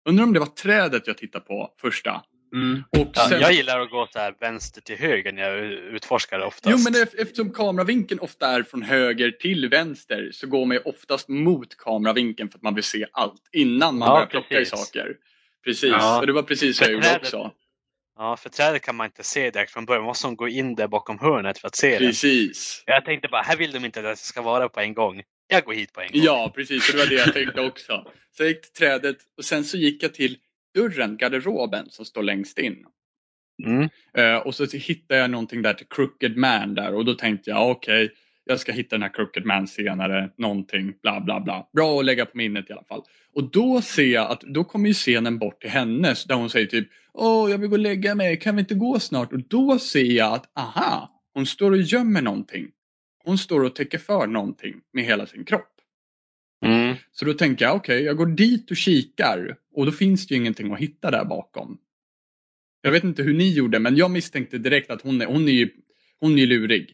Speaker 1: Undrar om det var trädet jag tittade på första.
Speaker 2: Mm.
Speaker 1: Och
Speaker 3: Ja,
Speaker 1: sen,
Speaker 3: jag gillar att gå så här vänster till höger när jag utforskar oftast.
Speaker 1: jo, men ef- eftersom kameravinkeln ofta är från höger till vänster så går man ju oftast mot kameravinkeln för att man vill se allt innan man
Speaker 3: Ja,
Speaker 1: börjar plocka i
Speaker 3: precis.
Speaker 1: saker. Precis,
Speaker 2: Ja.
Speaker 1: och det var precis så jag gjorde
Speaker 3: Trädet-
Speaker 1: också.
Speaker 3: Ja, för trädet kan man inte se direkt från början. Man måste gå in där bakom hörnet för att se det.
Speaker 1: Precis.
Speaker 3: Jag tänkte bara, här vill de inte att jag ska vara på en gång. Jag går hit på en gång.
Speaker 1: Ja, precis. och Det var det jag tänkte också. Så jag gick till trädet och sen så gick jag till dörren, garderoben, som står längst in.
Speaker 3: Mm.
Speaker 1: Eh, och så hittade jag någonting där till Crooked Man där och då tänkte jag okej, jag ska hitta den här Crooked Man senare, någonting, bla bla bla. Bra att lägga på minnet i alla fall. Och då ser jag att då kommer ju scenen bort till henne där hon säger typ Åh, jag vill gå och lägga mig, kan vi inte gå snart? Och då ser jag att aha, hon står och gömmer någonting. Hon står och täcker för någonting med hela sin kropp.
Speaker 3: Mm.
Speaker 1: Så då tänker jag, okej, jag går dit och kikar och då finns det ju ingenting att hitta där bakom. Jag vet inte hur ni gjorde, men jag misstänkte direkt att hon är, hon är, ju, hon är ju lurig.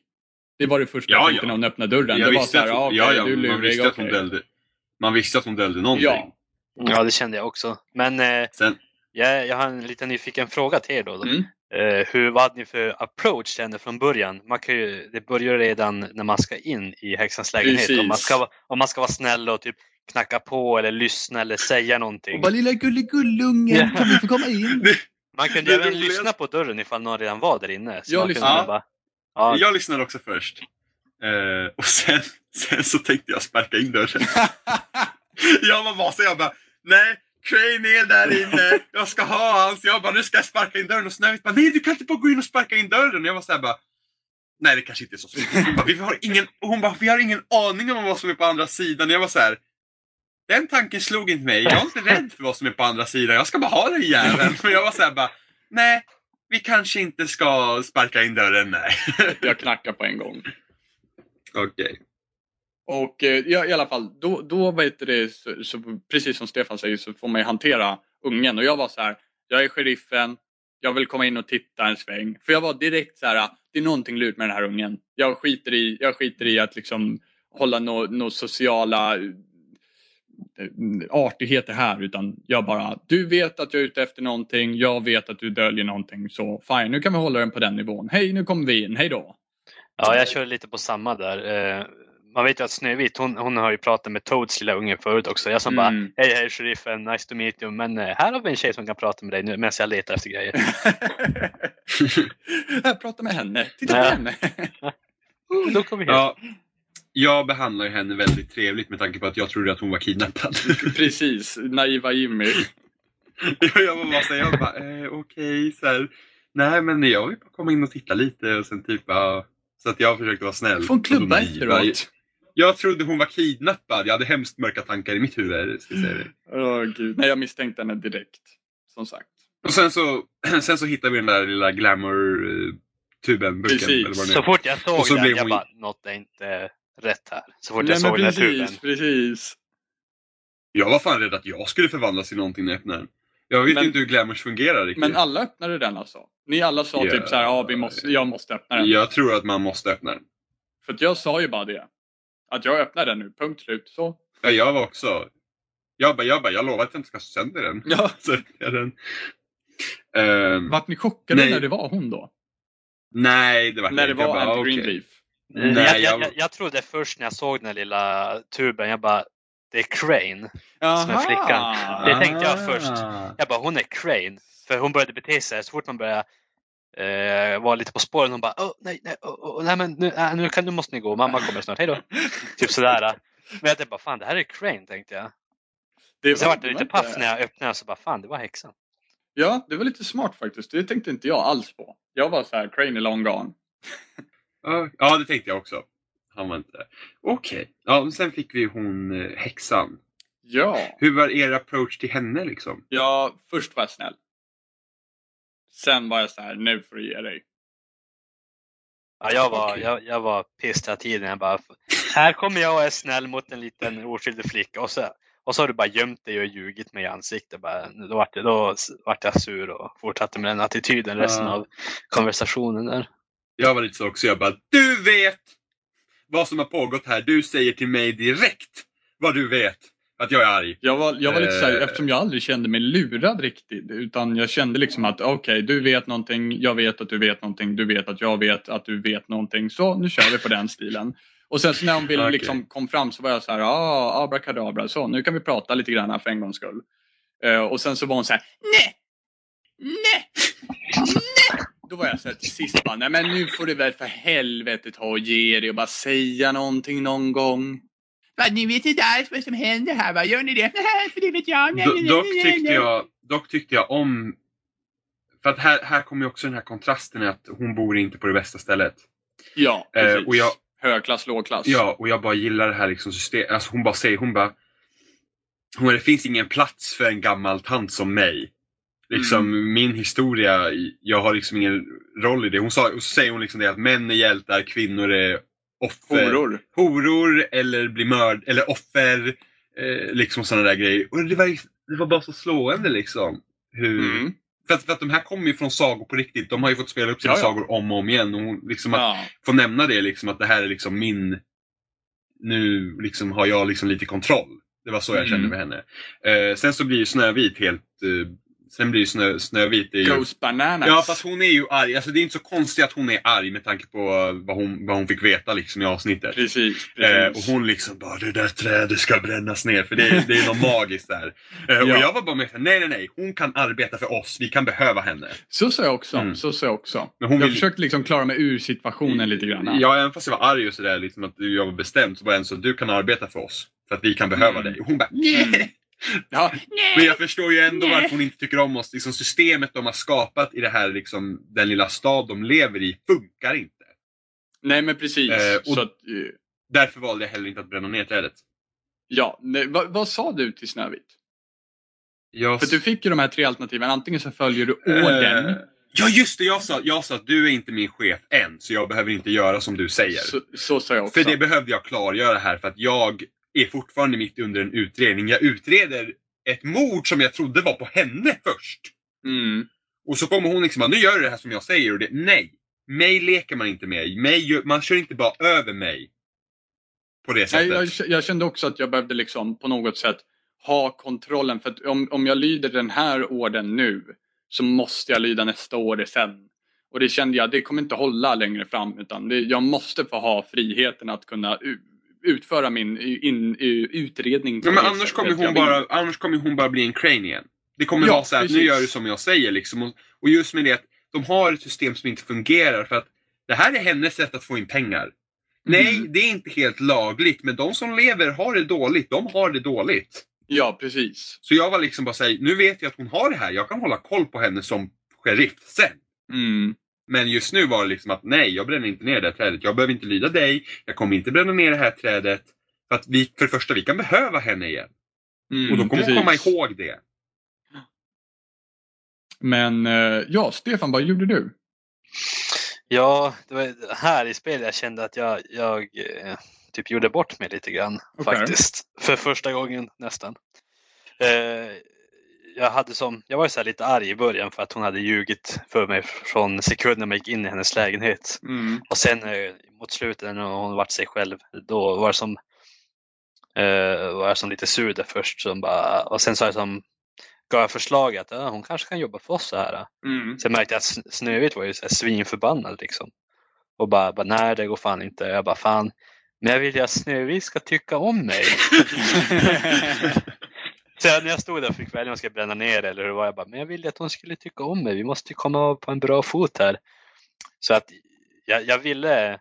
Speaker 1: Det var det första
Speaker 2: Ja,
Speaker 1: jag tänkte
Speaker 2: ja.
Speaker 1: när hon öppnade dörren.
Speaker 2: Jag
Speaker 1: det var
Speaker 2: visste
Speaker 1: så här,
Speaker 2: att
Speaker 1: ah,
Speaker 2: hon-
Speaker 1: okej,
Speaker 2: ja, ja,
Speaker 1: du är
Speaker 2: man
Speaker 1: lurig,
Speaker 2: visste att hon
Speaker 1: okej.
Speaker 2: döljde man visste att hon döljde någonting.
Speaker 1: Ja.
Speaker 3: ja, det kände jag också. Men eh,
Speaker 2: Sen,
Speaker 3: jag, jag har en liten nyfiken fråga till er då.
Speaker 1: Mm.
Speaker 3: Eh, hur, vad hade ni för approach till henne från början? Man kan ju, det börjar redan när man ska in i häxans lägenhet. Om man,
Speaker 1: Precis.
Speaker 3: ska, vara- om man ska vara snäll och typ knacka på eller lyssna eller säga någonting.
Speaker 1: lilla gulligullungen,
Speaker 3: Ja.
Speaker 1: kan vi få komma in?
Speaker 2: det,
Speaker 3: Man kunde
Speaker 2: Det
Speaker 3: ju
Speaker 2: är
Speaker 3: även
Speaker 2: roligt.
Speaker 3: lyssna på dörren ifall någon redan var där inne. Så
Speaker 1: Jag
Speaker 3: man kunde
Speaker 1: lyssnar.
Speaker 3: väl bara- ja,
Speaker 2: Jag lyssnade också först. Eh, och sen, sen så tänkte jag sparka in dörren. jag var masig. Jag bara, nej, Crane är där inne. Jag ska ha hans. Jag bara, nu ska jag sparka in dörren. Och Snövit bara, nej du kan inte bara gå in och sparka in dörren. Och jag var såhär bara, nej det kanske inte är så svårt. Hon bara, vi har ingen, och hon bara, vi har ingen aning om vad som är på andra sidan. Och jag var så här. Den tanken slog inte mig. Jag är inte rädd för vad som är på andra sidan. Jag ska bara ha den jäveln. Men jag var såhär bara, nej. Vi kanske inte ska sparka in dörren, nej.
Speaker 1: Jag knackar på en gång.
Speaker 2: Okej.
Speaker 1: Och eh, ja, i alla fall, då, då vet du det, så, så, precis som Stefan säger så får man ju hantera ungen. Och jag var så här, jag är sheriffen, jag vill komma in och titta en sväng. För jag var direkt så här, ah, det är någonting lurt med den här ungen. Jag skiter i, jag skiter i att liksom hålla några no, sociala eh, artigheter här. Utan jag bara, du vet att jag är ute efter någonting, jag vet att du döljer någonting. Så fine, nu kan vi hålla den på den nivån. Hej, nu kommer vi in, hej då.
Speaker 3: Ja, jag kör lite på samma där. Eh, man vet ju att Snövit, hon, hon har ju pratat med Toads lilla unge förut också. Jag som bara,
Speaker 1: Mm.
Speaker 3: hej hej sheriffen, nice to meet you, men eh, här har vi en tjej som kan prata med dig nu medan jag letar efter grejer.
Speaker 1: Jag pratar med henne. Titta på
Speaker 3: Ja.
Speaker 1: henne.
Speaker 3: Oh, då kommer vi hit.
Speaker 2: Ja, jag behandlar ju henne väldigt trevligt med tanke på att jag trodde att hon var kidnappad.
Speaker 1: Precis, naiva Jimmy.
Speaker 2: jag var bara såhär, jag bara, eh, okej, så här. Nej men jag vill bara komma in och titta lite och sen typ, ja. Så att jag försökte vara snäll.
Speaker 1: Får en
Speaker 2: Och
Speaker 1: klubba
Speaker 2: då naiva.
Speaker 1: efteråt.
Speaker 2: Jag trodde hon var kidnappad. Jag hade hemskt mörka tankar i mitt huvud. Ska jag säga
Speaker 1: Mm.
Speaker 2: det.
Speaker 1: Åh, gud. Nej, jag misstänkte henne direkt. Som sagt.
Speaker 2: Och sen så, sen så hittade vi den där lilla glamour-tuben, burken.
Speaker 1: Precis.
Speaker 2: Eller vad det
Speaker 3: Så
Speaker 2: är.
Speaker 3: fort jag såg
Speaker 2: Och så
Speaker 3: den,
Speaker 2: blev
Speaker 3: jag
Speaker 2: hon-
Speaker 3: bara, något är inte rätt här. Så fort
Speaker 1: Nej,
Speaker 3: jag
Speaker 1: men
Speaker 3: såg den här tuben.
Speaker 1: precis, precis.
Speaker 2: Jag var fan rädd att jag skulle förvandlas till någonting när jag öppnade den. Jag vet
Speaker 1: Men-
Speaker 2: ju inte hur glamours fungerar riktigt.
Speaker 1: Men alla öppnade den alltså? Ni alla sa typ så här, ja, vi måste, jag måste öppna den.
Speaker 2: Jag tror att man måste öppna den.
Speaker 1: För att jag sa ju bara det. Att jag öppnar den nu, punkt slut. Så.
Speaker 2: Ja, jag var också... Jag bara, jag bara, jag lovar att jag inte ska sönder den.
Speaker 1: Ja.
Speaker 2: Så öppnade jag den. Ehm,
Speaker 1: Vart ni chockade
Speaker 2: Nej.
Speaker 1: när det var hon då?
Speaker 2: nej, det var
Speaker 1: När det
Speaker 2: jag
Speaker 1: var
Speaker 2: bara,
Speaker 3: Ah,
Speaker 1: Andy
Speaker 2: okej.
Speaker 1: Greenleaf?
Speaker 3: Nej,
Speaker 2: Nej,
Speaker 3: Eh, jag, jag,
Speaker 2: jag-
Speaker 3: jag, jag trodde först när jag såg den här lilla tuben, jag bara, det är Crane. är flickan.
Speaker 1: Ah.
Speaker 3: Det tänkte jag först.
Speaker 2: Ah.
Speaker 3: Jag bara, hon är Crane. För hon började bete sig så fort man började eh, vara lite på spåren. Hon bara, oh, nej, nej, oh, oh, nej men nu, äh, nu, kan, nu måste ni gå, mamma kommer snart, hejdå. typ sådär. Men jag tänkte bara, fan det här är Crane tänkte jag.
Speaker 1: Det
Speaker 3: Sen vart det lite paff när jag öppnade så bara, fan det var häxan.
Speaker 1: Ja, det var lite smart faktiskt. Det tänkte inte jag alls på. Jag var så här, Crane är long gone.
Speaker 2: Ja, Ja, det tänkte jag också. Han var inte där. Okej. Ja, men sen fick vi hon eh, häxan.
Speaker 1: Ja.
Speaker 2: Hur var er approach till henne liksom?
Speaker 1: ja, först var jag snäll. Sen var jag så här, nu får du ge dig.
Speaker 3: Ja, jag, var,
Speaker 2: Okej.
Speaker 3: jag, jag var pissed hela tiden. Jag bara, här kommer jag och är snäll mot en liten oskyldig flicka och så, och så har du bara gömt dig och ljugit mig i ansiktet. Bara, då vart jag, då s- vart jag sur och fortsatte med den attityden resten
Speaker 2: Ja.
Speaker 3: av konversationen. där.
Speaker 2: Jag var lite så också. Jag bara, du vet vad som har pågått här. Du säger till mig direkt vad du vet att jag är arg.
Speaker 1: Jag var, jag var lite så här,
Speaker 2: Eh.
Speaker 1: eftersom jag aldrig kände mig lurad riktigt. Utan jag kände liksom att okej, du vet någonting, jag vet att du vet någonting, du vet att jag vet att du vet någonting. Så nu kör vi på den stilen. Och sen så när hon ville
Speaker 2: Okej.
Speaker 1: liksom kom fram så var jag så här, ah, abrakadabra, så nu kan vi prata lite grann här för en gångs skull. Eh, och sen så var hon så här, nej, nej, nej. Då var jag så här till sist bara, nej men nu får du väl för helvete ta och ge dig och bara säga någonting någon gång. Va, ni vet inte alls vad som händer här, va? Gör ni det? för det vet jag.
Speaker 2: Do, dock, tyckte jag, dock tyckte jag om... För att här, här kommer ju också den här kontrasten i att hon bor inte på det bästa stället.
Speaker 1: Ja,
Speaker 2: Eh,
Speaker 1: precis.
Speaker 2: och jag-
Speaker 1: Högklass, lågklass.
Speaker 2: Ja, och jag bara gillar det här liksom systemet. Alltså hon bara säger, hon bara... Hon bara, det finns ingen plats för en gammal tant som mig. Liksom
Speaker 1: Mm.
Speaker 2: min historia, jag har liksom ingen roll i det. Hon sa, och så säger hon liksom det att män är hjältar, kvinnor är offer.
Speaker 1: Horor.
Speaker 2: Horor eller blir mörd, eller offer. Eh, liksom sådana där grejer. Och det var, ju- det var bara så slående liksom. Hur,
Speaker 1: Mm.
Speaker 2: för, att, för att de här kommer ju från sagor på riktigt. De har ju fått spela upp sina
Speaker 1: Ja, ja.
Speaker 2: sagor om och om igen. Och hon, liksom att,
Speaker 1: Ja.
Speaker 2: få nämna det liksom att det här är liksom min... Nu liksom har jag liksom lite kontroll. Det var så jag
Speaker 1: Mm.
Speaker 2: kände med henne. Eh, sen så blir ju Snövit helt... Eh, sen blir ju snö, Snövit... Är ju,
Speaker 1: Ghost bananas.
Speaker 2: Ja fast hon är ju arg. Alltså det är inte så konstigt att hon är arg med tanke på vad hon, vad hon fick veta liksom i avsnittet.
Speaker 1: Precis. precis.
Speaker 2: Eh, och hon liksom bara det där trädet ska brännas ner för det, är- det är något magiskt där. Eh, Och
Speaker 1: Ja.
Speaker 2: jag var bara med nej nej nej, hon kan arbeta för oss, vi kan behöva henne.
Speaker 1: Så sa jag också.
Speaker 2: Mm.
Speaker 1: Så sa jag också.
Speaker 2: Men hon
Speaker 1: jag
Speaker 2: vill-
Speaker 1: försökte liksom klara mig ur situationen lite grann.
Speaker 2: Ja, även fast jag var arg och sådär, liksom att jag var bestämd, så var jag en så du kan arbeta för oss. För att vi kan behöva
Speaker 1: Mm.
Speaker 2: dig. Och hon bara
Speaker 1: Mm. Ja.
Speaker 2: Men jag förstår ju ändå
Speaker 1: Nej.
Speaker 2: varför hon inte tycker om oss. Liksom systemet de har skapat i det här, liksom, den lilla stad de lever i, funkar inte.
Speaker 1: Nej men precis.
Speaker 2: Eh, och-
Speaker 1: Så att, eh,
Speaker 2: Därför valde jag heller inte att bränna ner trädet.
Speaker 1: ja. Nej, vad, vad sa du till Snövit?
Speaker 2: Jag...
Speaker 1: För du fick ju de här tre alternativen. Antingen så följer du orden.
Speaker 2: Eh, Ja just det, jag sa, jag sa att du är inte min chef än, så jag behöver inte göra som du säger.
Speaker 1: så, så sa jag också.
Speaker 2: För det behövde jag klargöra här för att jag är fortfarande mitt under en utredning. Jag utreder ett mord som jag trodde var på henne först.
Speaker 1: mm.
Speaker 2: Och så kommer hon liksom bara, nu gör du det här som jag säger. Och det, nej! Mig leker man inte med. Mig, gör- man kör inte bara över mig. På det
Speaker 1: Nej,
Speaker 2: sättet.
Speaker 1: jag, jag kände också att jag behövde liksom på något sätt ha kontrollen. För att om, om jag lyder den här orden nu så måste jag lyda nästa order sen. Och det kände jag, det kommer inte hålla längre fram. Utan det, jag måste få ha friheten att kunna u- utföra min in, utredning. på
Speaker 2: Ja, men
Speaker 1: det
Speaker 2: annars
Speaker 1: sättet
Speaker 2: kommer, hon
Speaker 1: jag vill.
Speaker 2: bara, annars kommer hon bara bli en crane igen. Det kommer
Speaker 1: Ja,
Speaker 2: vara så här att nu
Speaker 1: precis.
Speaker 2: gör du som jag säger liksom. Och, och just med det att de har ett system som inte fungerar för att det här är hennes sätt att få in pengar. Nej,
Speaker 1: Mm.
Speaker 2: det är inte helt lagligt, men de som lever har det dåligt. De har det dåligt.
Speaker 1: Ja, precis.
Speaker 2: Så jag var liksom bara säg, nu vet jag att hon har det här. Jag kan hålla koll på henne som sheriff sen.
Speaker 1: Mm.
Speaker 2: Men just nu var det liksom att nej, jag bränner inte ner det här trädet. Jag behöver inte lyda dig. Jag kommer inte bränna ner det här trädet. För att vi, för det första, vi kan behöva henne igen.
Speaker 1: Mm,
Speaker 2: Och då kommer hon
Speaker 1: precis.
Speaker 2: komma ihåg det.
Speaker 1: Men eh, ja, Stefan, vad gjorde du?
Speaker 3: Ja, det var här i spelet jag kände att jag, jag eh, typ gjorde bort mig lite grann
Speaker 1: Okej.
Speaker 3: faktiskt. För första gången nästan. Eh, jag, hade som, jag var ju så här lite arg i början för att hon hade ljugit för mig från sekunden man gick in i hennes lägenhet.
Speaker 2: Mm.
Speaker 3: Och sen eh, mot slutet när hon vart sig själv, då var det som, eh, var jag som lite sur där först. Som bara, och sen så jag som, gav jag förslag att ah, hon kanske kan jobba för oss så här.
Speaker 1: Mm.
Speaker 3: Sen märkte jag att Sn- Snövit var ju så här svinförbannad liksom. Och bara, bara, nej det går fan inte. Jag bara, fan. Men jag vill ju att Snövit ska tycka om mig. så jag- när jag stod där och fick välja om jag ska bränna ner eller hur det var. Jag bara, men jag ville att hon skulle tycka om mig. Vi måste ju komma på en bra fot här. Så att jag, jag ville eh,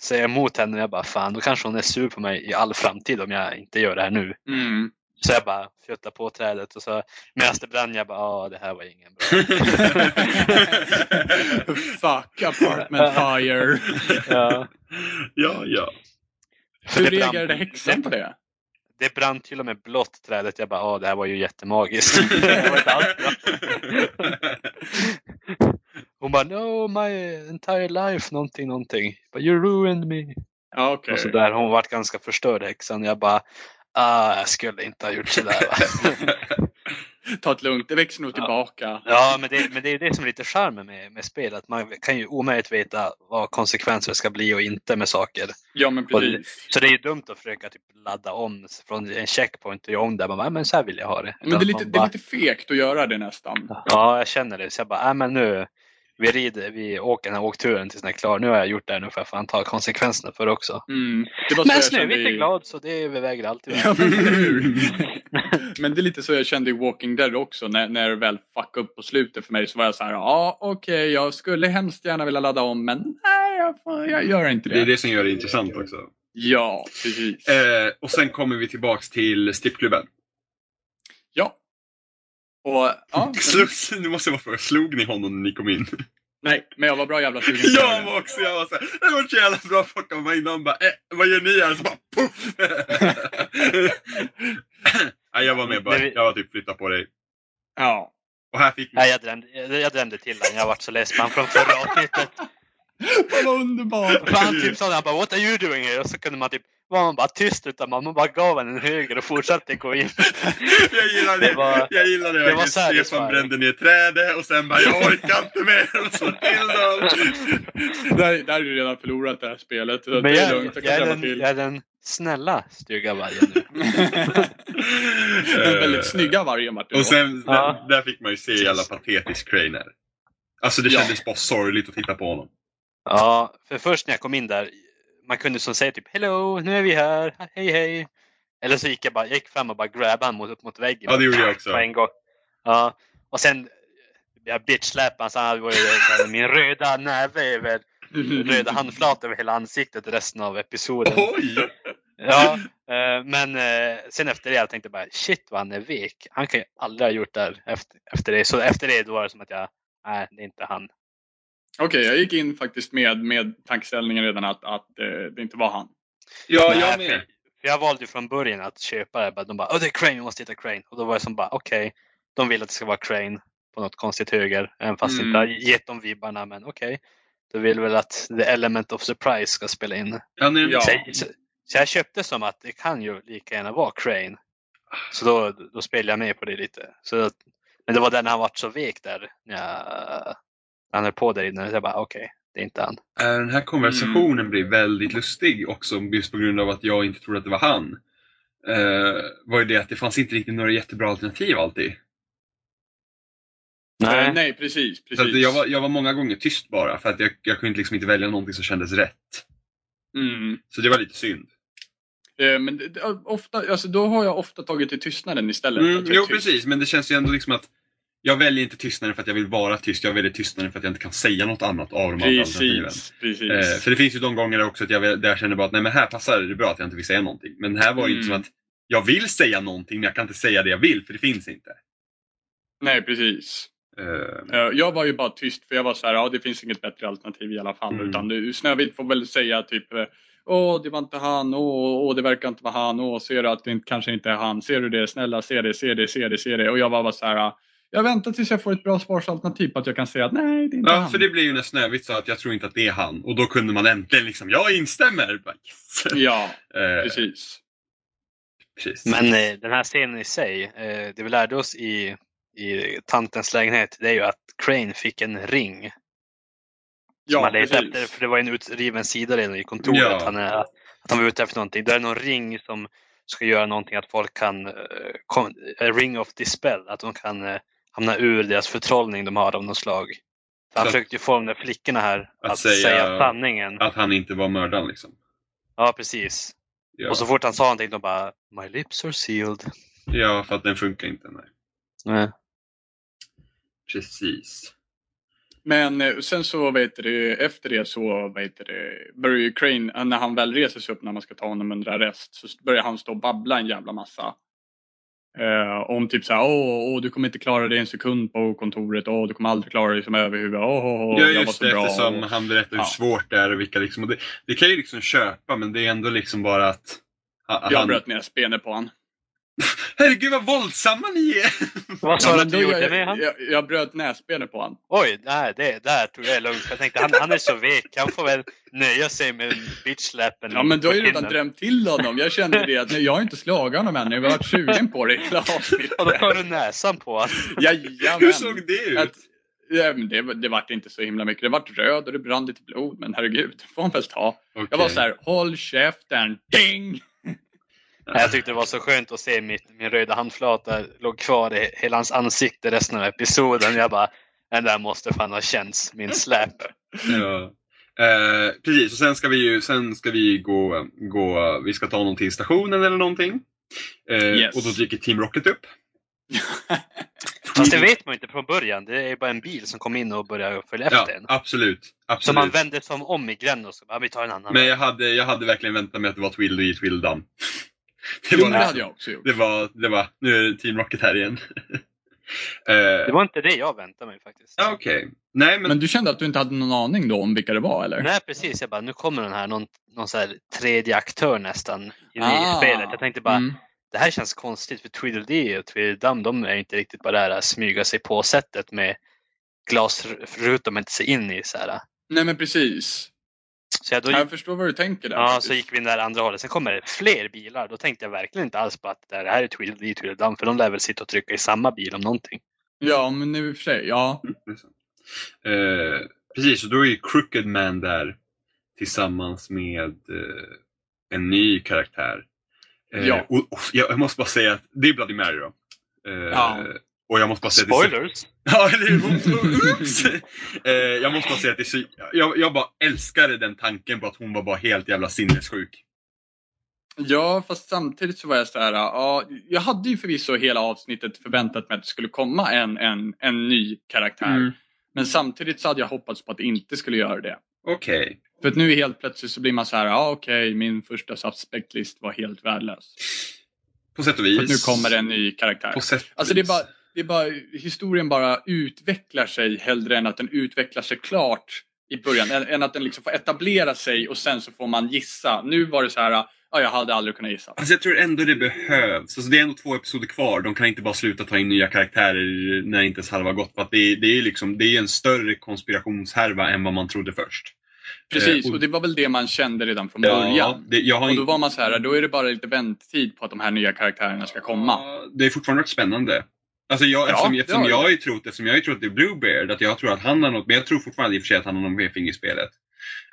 Speaker 3: säga emot henne. men Jag bara, fan då kanske hon är sur på mig i all framtid om jag inte gör det här nu.
Speaker 1: Mm.
Speaker 3: Så jag bara fjuttade på trädet och så medan det brann jag bara, ja det här var ingen bra
Speaker 1: Fuck apartment fire.
Speaker 3: Ja.
Speaker 2: ja, ja.
Speaker 3: För
Speaker 1: Hur
Speaker 3: det brann-
Speaker 1: reagerade häxan Typ på det?
Speaker 3: Det brann till och med blått trädet. Jag bara, ja det här var ju jättemagiskt. det var inte alls bra. Hon bara, no my entire life någonting någonting. Jag bara, you ruined me.
Speaker 1: Ja, okej.
Speaker 3: Och så där. Hon vart ganska förstörd häxan. Jag bara, ah, jag skulle inte ha gjort sådär. Va?
Speaker 1: Ta det lugnt, det växer nog
Speaker 3: Ja.
Speaker 1: tillbaka.
Speaker 3: ja, men det, men det är det som är lite charmen med, med spel. Att man kan ju omöjligt veta vad konsekvenser ska bli och inte med saker.
Speaker 1: Ja, men
Speaker 3: Och det-
Speaker 1: precis.
Speaker 3: Så det är ju dumt att försöka typ ladda om från en checkpoint och göra om det. Man bara, "Ah, men så här vill jag ha det.
Speaker 1: Men det är,
Speaker 3: Utan
Speaker 1: lite,
Speaker 3: man
Speaker 1: det är
Speaker 3: bara-
Speaker 1: lite fegt att göra det nästan.
Speaker 3: Ja, jag känner det. Så jag bara, nej men nu, vi rider, vi åker den här åkturen tills den är klar. Nu har jag gjort det här, nu får jag fan ta konsekvenserna för det också.
Speaker 1: Mm. Det var så
Speaker 3: Men
Speaker 1: jag kände
Speaker 3: Snövit är
Speaker 1: i-
Speaker 3: glad så det överväger alltid.
Speaker 1: Ja, men hur? Men det är lite så jag kände i Walking Dead också. När, när det väl fuckade upp på slutet för mig så var jag så här. Ja, okej, jag skulle hemskt gärna vilja ladda om men nej, jag, får, jag gör inte
Speaker 2: Det
Speaker 1: det.
Speaker 2: är det som gör det intressant också.
Speaker 1: Ja, precis.
Speaker 2: Eh, och sen kommer vi tillbaks till strippklubben.
Speaker 1: Ja. Och, ja, men,
Speaker 2: Slog- Nu måste jag bara fråga, slog ni honom när ni kom in?
Speaker 1: nej, men jag var bra jävla sugen. på
Speaker 2: Jag
Speaker 1: det.
Speaker 2: var också, jag var såhär, det var så jävla bra folk komma in och bara, eh, vad gör ni här? Så bara puff! Nej, jag var med bara, jag var typ flytta på dig.
Speaker 1: Ja.
Speaker 2: Och här fick man
Speaker 3: Nej, jag drömde, jag, jag drömde till den. Jag vart så less på honom från förra avsnittet.
Speaker 1: Det var underbart.
Speaker 3: För han typ sa det, han bara ”What are you doing here?” och så kunde man typ, var man bara tyst utan man, man bara gav honom en höger och fortsatte gå in.
Speaker 2: Jag gillar det.
Speaker 3: Det var-
Speaker 2: jag gillar det.
Speaker 3: det var
Speaker 2: Just Stefan
Speaker 3: satisfying.
Speaker 2: brände ner trädet och sen bara jag orkar inte mer och så till dem.
Speaker 1: Där, där är du redan förlorat det här spelet. Så
Speaker 3: Men
Speaker 1: det är
Speaker 3: jag,
Speaker 1: lugnt,
Speaker 3: jag,
Speaker 1: jag kan
Speaker 3: är
Speaker 1: drämma
Speaker 3: den,
Speaker 1: till.
Speaker 3: jag är den snälla stygga vargen nu.
Speaker 1: Den väldigt snygga vargen vart det då.
Speaker 2: Och sen
Speaker 3: Ja.
Speaker 2: där, där fick man ju se jävla patetisk Craner. Alltså det
Speaker 1: Ja.
Speaker 2: kändes bara sorgligt att titta på honom.
Speaker 3: Ja, för först när jag kom in där, man kunde som säga typ ”Hello, nu är vi här, hej hej”. Eller så gick jag bara jag gick fram och bara grabbade honom mot, upp mot väggen.
Speaker 2: Ja, det gjorde jag också.
Speaker 3: På en gång. Ja, och sen jag bitchsläpade honom så han var ju- min röda näve över, röda handflat över hela ansiktet resten av episoden.
Speaker 2: Oj!
Speaker 3: Ja, eh, men eh, sen efter det jag tänkte bara shit vad han är vek. Han kan ju aldrig ha gjort det här efter, efter det. Så efter det då var det som att jag, nej det är inte han.
Speaker 1: Okej, jag gick in faktiskt med, med tankeställningen redan att, att eh, det inte var han.
Speaker 2: Ja,
Speaker 3: Nej,
Speaker 2: jag med.
Speaker 3: För jag valde ju från början att köpa det. bara- De bara Åh, det är Crane, vi måste hitta Crane. Och då var jag som bara okej, de vill att det ska vara Crane på något konstigt höger. Även fast jag
Speaker 1: Mm.
Speaker 3: inte har gett dem vibbarna. Men okej, de vill väl att the element of surprise ska spela in.
Speaker 2: Ja, nu,
Speaker 1: Ja.
Speaker 3: Så, jag, så, så jag köpte som att det kan ju lika gärna vara Crane. Så då, då spelade jag med på det lite. Så, att- men det var där när han var så vek där. När jag, han höll på där inne. Så jag bara okej, det är inte han.
Speaker 2: Eh, Den här konversationen blir väldigt lustig också just på grund av att jag inte trodde att det var han. Eh, var ju det att det fanns inte riktigt några jättebra alternativ alltid.
Speaker 1: Eh, nej precis. precis.
Speaker 2: Så att jag, var, jag var många gånger tyst bara för att jag, jag kunde liksom inte välja någonting som kändes rätt.
Speaker 1: Mm.
Speaker 2: Så det var lite synd.
Speaker 1: Eh, Men det- det- ofta, alltså, då har jag ofta tagit till tystnaden istället.
Speaker 2: Mm,
Speaker 1: Att jag är
Speaker 2: jo,
Speaker 1: tyst.
Speaker 2: precis. Men det känns ju ändå liksom att jag väljer inte tystnaden för att jag vill vara tyst. Jag väljer tystnaden för att jag inte kan säga något annat av de andra alternativen.
Speaker 1: Precis, precis.
Speaker 2: Eh, för det finns ju de gånger också att jag, väl- där jag känner bara att nej, men här passar det bra att jag inte vill säga någonting. Men här var det inte som
Speaker 1: Mm.
Speaker 2: att jag vill säga någonting men jag kan inte säga det jag vill för det finns inte.
Speaker 1: Nej, precis.
Speaker 2: Eh,
Speaker 1: Eh, Jag var ju bara tyst för jag var så här, ja det finns inget bättre alternativ i alla fall.
Speaker 2: Mm.
Speaker 1: Utan du, Snövit får väl säga typ, eh, åh det var inte han, åh, åh det verkar inte vara han, åh ser du att det inte, kanske inte är han, ser du det, snälla se det, se det, se det, se det. Och jag var bara så här, ah, jag väntar tills jag får ett bra svarsalternativ på att jag kan säga att nej det är inte
Speaker 2: ja,
Speaker 1: han.
Speaker 2: för det blir ju när Snövit sa att jag tror inte att det är han. Och då kunde man äntligen liksom, jag instämmer! Bara, yes.
Speaker 1: Ja,
Speaker 2: Eh,
Speaker 1: precis.
Speaker 2: precis.
Speaker 3: Men eh, den här scenen i sig, eh, det vi lärde oss i, i tantens lägenhet, det är ju att Crane fick en ring som
Speaker 1: Ja,
Speaker 3: han letade
Speaker 1: precis.
Speaker 3: efter. För det var ju en utriven sida redan i kontoret.
Speaker 2: Ja.
Speaker 3: Att, han är, att han var ute efter någonting. Det är någon ring som ska göra någonting att folk kan, eh, kom, eh, a ring of dispel, att de kan eh, hamna ur deras förtrollning de har av något slag. För han
Speaker 2: Så-
Speaker 3: försökte ju få de där flickorna här att,
Speaker 2: Att
Speaker 3: säga,
Speaker 2: säga-
Speaker 3: sanningen.
Speaker 2: Att han inte var mördaren liksom.
Speaker 3: Ja, precis.
Speaker 2: Ja,
Speaker 3: Och så fort han sa någonting, de bara My lips are sealed.
Speaker 2: ja för att den funkar inte. Nej. Precis.
Speaker 1: Men eh, sen så, vet du, efter det så, vet du, börjar ju Crane, eh, när han väl reser sig upp när man ska ta honom under arrest, så börjar han stå och babbla en jävla massa. Eh, om typ såhär, åh, åh, du kommer inte klara dig en sekund på kontoret, åh, du kommer aldrig klara dig som överhuvud, åh, åh, åh,
Speaker 2: ja,
Speaker 1: jag var
Speaker 2: just
Speaker 1: så
Speaker 2: det,
Speaker 1: bra.
Speaker 2: eftersom han berättar hur
Speaker 1: Ja.
Speaker 2: svårt det är och vilka liksom. Och det, det kan jag ju liksom köpa, men det är ändå liksom bara att... ha-
Speaker 1: jag
Speaker 2: han-
Speaker 1: bröt ner spenor på honom.
Speaker 2: Herregud vad våldsamma ni är!
Speaker 3: Vad sa du
Speaker 1: men
Speaker 3: att du
Speaker 1: då-
Speaker 3: gjorde
Speaker 1: jag,
Speaker 3: med han?
Speaker 1: jag, jag bröt näsbenet på honom.
Speaker 3: Oj, nej, det där tror jag är lugnt. Jag tänkte han, han är så vek, han får väl nöja sig med bitchlappen.
Speaker 1: Ja, men du har ju
Speaker 3: på
Speaker 1: redan
Speaker 3: kinden.
Speaker 1: drämt till honom. Jag kände det att nej, jag har inte slagit honom än, jag har varit sugen på det hela
Speaker 3: Och då
Speaker 1: avsnittet.
Speaker 3: tar du näsan på honom.
Speaker 1: Jajamän.
Speaker 2: Hur såg det ut?
Speaker 1: Att, ja, men det, det vart inte så himla mycket. Det vart röd och det brann lite blod. Men herregud, det får man väl ta. Jag var
Speaker 2: Okej.
Speaker 1: så här, håll käften, ding!
Speaker 3: Nej, Jag tyckte det var så skönt att se mitt, min röda handflata låg kvar i hela hans ansikte resten av episoden. Jag bara, den där måste fan ha känts, min släp.
Speaker 2: Ja. Eh, precis, och sen ska vi ju sen ska vi gå, gå, vi ska ta honom till stationen eller någonting. Eh,
Speaker 1: Yes.
Speaker 2: Och då dyker Team Rocket upp.
Speaker 3: Fast det vet man ju inte från början. Det är bara en bil som kom in och började följa efter
Speaker 2: Ja,
Speaker 3: en.
Speaker 2: absolut.
Speaker 3: Så man
Speaker 2: absolut.
Speaker 3: vände som om i gränden och så bara, vi tar en annan.
Speaker 2: Men jag hade, jag hade verkligen väntat mig att det var Twill och i Twill Dam. Det
Speaker 1: Jo,
Speaker 2: var,
Speaker 1: men det hade
Speaker 2: liksom,
Speaker 1: jag också gjort.
Speaker 2: det, var, det var, nu är det Team Rocket här igen. Eh,
Speaker 3: Det var inte det jag väntade mig faktiskt.
Speaker 2: ja, Okej. Nej, men,
Speaker 1: Men du kände att du inte hade någon aning då om vilka det var, eller?
Speaker 3: Nej precis, jag bara nu kommer den här, någon, någon så här tredje aktör nästan in i
Speaker 1: Ah.
Speaker 3: spelet. Jag tänkte bara,
Speaker 1: Mm.
Speaker 3: det här känns konstigt för Tweedledee och Tweedledum de är inte riktigt bara det här att smyga sig på sättet med glasrutor de inte ser in i. Så, här.
Speaker 1: Nej, men precis.
Speaker 3: så jag, då,
Speaker 1: Jag förstår vad du tänker där.
Speaker 3: ja,
Speaker 1: faktiskt.
Speaker 3: så gick vi in där andra hållet. Sen kommer det fler bilar. Då tänkte jag verkligen inte alls på att det här är Tweedledee och Tweedledum för de lär väl sitta och trycka i samma bil om någonting.
Speaker 1: Ja, men i och för sig. Ja.
Speaker 2: eh, precis, och då är ju Crooked Man där tillsammans med eh, en ny karaktär. Eh,
Speaker 1: Ja.
Speaker 2: och, och, jag måste bara säga att det är Bloody Mary då. Eh,
Speaker 1: Ja.
Speaker 2: Och jag måste bara säga att det är så-
Speaker 3: Spoilers!
Speaker 2: Ja, eller hur? Oops! eh, jag måste bara säga att det är så, jag, jag bara älskade den tanken på att hon var bara helt jävla sinnessjuk.
Speaker 1: Ja, fast samtidigt så var jag så här, ja, jag hade ju förvisso hela avsnittet förväntat mig att det skulle komma en, en, en ny karaktär.
Speaker 2: Mm.
Speaker 1: Men samtidigt så hade jag hoppats på att det inte skulle göra det.
Speaker 2: Okej.
Speaker 1: För att nu helt plötsligt så blir man så här, ja okej, min första suspectlist var helt värdelös.
Speaker 2: På sätt och
Speaker 1: För att
Speaker 2: vis.
Speaker 1: nu kommer en ny karaktär.
Speaker 2: På sätt och
Speaker 1: Alltså det är
Speaker 2: vis.
Speaker 1: bara, det är bara, historien bara utvecklar sig hellre än att den utvecklar sig klart i början. Än, än att den liksom får etablera sig och sen så får man gissa. Nu var det så här, ja jag hade aldrig kunnat gissa.
Speaker 2: Alltså jag tror ändå det behövs. Alltså det är ändå två episoder kvar. De kan inte bara sluta ta in nya karaktärer när inte ens halva gått. För att det, det är ju liksom, det är en större konspirationshärva än vad man trodde först.
Speaker 1: Precis,
Speaker 2: Eh, och-
Speaker 1: och det var väl det man kände redan från början.
Speaker 2: det, jag har
Speaker 1: Och då
Speaker 2: in-
Speaker 1: var man så här, då är det bara lite väntetid på att de här nya karaktärerna ska komma.
Speaker 2: Ja, Det är fortfarande varit spännande. Alltså
Speaker 1: Ja,
Speaker 2: jag, eftersom,
Speaker 1: det
Speaker 2: eftersom,
Speaker 1: har
Speaker 2: jag har ju trott, eftersom jag har ju trott det är Bluebeard, att jag tror att han har något, men jag tror fortfarande i och för sig att han har något mer finger i spelet.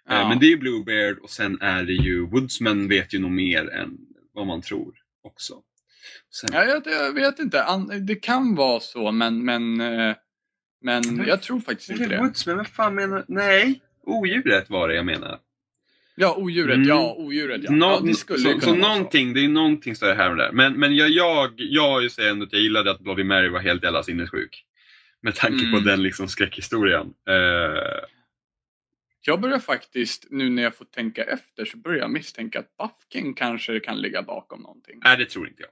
Speaker 2: Eh,
Speaker 1: Ja.
Speaker 2: Men det är ju Bluebeard och sen är det ju Woodsman vet ju nog mer än vad man tror också. Sen,
Speaker 1: Ja, jag, jag vet inte. An, det kan vara så, men, men, eh, men jag tror faktiskt
Speaker 2: Eller
Speaker 1: inte det.
Speaker 2: Woodsman, vad fan menar Nej, odjuret var det jag menar.
Speaker 1: Ja, odjuret.
Speaker 2: Mm.
Speaker 1: Ja, odjuret. Ja.
Speaker 2: Nå-
Speaker 1: ja, det skulle
Speaker 2: så,
Speaker 1: ju kunna
Speaker 2: så
Speaker 1: vara
Speaker 2: någonting, det är någonting större här och där. Men, men jag, jag, jag säger ändå att jag gillade att Bloody Mary var helt jävla sinnessjuk. Med tanke på
Speaker 1: Mm.
Speaker 2: den liksom skräckhistorien. Eh,
Speaker 1: Jag börjar faktiskt, nu när jag får tänka efter, så börjar jag misstänka att Bafkin kanske kan ligga bakom någonting.
Speaker 2: nej, det tror inte jag.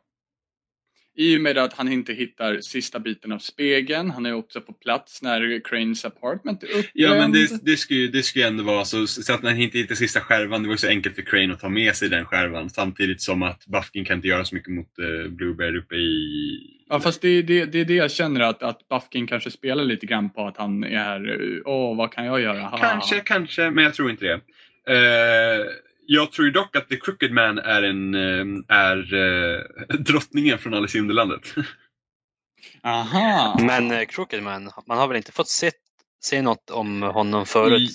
Speaker 1: I och med att han inte hittar sista biten av spegeln. Han är också på plats när Cranes apartment är uppbränd.
Speaker 2: Ja, men
Speaker 1: Ehm.
Speaker 2: det, det skulle ju det skulle ju ändå vara så, så att när han inte hittar sista skärvan, det var ju så enkelt för Crane att ta med sig den skärvan. Samtidigt som att Bafkin kan inte göra så mycket mot eh, Blueberry uppe i...
Speaker 1: Ja, fast det, är- det, det är det jag känner att, att Bafkin kanske spelar lite grann på att han är här. eh, Åh, vad kan jag göra?
Speaker 3: Ah.
Speaker 1: Ha, ha, ha."
Speaker 2: Kanske, kanske, men jag tror inte det. Eh, jag tror dock att The Crooked Man är, en, eh, är eh, drottningen från Alice i Underlandet.
Speaker 1: Aha!
Speaker 3: Men eh, Crooked Man, man har väl inte fått se, se något om honom förut?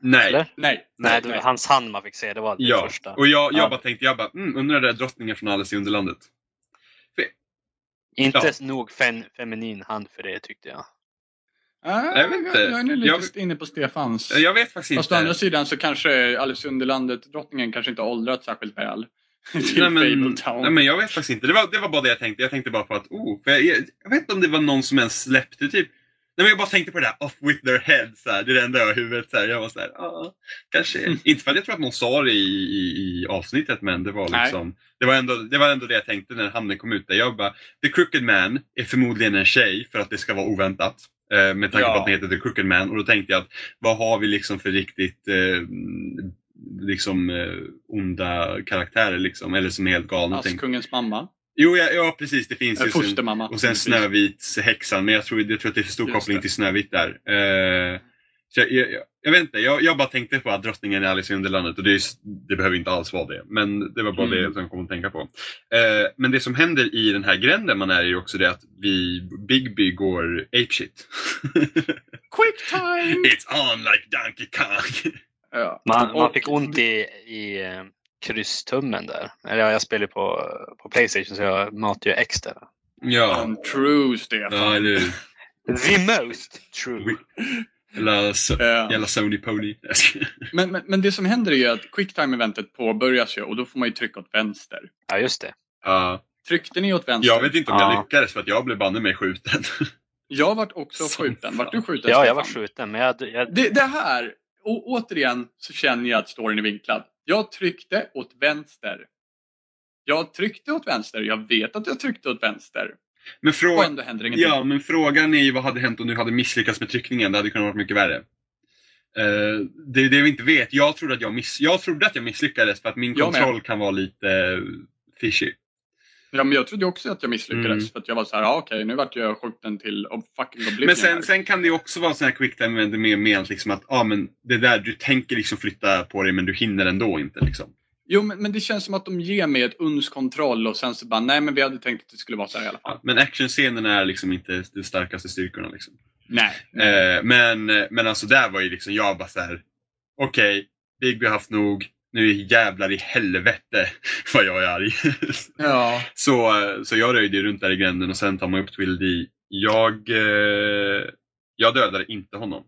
Speaker 2: Nej.
Speaker 3: Eller?
Speaker 1: Nej.
Speaker 3: Nej, det var hans hand man fick se, det var det
Speaker 2: Ja,
Speaker 3: första.
Speaker 2: och jag, jag
Speaker 3: Ja.
Speaker 2: bara tänkte, jag bara, mm, undrar det är drottningen från Alice i Underlandet.
Speaker 3: Inte
Speaker 2: ja.
Speaker 3: nog fem, feminin hand för det tyckte jag.
Speaker 1: Ah,
Speaker 2: Jag vet inte.
Speaker 1: Jag, jag är nu lite
Speaker 2: Jag-
Speaker 1: inne på Stefans.
Speaker 2: Eh, Jag vet faktiskt
Speaker 1: Fast å
Speaker 2: inte.
Speaker 1: andra sidan så kanske Alice i Underlandet, drottningen kanske inte har åldrats särskilt väl. Till
Speaker 2: Nej men,
Speaker 1: Fabletown.
Speaker 2: nej men jag vet faktiskt inte. Det var, det var bara det jag tänkte. Jag tänkte bara på att, oh, för jag, jag, jag vet inte om det var någon som ens släppte typ. Nej men jag bara tänkte på det där, off with their head, så här, det är det enda jag har i huvudet. Så här. Jag var såhär, ja, kanske.
Speaker 1: Mm.
Speaker 2: Inte för att jag tror att någon sa det i, i, i avsnittet, men det var
Speaker 1: Nej.
Speaker 2: liksom, det var, ändå, det var ändå det jag tänkte när hamnen kom ut. Där. Jag bara, the crooked man är förmodligen en tjej för att det ska vara oväntat. Eh, med tanke
Speaker 1: Ja.
Speaker 2: på att den heter The Crooked Man. Och då tänkte jag att vad har vi liksom för riktigt eh, liksom eh, onda karaktärer liksom, eller som är helt galna. tänkte-
Speaker 1: Askungens mamma.
Speaker 2: Jo, ja, ja precis, det finns
Speaker 1: Alltså, Äh,
Speaker 2: ju. Sen,
Speaker 1: fostermamma.
Speaker 2: och sen
Speaker 1: Precis.
Speaker 2: Snövits häxan, men jag tror, jag tror att det är för stor
Speaker 1: Just
Speaker 2: koppling
Speaker 1: det.
Speaker 2: till Snövit där. Eh, så jag, jag, jag, jag vet inte, jag, jag bara tänkte på att drottningen är Alice i Underlandet och det, är, ju s- det behöver inte alls vara det. Men det var bara
Speaker 1: Mm.
Speaker 2: det som jag kom att tänka på. Eh, men det som händer i den här gränden man är i är också det att vi, Bigby går apeshit.
Speaker 1: Quick time!
Speaker 2: It's on like Donkey Kong!
Speaker 1: Ja.
Speaker 3: Man, man
Speaker 1: Och-
Speaker 3: fick ont i, i eh, krystummen där. Eller ja, jag spelar ju på, på Playstation så jag matar ju extra.
Speaker 2: ja,
Speaker 1: Fan, True, Stefan.
Speaker 2: ja eller hur?
Speaker 3: The most true.
Speaker 2: Wi- Jävla so-
Speaker 1: Eh,
Speaker 2: Jävla Sony Pony. Jag skojar.
Speaker 1: Men, men, men det som händer är ju att quicktime-eventet påbörjas ju och då får man ju trycka åt vänster.
Speaker 3: Ja, just det.
Speaker 2: Ja.
Speaker 1: Tryckte ni åt vänster?
Speaker 2: Jag vet inte om jag
Speaker 3: Ja.
Speaker 2: lyckades för att jag blev banne mig skjuten.
Speaker 1: Jag vart också
Speaker 2: Som
Speaker 1: skjuten. Vart
Speaker 2: fan.
Speaker 1: du skjuten?
Speaker 3: Ja, jag
Speaker 1: Stefan?
Speaker 3: var skjuten, men jag, jag,
Speaker 1: Det, det här, och återigen så känner jag att storyn är vinklad. Jag tryckte åt vänster. Jag tryckte åt vänster. Jag vet att jag tryckte åt vänster.
Speaker 2: Men,
Speaker 1: Och
Speaker 2: frå-
Speaker 1: ändå händer ingenting.
Speaker 2: ja, men frågan är ju vad hade hänt om du hade misslyckats med tryckningen? Det hade kunnat vara mycket värre. Eh, det är det vi inte vet. Jag trodde, att jag, miss- jag trodde att jag misslyckades för att min
Speaker 1: Jag med.
Speaker 2: kontroll kan vara lite eh, fishy.
Speaker 1: Ja, men jag trodde också att jag misslyckades.
Speaker 2: Mm.
Speaker 1: För att jag var så här, ah, okej, nu vart jag skjuten till oh, fucking Oblivion.
Speaker 2: Men
Speaker 1: här.
Speaker 2: sen, sen kan det ju också vara sådana här quick time event med ment liksom att ah, men det där, du tänker liksom flytta på dig men du hinner ändå inte. Liksom.
Speaker 1: Jo, men, men det känns som att de ger mig ett uns kontroll och sen så bara, nej men vi hade tänkt att det skulle vara så här i alla fall.
Speaker 2: Ja, Men actionscenerna är liksom inte de starkaste styrkorna. Liksom.
Speaker 1: Nej.
Speaker 2: Eh, men, men alltså där var ju liksom jag bara såhär, okej, Bigby har haft nog, nu är jävlar i helvete vad jag är arg.
Speaker 1: Ja.
Speaker 2: så, eh, så jag röjde ju runt där i gränden och sen tar man upp Twill D. Jag, eh, jag dödade inte honom.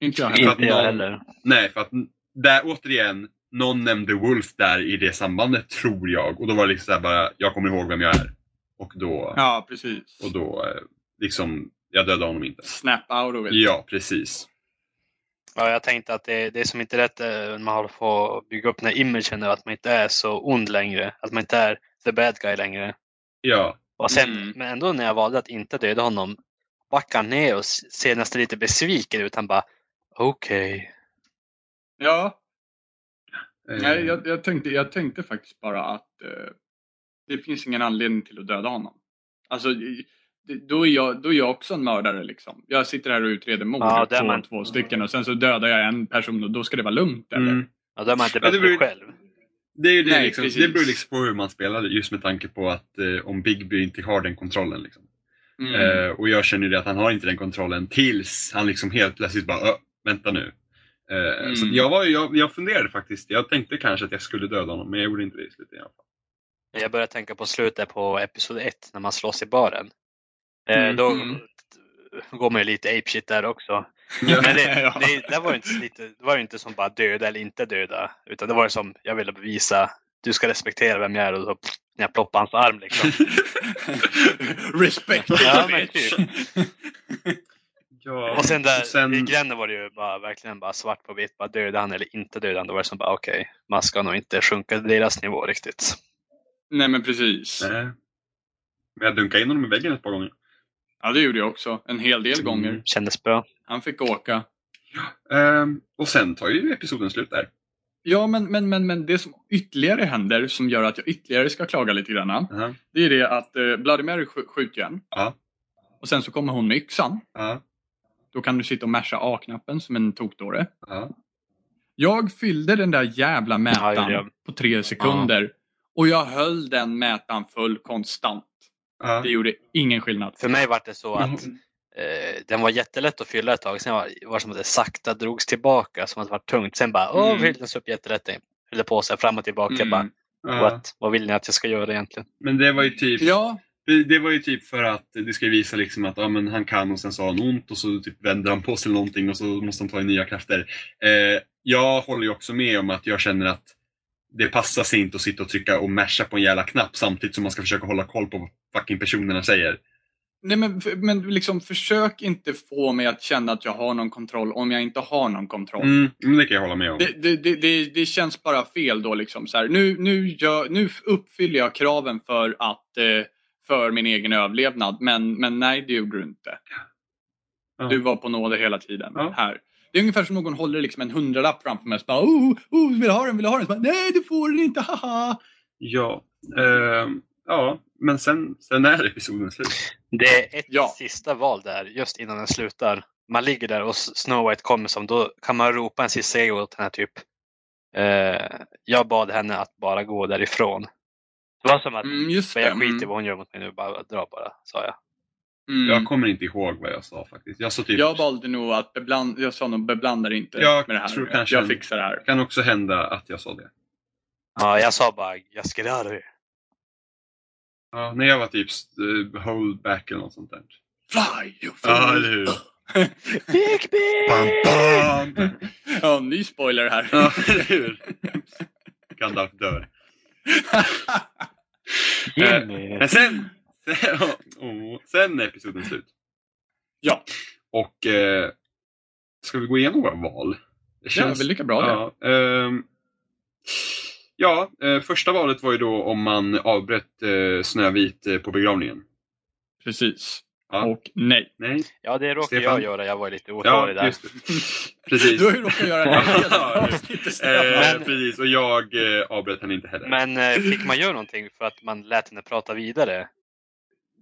Speaker 1: Inte jag heller.
Speaker 2: Inte
Speaker 3: inte jag
Speaker 2: någon-
Speaker 3: heller.
Speaker 2: Nej, för att n- där återigen, någon nämnde Wolf där i det sambandet tror jag. Och då var det liksom såhär bara, jag kommer ihåg vem jag är. Och då,
Speaker 1: Ja, precis.
Speaker 2: och då eh, liksom, jag dödade honom inte.
Speaker 1: Snap out of it.
Speaker 2: Ja, precis.
Speaker 3: Ja, jag tänkte att det, det är som inte rätt eh, när man håller på att bygga upp den här imagen av att man inte är så ond längre. Att man inte är the bad guy längre.
Speaker 2: Ja,
Speaker 3: Och sen,
Speaker 1: Mm.
Speaker 3: Men ändå när jag valde att inte döda honom backar han ner och s- ser nästan lite besviken ut. Han bara okej.
Speaker 1: Ja,
Speaker 2: eh,
Speaker 1: nej, jag, jag, tänkte, jag tänkte faktiskt bara att eh, det finns ingen anledning till att döda honom. Alltså, i- det- då är, jag, då är jag också en mördare liksom. Jag sitter här och utreder mord
Speaker 3: Ja, det är
Speaker 1: på
Speaker 3: man.
Speaker 1: två stycken och sen så dödar jag en person och då ska det vara lugnt eller?
Speaker 2: mm.
Speaker 3: Ja, då är man inte
Speaker 2: Ja, det
Speaker 3: bättre
Speaker 2: beror-
Speaker 3: själv.
Speaker 2: Det, är ju det,
Speaker 1: Nej,
Speaker 2: liksom,
Speaker 1: precis.
Speaker 2: det beror liksom på hur man spelar just med tanke på att eh, om Bigby inte har den kontrollen. Liksom.
Speaker 1: Mm.
Speaker 2: Eh, och jag känner ju det att han har inte den kontrollen tills han liksom helt plötsligt bara "Ö, vänta nu. Eh,
Speaker 1: Mm.
Speaker 2: Så att jag, var, ju- jag, jag funderade faktiskt, jag tänkte kanske att jag skulle döda honom men jag gjorde inte det i slutet i alla fall.
Speaker 3: Jag börjar tänka på slutet på episod 1 när man slåss i baren. Eh,
Speaker 1: Mm.
Speaker 3: Då
Speaker 1: Mm.
Speaker 3: går man ju lite apeshit där också. Men det, det, där var det, inte, så lite, det var ju inte som bara döda eller inte döda. Utan det var ju som, jag ville bevisa, du ska respektera vem jag är. Och så, när jag ploppade hans arm liksom.
Speaker 1: Respect
Speaker 3: Ja, men typ.
Speaker 1: bitch!
Speaker 2: Ja,
Speaker 3: Och sen där i gränden var det ju bara, verkligen bara svart på vitt. Bara döda han eller inte döda han. Då var det som bara okej, man ska nog inte sjunka till deras nivå riktigt.
Speaker 1: Nej men precis.
Speaker 2: Nej. Men jag dunkade in honom i väggen ett par gånger.
Speaker 1: Ja det gjorde jag också. En hel
Speaker 2: Mm.
Speaker 1: del gånger.
Speaker 3: Kändes bra.
Speaker 1: Han fick åka.
Speaker 2: Ehm, och sen tar ju episoden slut där.
Speaker 1: Ja men, men, men, men det som ytterligare händer som gör att jag ytterligare ska klaga lite grann.
Speaker 2: Ja,
Speaker 1: Det är det att eh, Bloody Mary sk- skjuter igen.
Speaker 2: Ja.
Speaker 1: Och sen så kommer hon med yxan.
Speaker 2: ja,
Speaker 1: Då kan du sitta och masha A-knappen som en tokdåre.
Speaker 2: ja.
Speaker 1: Jag fyllde den där jävla mätaren
Speaker 3: Ja, ja.
Speaker 1: på tre sekunder. Och jag höll den mätaren full konstant.
Speaker 2: ja.
Speaker 1: Det gjorde ingen skillnad.
Speaker 3: För mig var det så att
Speaker 2: Mhm.
Speaker 3: eh, den var jättelätt att fylla ett tag. Sen var var det som att det sakta drogs tillbaka, som att det var tungt. Sen bara, åh,
Speaker 1: Mm.
Speaker 3: fylldes upp jättelätt. Det Fyllde på sig fram och tillbaka. Jag bara,
Speaker 1: Mm.
Speaker 2: ja.
Speaker 3: What? Vad vill ni att jag ska göra egentligen?
Speaker 2: Men det var ju typ
Speaker 1: Ja,
Speaker 2: Det, det var ju typ för att det ska visa liksom att ja, men han kan och sen så har han ont och så typ vänder han på sig eller någonting och så måste han ta in nya krafter. Eh, jag håller ju också med om att jag känner att det passar sig inte att sitta och trycka och masha på en jävla knapp samtidigt som man ska försöka hålla koll på vad fucking personerna säger.
Speaker 1: Nej, men, f- men liksom försök inte få mig att känna att jag har någon kontroll om jag inte har någon kontroll.
Speaker 2: Mm, men det kan jag hålla med om.
Speaker 1: Det, det, det, det, det känns bara fel då liksom. Så här, nu, nu, gör, nu uppfyller jag kraven för att eh, för min egen överlevnad. Men, men nej, det gjorde du inte.
Speaker 2: Ja.
Speaker 1: Du var på nåder hela tiden.
Speaker 2: Ja.
Speaker 1: Här. Det är ungefär som någon håller liksom en hundralapp framför mig och så bara oh, oh, vill jag ha den, vill jag ha den? Så bara, nej, du får den inte, haha!
Speaker 2: Ja, ehm, ja men sen, sen är episoden slut.
Speaker 3: Det är ett
Speaker 1: Ja.
Speaker 3: sista val där, just innan den slutar. Man ligger där och S- Snow White kommer som, då kan man ropa en sista ego åt henne typ. Eh, jag bad henne att bara gå därifrån. Det var som att,
Speaker 1: Mm, just
Speaker 3: men
Speaker 1: det.
Speaker 3: jag skiter i
Speaker 1: Mm,
Speaker 3: vad hon gör mot mig nu, bara dra bara, sa jag.
Speaker 1: mm.
Speaker 2: Jag kommer inte ihåg vad jag sa faktiskt. Jag sa typ
Speaker 1: Jag valde nog att bebland, jag sa nog beblanda dig inte
Speaker 2: Jag
Speaker 1: med det här.
Speaker 2: tror
Speaker 1: nu.
Speaker 2: kanske-
Speaker 1: jag fixar det här.
Speaker 2: kan också hända att jag sa det.
Speaker 3: Ja, jag sa bara, jag ska röra er.
Speaker 2: Ja, när jag var typ eh, hold back eller något sånt där.
Speaker 1: Fly you
Speaker 2: Ja,
Speaker 1: fool!
Speaker 2: eller hur?
Speaker 3: Big Big!
Speaker 2: Bam, bam!
Speaker 1: Ja, ny spoiler här.
Speaker 2: Ja, eller hur? Gandalf dör.
Speaker 3: Ge mig
Speaker 2: Eh, Men sen, sen, åh, sen är episoden slut.
Speaker 1: Ja.
Speaker 2: Och eh, ska vi gå igenom våra val? Det
Speaker 1: Det är väl lika bra det.
Speaker 2: ja, ehm, ja eh, första valet var ju då om man avbröt eh, Snövit eh, på begravningen.
Speaker 1: Precis.
Speaker 2: Ja.
Speaker 1: Och nej.
Speaker 2: Nej,
Speaker 3: Ja, det råkade
Speaker 2: Stefan?
Speaker 3: jag göra. Jag var ju lite otålig
Speaker 2: ja
Speaker 3: där.
Speaker 2: just det. Precis.
Speaker 1: Du har ju råkat göra det här hela avsnittet.
Speaker 2: Eh,
Speaker 3: Men-
Speaker 2: precis, och jag eh, avbröt henne inte heller.
Speaker 3: Men eh, fick man göra någonting för att man lät henne prata vidare?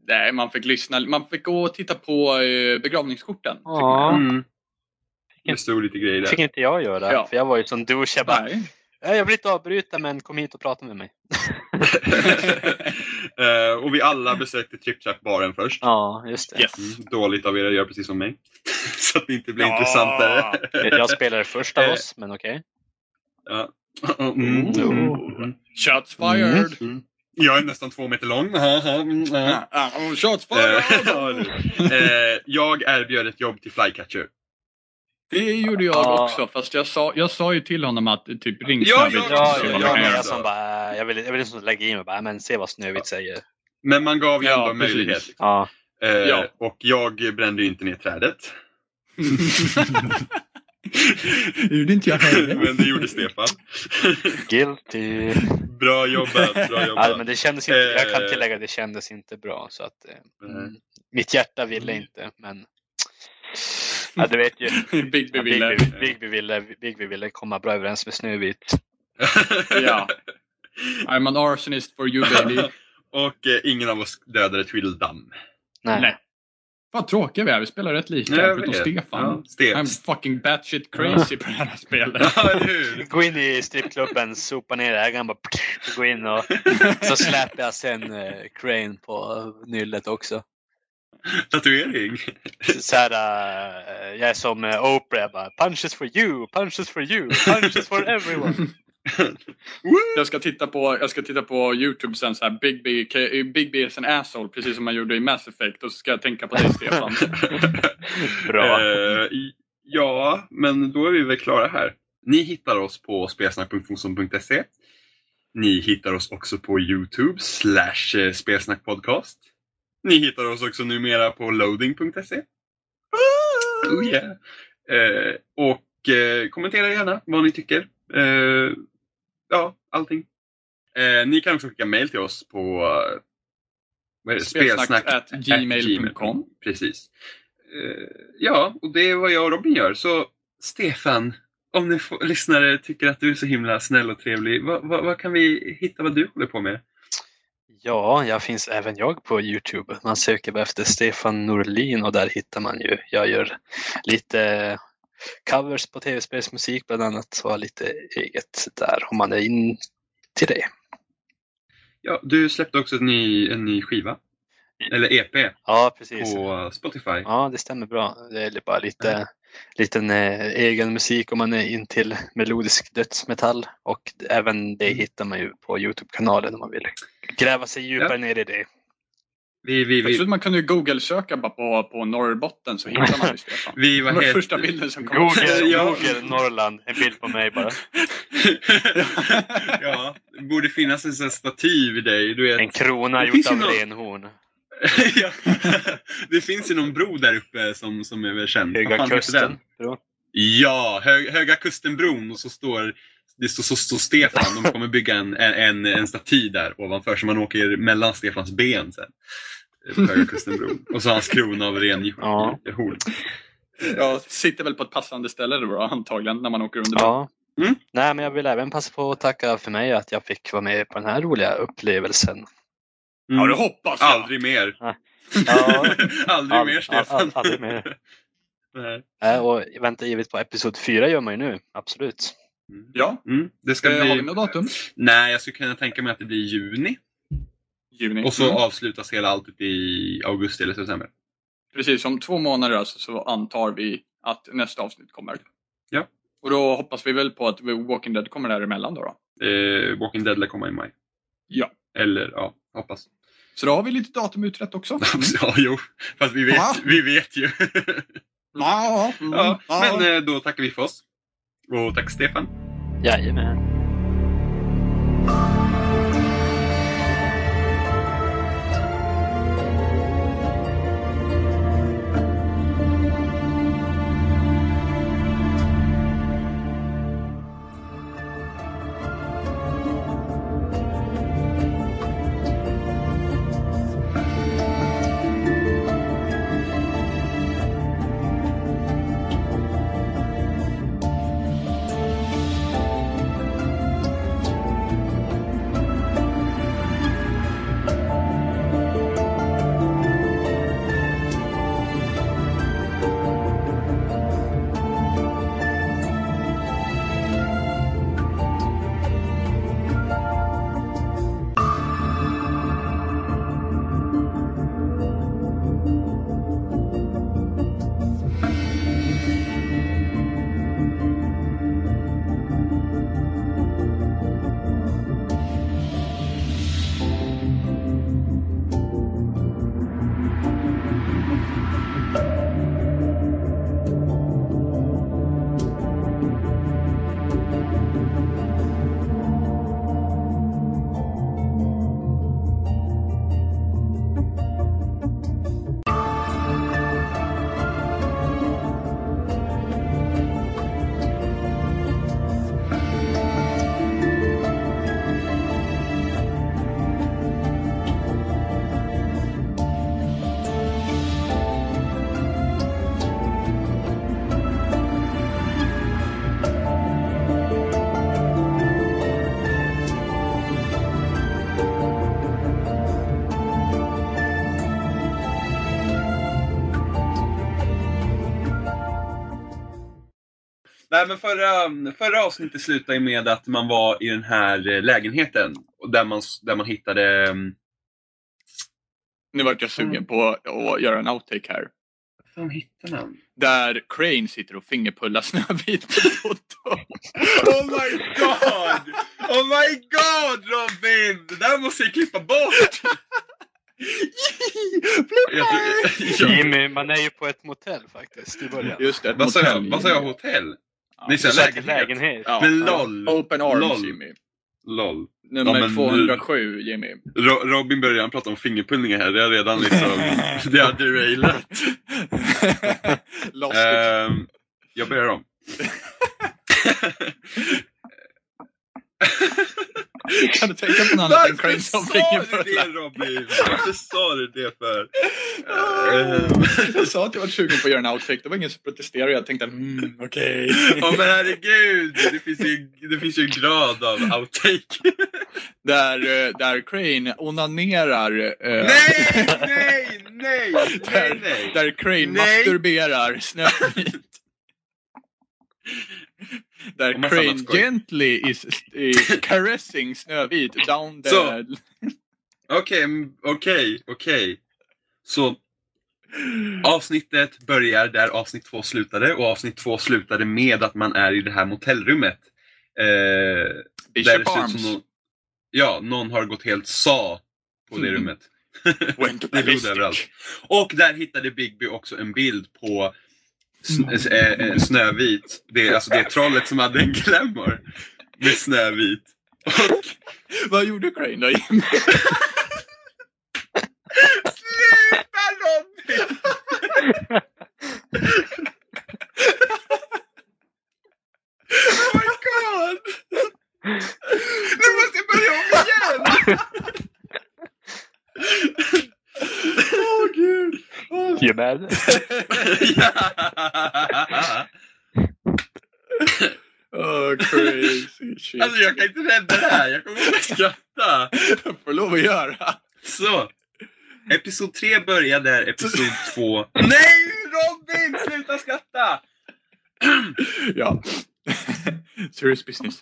Speaker 1: Nej, man fick lyssna. Man fick gå och titta på eh, begravningskorten. fick man.
Speaker 3: Ja.
Speaker 2: Mm. Det stod lite grejer
Speaker 3: fick
Speaker 2: där.
Speaker 3: inte jag göra.
Speaker 1: Ja.
Speaker 3: För jag var ju som douche. Jag bara,
Speaker 1: Nej.
Speaker 3: "Nej, jag vill inte avbryta men kom hit och prata med mig.
Speaker 2: Eh, och vi alla besökte TripTrap-baren först.
Speaker 3: Ja, just det.
Speaker 1: Yes.
Speaker 2: Mm, dåligt av er att göra precis som mig. Så att det inte blir
Speaker 1: Ja.
Speaker 2: intressantare.
Speaker 3: Jag spelade först av
Speaker 2: Eh.
Speaker 3: oss, men okej.
Speaker 2: Mm,
Speaker 1: Ooh.
Speaker 2: mm,
Speaker 1: Shots fired!
Speaker 2: mm. Jag är nästan två meter lång. Ha, ha, mm, ha.
Speaker 1: Ah, ah, oh, shots
Speaker 2: Eh,
Speaker 1: fired!
Speaker 2: ja, eller- eh, jag erbjöd ett jobb till Flycatcher.
Speaker 1: Det gjorde jag
Speaker 3: Ja.
Speaker 1: också, fast jag sa, jag sa ju till honom att typ ring
Speaker 2: Ja,
Speaker 1: Snövit
Speaker 2: ja,
Speaker 1: och
Speaker 3: Ja,
Speaker 1: se vad
Speaker 3: jag, jag,
Speaker 1: vi kan
Speaker 3: jag,
Speaker 1: göra.
Speaker 3: jag som bara, jag ville jag vill liksom lägga i mig bara, men se vad Snövit säger.
Speaker 2: Men man gav ju
Speaker 1: Ja,
Speaker 2: ändå en
Speaker 1: precis.
Speaker 2: möjlighet.
Speaker 3: Ja.
Speaker 2: Eh,
Speaker 1: Ja.
Speaker 2: Och jag brände ju inte ner trädet.
Speaker 1: Det gjorde inte jag
Speaker 2: Men det gjorde Stefan.
Speaker 3: Guilty.
Speaker 2: Bra jobbat, bra
Speaker 3: Ja,
Speaker 2: jobbat.
Speaker 3: men det kändes inte, jag kan
Speaker 2: Eh.
Speaker 3: tillägga det kändes inte bra. Så att, eh, mm, mitt hjärta ville
Speaker 1: Mm.
Speaker 3: inte, men ja, du vet ju.
Speaker 1: Big B
Speaker 3: Ja, Bigby
Speaker 1: ville.
Speaker 3: Bigby ville, Bigby ville komma bra överens med Snövit.
Speaker 2: Eh.
Speaker 1: Ja. I'm an arsonist for you baby.
Speaker 2: och eh, ingen av oss dödade Tweedledum.
Speaker 3: Nej.
Speaker 1: Nej. Vad tråkiga vi är, vi spelar rätt lika
Speaker 2: Ja, jag
Speaker 1: förutom
Speaker 2: vet.
Speaker 1: Stefan.
Speaker 2: Ja, Ste-
Speaker 1: I'm fucking batshit crazy på det här spelet.
Speaker 2: Ja, eller hur?
Speaker 3: Gå in i strippklubben, sopa ner ägaren bara pff, gå in och så släpper jag sen eh, Crane på eh, nyllet också.
Speaker 2: Tatuering.
Speaker 3: Så här, eh, jag är som eh, Oprah, jag bara punches for you, punches for you, punches for everyone.
Speaker 1: Jag ska titta på, jag ska titta på Youtube sen så här, Big B, K- Big B is an asshole, precis som man gjorde i Mass Effect. Och så ska jag tänka på dig Stefan.
Speaker 3: Bra.
Speaker 2: Eh, i- Ja, men då är vi väl klara här. Ni hittar oss på spelsnack.funktion.se. Ni hittar oss också på Youtube slash eh, spelsnackpodcast. Ni hittar oss också numera på loading.se.
Speaker 1: Ah!
Speaker 2: Oh yeah. eh, och eh, kommentera gärna vad ni tycker. Eh, ja, allting. Eh, ni kan också skicka mail till oss på eh, vad är det?
Speaker 1: Spelsnack at gmail.com.
Speaker 2: gmail.com. Precis. Eh, ja, och det är vad jag och Robin gör. Så Stefan, om ni får, lyssnare tycker att du är så himla snäll och trevlig, vad, vad, vad kan vi hitta vad du håller på med?
Speaker 3: Ja, jag finns även jag på Youtube. Man söker bara efter Stefan Norlin och där hittar man ju. Jag gör lite covers på tv-spelsmusik bland annat och har lite eget där om man är in till det.
Speaker 2: Ja, du släppte också en ny, en ny skiva, eller EP,
Speaker 3: Ja, precis.
Speaker 2: på Spotify.
Speaker 3: Ja, det stämmer bra. Det är bara lite liten eh, egen musik om man är in till melodisk dödsmetall och även det hittar man ju på Youtube-kanalen om man vill gräva sig djupare ner i det.
Speaker 2: Vi, vi, vi,
Speaker 1: Dessutom man kunde ju google-söka bara på, på Norrbotten så hittar man ju Stefan.
Speaker 2: vi,
Speaker 1: Det
Speaker 2: vad
Speaker 1: var
Speaker 2: heter...
Speaker 1: första bilden som kom.
Speaker 3: Google,
Speaker 2: Ja.
Speaker 3: Google Norrland, en bild på mig bara.
Speaker 2: ja, det borde finnas en sån här staty vid dig. Du vet.
Speaker 3: En krona
Speaker 2: Det
Speaker 3: gjord
Speaker 2: finns ju
Speaker 3: av
Speaker 2: någon-
Speaker 3: renhorn.
Speaker 2: ja. Det finns ju någon bro där uppe som, som är väl känd. Vad
Speaker 3: Höga
Speaker 2: fan heter den?
Speaker 3: kusten. tror jag.
Speaker 2: Ja, Hö Höga Kustenbron och så står det står, så står Stefan. De kommer bygga en, en, en staty där ovanför så man åker mellan Stefans ben sen. eh, På Höga Kustenbron. Och så hans krona av ren
Speaker 3: Ja.
Speaker 2: horn.
Speaker 1: Ja, sitter väl på ett passande ställe då, då antagligen när man åker under bron.
Speaker 3: Ja.
Speaker 2: Mm.
Speaker 3: Nej, men jag vill även passa på att tacka för mig att jag fick vara med på den här roliga upplevelsen.
Speaker 1: Ja, det hoppas jag.
Speaker 2: Mm. Aldrig mer.
Speaker 3: Ja,
Speaker 2: aldrig
Speaker 3: Ald-
Speaker 2: mer
Speaker 3: al-
Speaker 2: Stefan.
Speaker 3: al- aldrig mer.
Speaker 2: Nej.
Speaker 3: eh, och vänta givet på episod fyra gör man ju nu, absolut.
Speaker 1: Ja.
Speaker 2: Mm, det ska
Speaker 1: Eh, Har vi
Speaker 2: bli...
Speaker 1: något datum?
Speaker 2: Nej, jag skulle kunna tänka mig att det blir juni.
Speaker 1: Juni.
Speaker 2: Och så
Speaker 1: Mm.
Speaker 2: avslutas hela alltet i augusti eller september.
Speaker 1: Precis, om två månader alltså så antar vi att nästa avsnitt kommer.
Speaker 2: Ja.
Speaker 1: Och då hoppas vi väl på att Walking Dead kommer däremellan då. då.
Speaker 2: Eh, Walking Dead lär komma i maj.
Speaker 1: Ja.
Speaker 2: Eller ja, hoppas.
Speaker 1: Så då har vi lite datum utrett också.
Speaker 2: ja, jo. Fast vi vet,
Speaker 1: Ja.
Speaker 2: vi vet ju.
Speaker 1: Ja, mm,
Speaker 2: ja,
Speaker 1: ja.
Speaker 2: men eh, då tackar vi för oss. Och tack Stefan.
Speaker 3: Jajamän.
Speaker 2: Nej, men förra, förra avsnittet slutade ju med att man var i den här eh, lägenheten. och Där man, där man hittade... mm,
Speaker 1: Nu vart jag sugen på att göra en outtake här.
Speaker 2: Vad fan hittade han?
Speaker 1: Där Crane sitter och fingerpullar Snövit på foto.
Speaker 2: Oh my god! Oh my god Robin! Det där måste jag klippa bort!
Speaker 1: Blip.
Speaker 2: Jag tror- ja.
Speaker 3: Jimmy, man är ju på ett motell faktiskt i början.
Speaker 1: Just det, ett
Speaker 2: Vad sa jag?
Speaker 1: motell.
Speaker 2: Vad sa jag? Hotell?
Speaker 1: Ja.
Speaker 2: Nej, så här,
Speaker 3: Lägenhet.
Speaker 2: lägenhet.
Speaker 3: lägenhet.
Speaker 1: Ja.
Speaker 2: Men LOL.
Speaker 1: Open Arms
Speaker 2: Noll.
Speaker 1: Jimmy.
Speaker 2: LOL.
Speaker 1: Nummer
Speaker 2: Ja, men nu-
Speaker 1: 207 Jimmy.
Speaker 2: Ro- Robin började prata om fingerpullningar här. Det har redan liksom... det har derailat. Eh.
Speaker 1: Lost it.
Speaker 2: Ehm, jag börjar om.
Speaker 1: Kan du tänka på något annat än
Speaker 2: Varför
Speaker 1: Cranes om
Speaker 2: sa du det
Speaker 1: fingerpullar?
Speaker 2: Robin? Varför sa du det för? Ehm,
Speaker 1: Jag sa att jag var sugen på att göra en outtake, det var ingen som protesterade jag tänkte mm, okej.
Speaker 2: Ja men herregud, det finns, ju, det finns ju en grad av outtake.
Speaker 1: Där, eh, där Crane onanerar. eh,
Speaker 2: Nej, nej, nej, nej,
Speaker 1: Där,
Speaker 2: nej.
Speaker 1: där Crane
Speaker 2: Nej.
Speaker 1: masturberar Snövit. Där
Speaker 2: Och massa
Speaker 1: Crane
Speaker 2: annat skoj.
Speaker 1: gently is, is caressing Snövit down the...
Speaker 2: Så. Okej, mm, okej, okej. Så avsnittet börjar där avsnitt två slutade och avsnitt två slutade med att man är i det här motellrummet. Eh, där det
Speaker 1: Bishop
Speaker 2: ser ut
Speaker 1: Arms.
Speaker 2: som någon, ja, någon har gått helt sa på det
Speaker 1: Mm.
Speaker 2: rummet.
Speaker 1: Went
Speaker 2: Det är blod
Speaker 1: ballistic.
Speaker 2: överallt. Och där hittade Bigby också en bild på sn- eh, eh, Snövit. Det är, alltså det är trollet som hade en glamour med Snövit. Och
Speaker 1: Vad gjorde Crane då Jimmy?
Speaker 2: Sluta Robin! oh my god! Nu måste jag börja om igen!
Speaker 1: Åh gud! Åh.
Speaker 3: You mad?
Speaker 1: Åh, crazy shit.
Speaker 2: Alltså jag kan inte rädda det här, jag kommer att skratta.
Speaker 1: får lov att göra.
Speaker 2: Så. Episod 3 börjar där episod 2... Nej Robin! Sluta skratta!
Speaker 1: Ja. Serious business.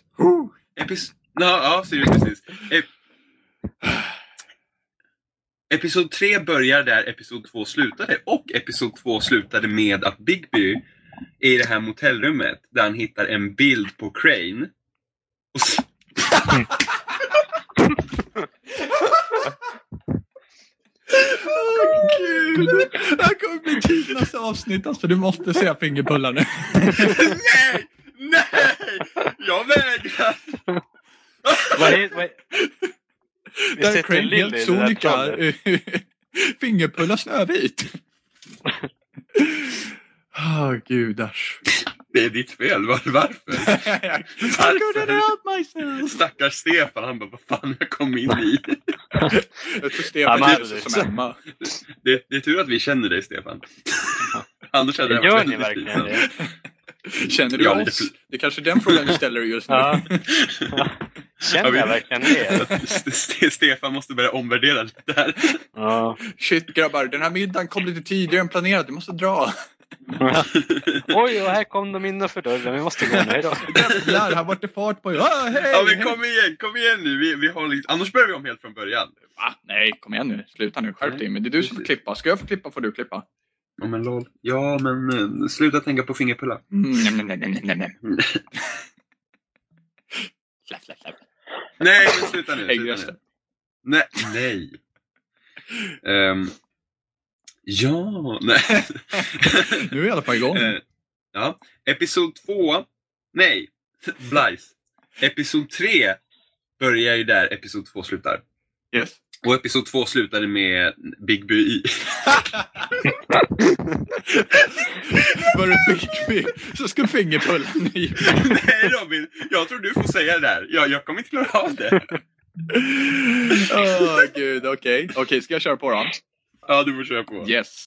Speaker 2: Epis... No, ja, seriöst precis. Ep... Episod 3 börjar där episod 2 slutade och episod 2 slutade med att Bigby är i det här motellrummet där han hittar en bild på Crane. Och s-
Speaker 1: Åh gud! Det här kommer bli tidernas avsnitt alltså. Du måste säga fingerpullar nu.
Speaker 2: nej! Nej! Jag vägrar!
Speaker 3: Vad är, vad är... Vi
Speaker 1: Där
Speaker 3: sätter
Speaker 1: Crane
Speaker 3: Lilly
Speaker 1: helt
Speaker 3: i det där
Speaker 1: sonika
Speaker 3: trollet.
Speaker 1: fingerpullar Snövit. Åh gudars.
Speaker 2: Det är ditt fel, var, varför?
Speaker 1: I couldn't help myself.
Speaker 2: Stackars Stefan, han bara vad fan jag kom in i.
Speaker 1: Jag tror
Speaker 3: Han
Speaker 1: Stefan
Speaker 3: hade
Speaker 1: är
Speaker 3: det.
Speaker 1: som Emma.
Speaker 2: Det, det är tur att vi känner dig Stefan. Annars hade det
Speaker 3: Gör
Speaker 2: varit
Speaker 3: ni
Speaker 2: väldigt
Speaker 3: verkligen
Speaker 2: pinsamt.
Speaker 3: det?
Speaker 1: Känner du
Speaker 2: Ja, lite
Speaker 1: oss? Det är kanske är den frågan du ställer dig just nu.
Speaker 3: Ja.
Speaker 2: Ja,
Speaker 3: Känner
Speaker 2: vi-
Speaker 3: jag verkligen det?
Speaker 2: Att Ste- Ste- Stefan måste börja omvärdera lite här.
Speaker 3: Ja.
Speaker 1: Shit grabbar, den här middagen kom lite tidigare än planerat. Du måste dra.
Speaker 3: Oj, och här kom de innanför dörren. Vi måste gå nu. Hejdå.
Speaker 1: Jävlar, här vart det fart på. Ah, hej,
Speaker 2: Ja men
Speaker 1: hej.
Speaker 2: kom igen, kom igen nu. Vi, vi har liksom, annars börjar vi om helt från början.
Speaker 1: Va? Ah, Nej, kom igen nu. Sluta nu. Skärp dig. Men det är du som får klippa. Ska jag få klippa får du klippa.
Speaker 2: Ja men lol. Ja men eh, sluta tänka på fingerpullar.
Speaker 1: Mm, nej, nej, nej, nej, nej, nej. Slapp, slapp, slapp.
Speaker 2: Nej men sluta nu. Sluta
Speaker 1: Äggrester.
Speaker 2: nu. Nej. nej. Ehm, ja, nej.
Speaker 1: Nu är jag i alla fall igång.
Speaker 2: Eh, ja. Episod två. Nej, Blajs. Episod tre börjar ju där episod två slutar.
Speaker 1: Yes.
Speaker 2: Och episod två slutade med Big Bu i.
Speaker 1: Var det Bigby så ska fingerpullen i.
Speaker 2: Nej Robin, jag tror du får säga det där. Jag, jag kommer inte klara av det.
Speaker 1: Åh gud, okej. Okej, ska jag köra på då?
Speaker 2: Ja, du får köra på.
Speaker 1: Yes.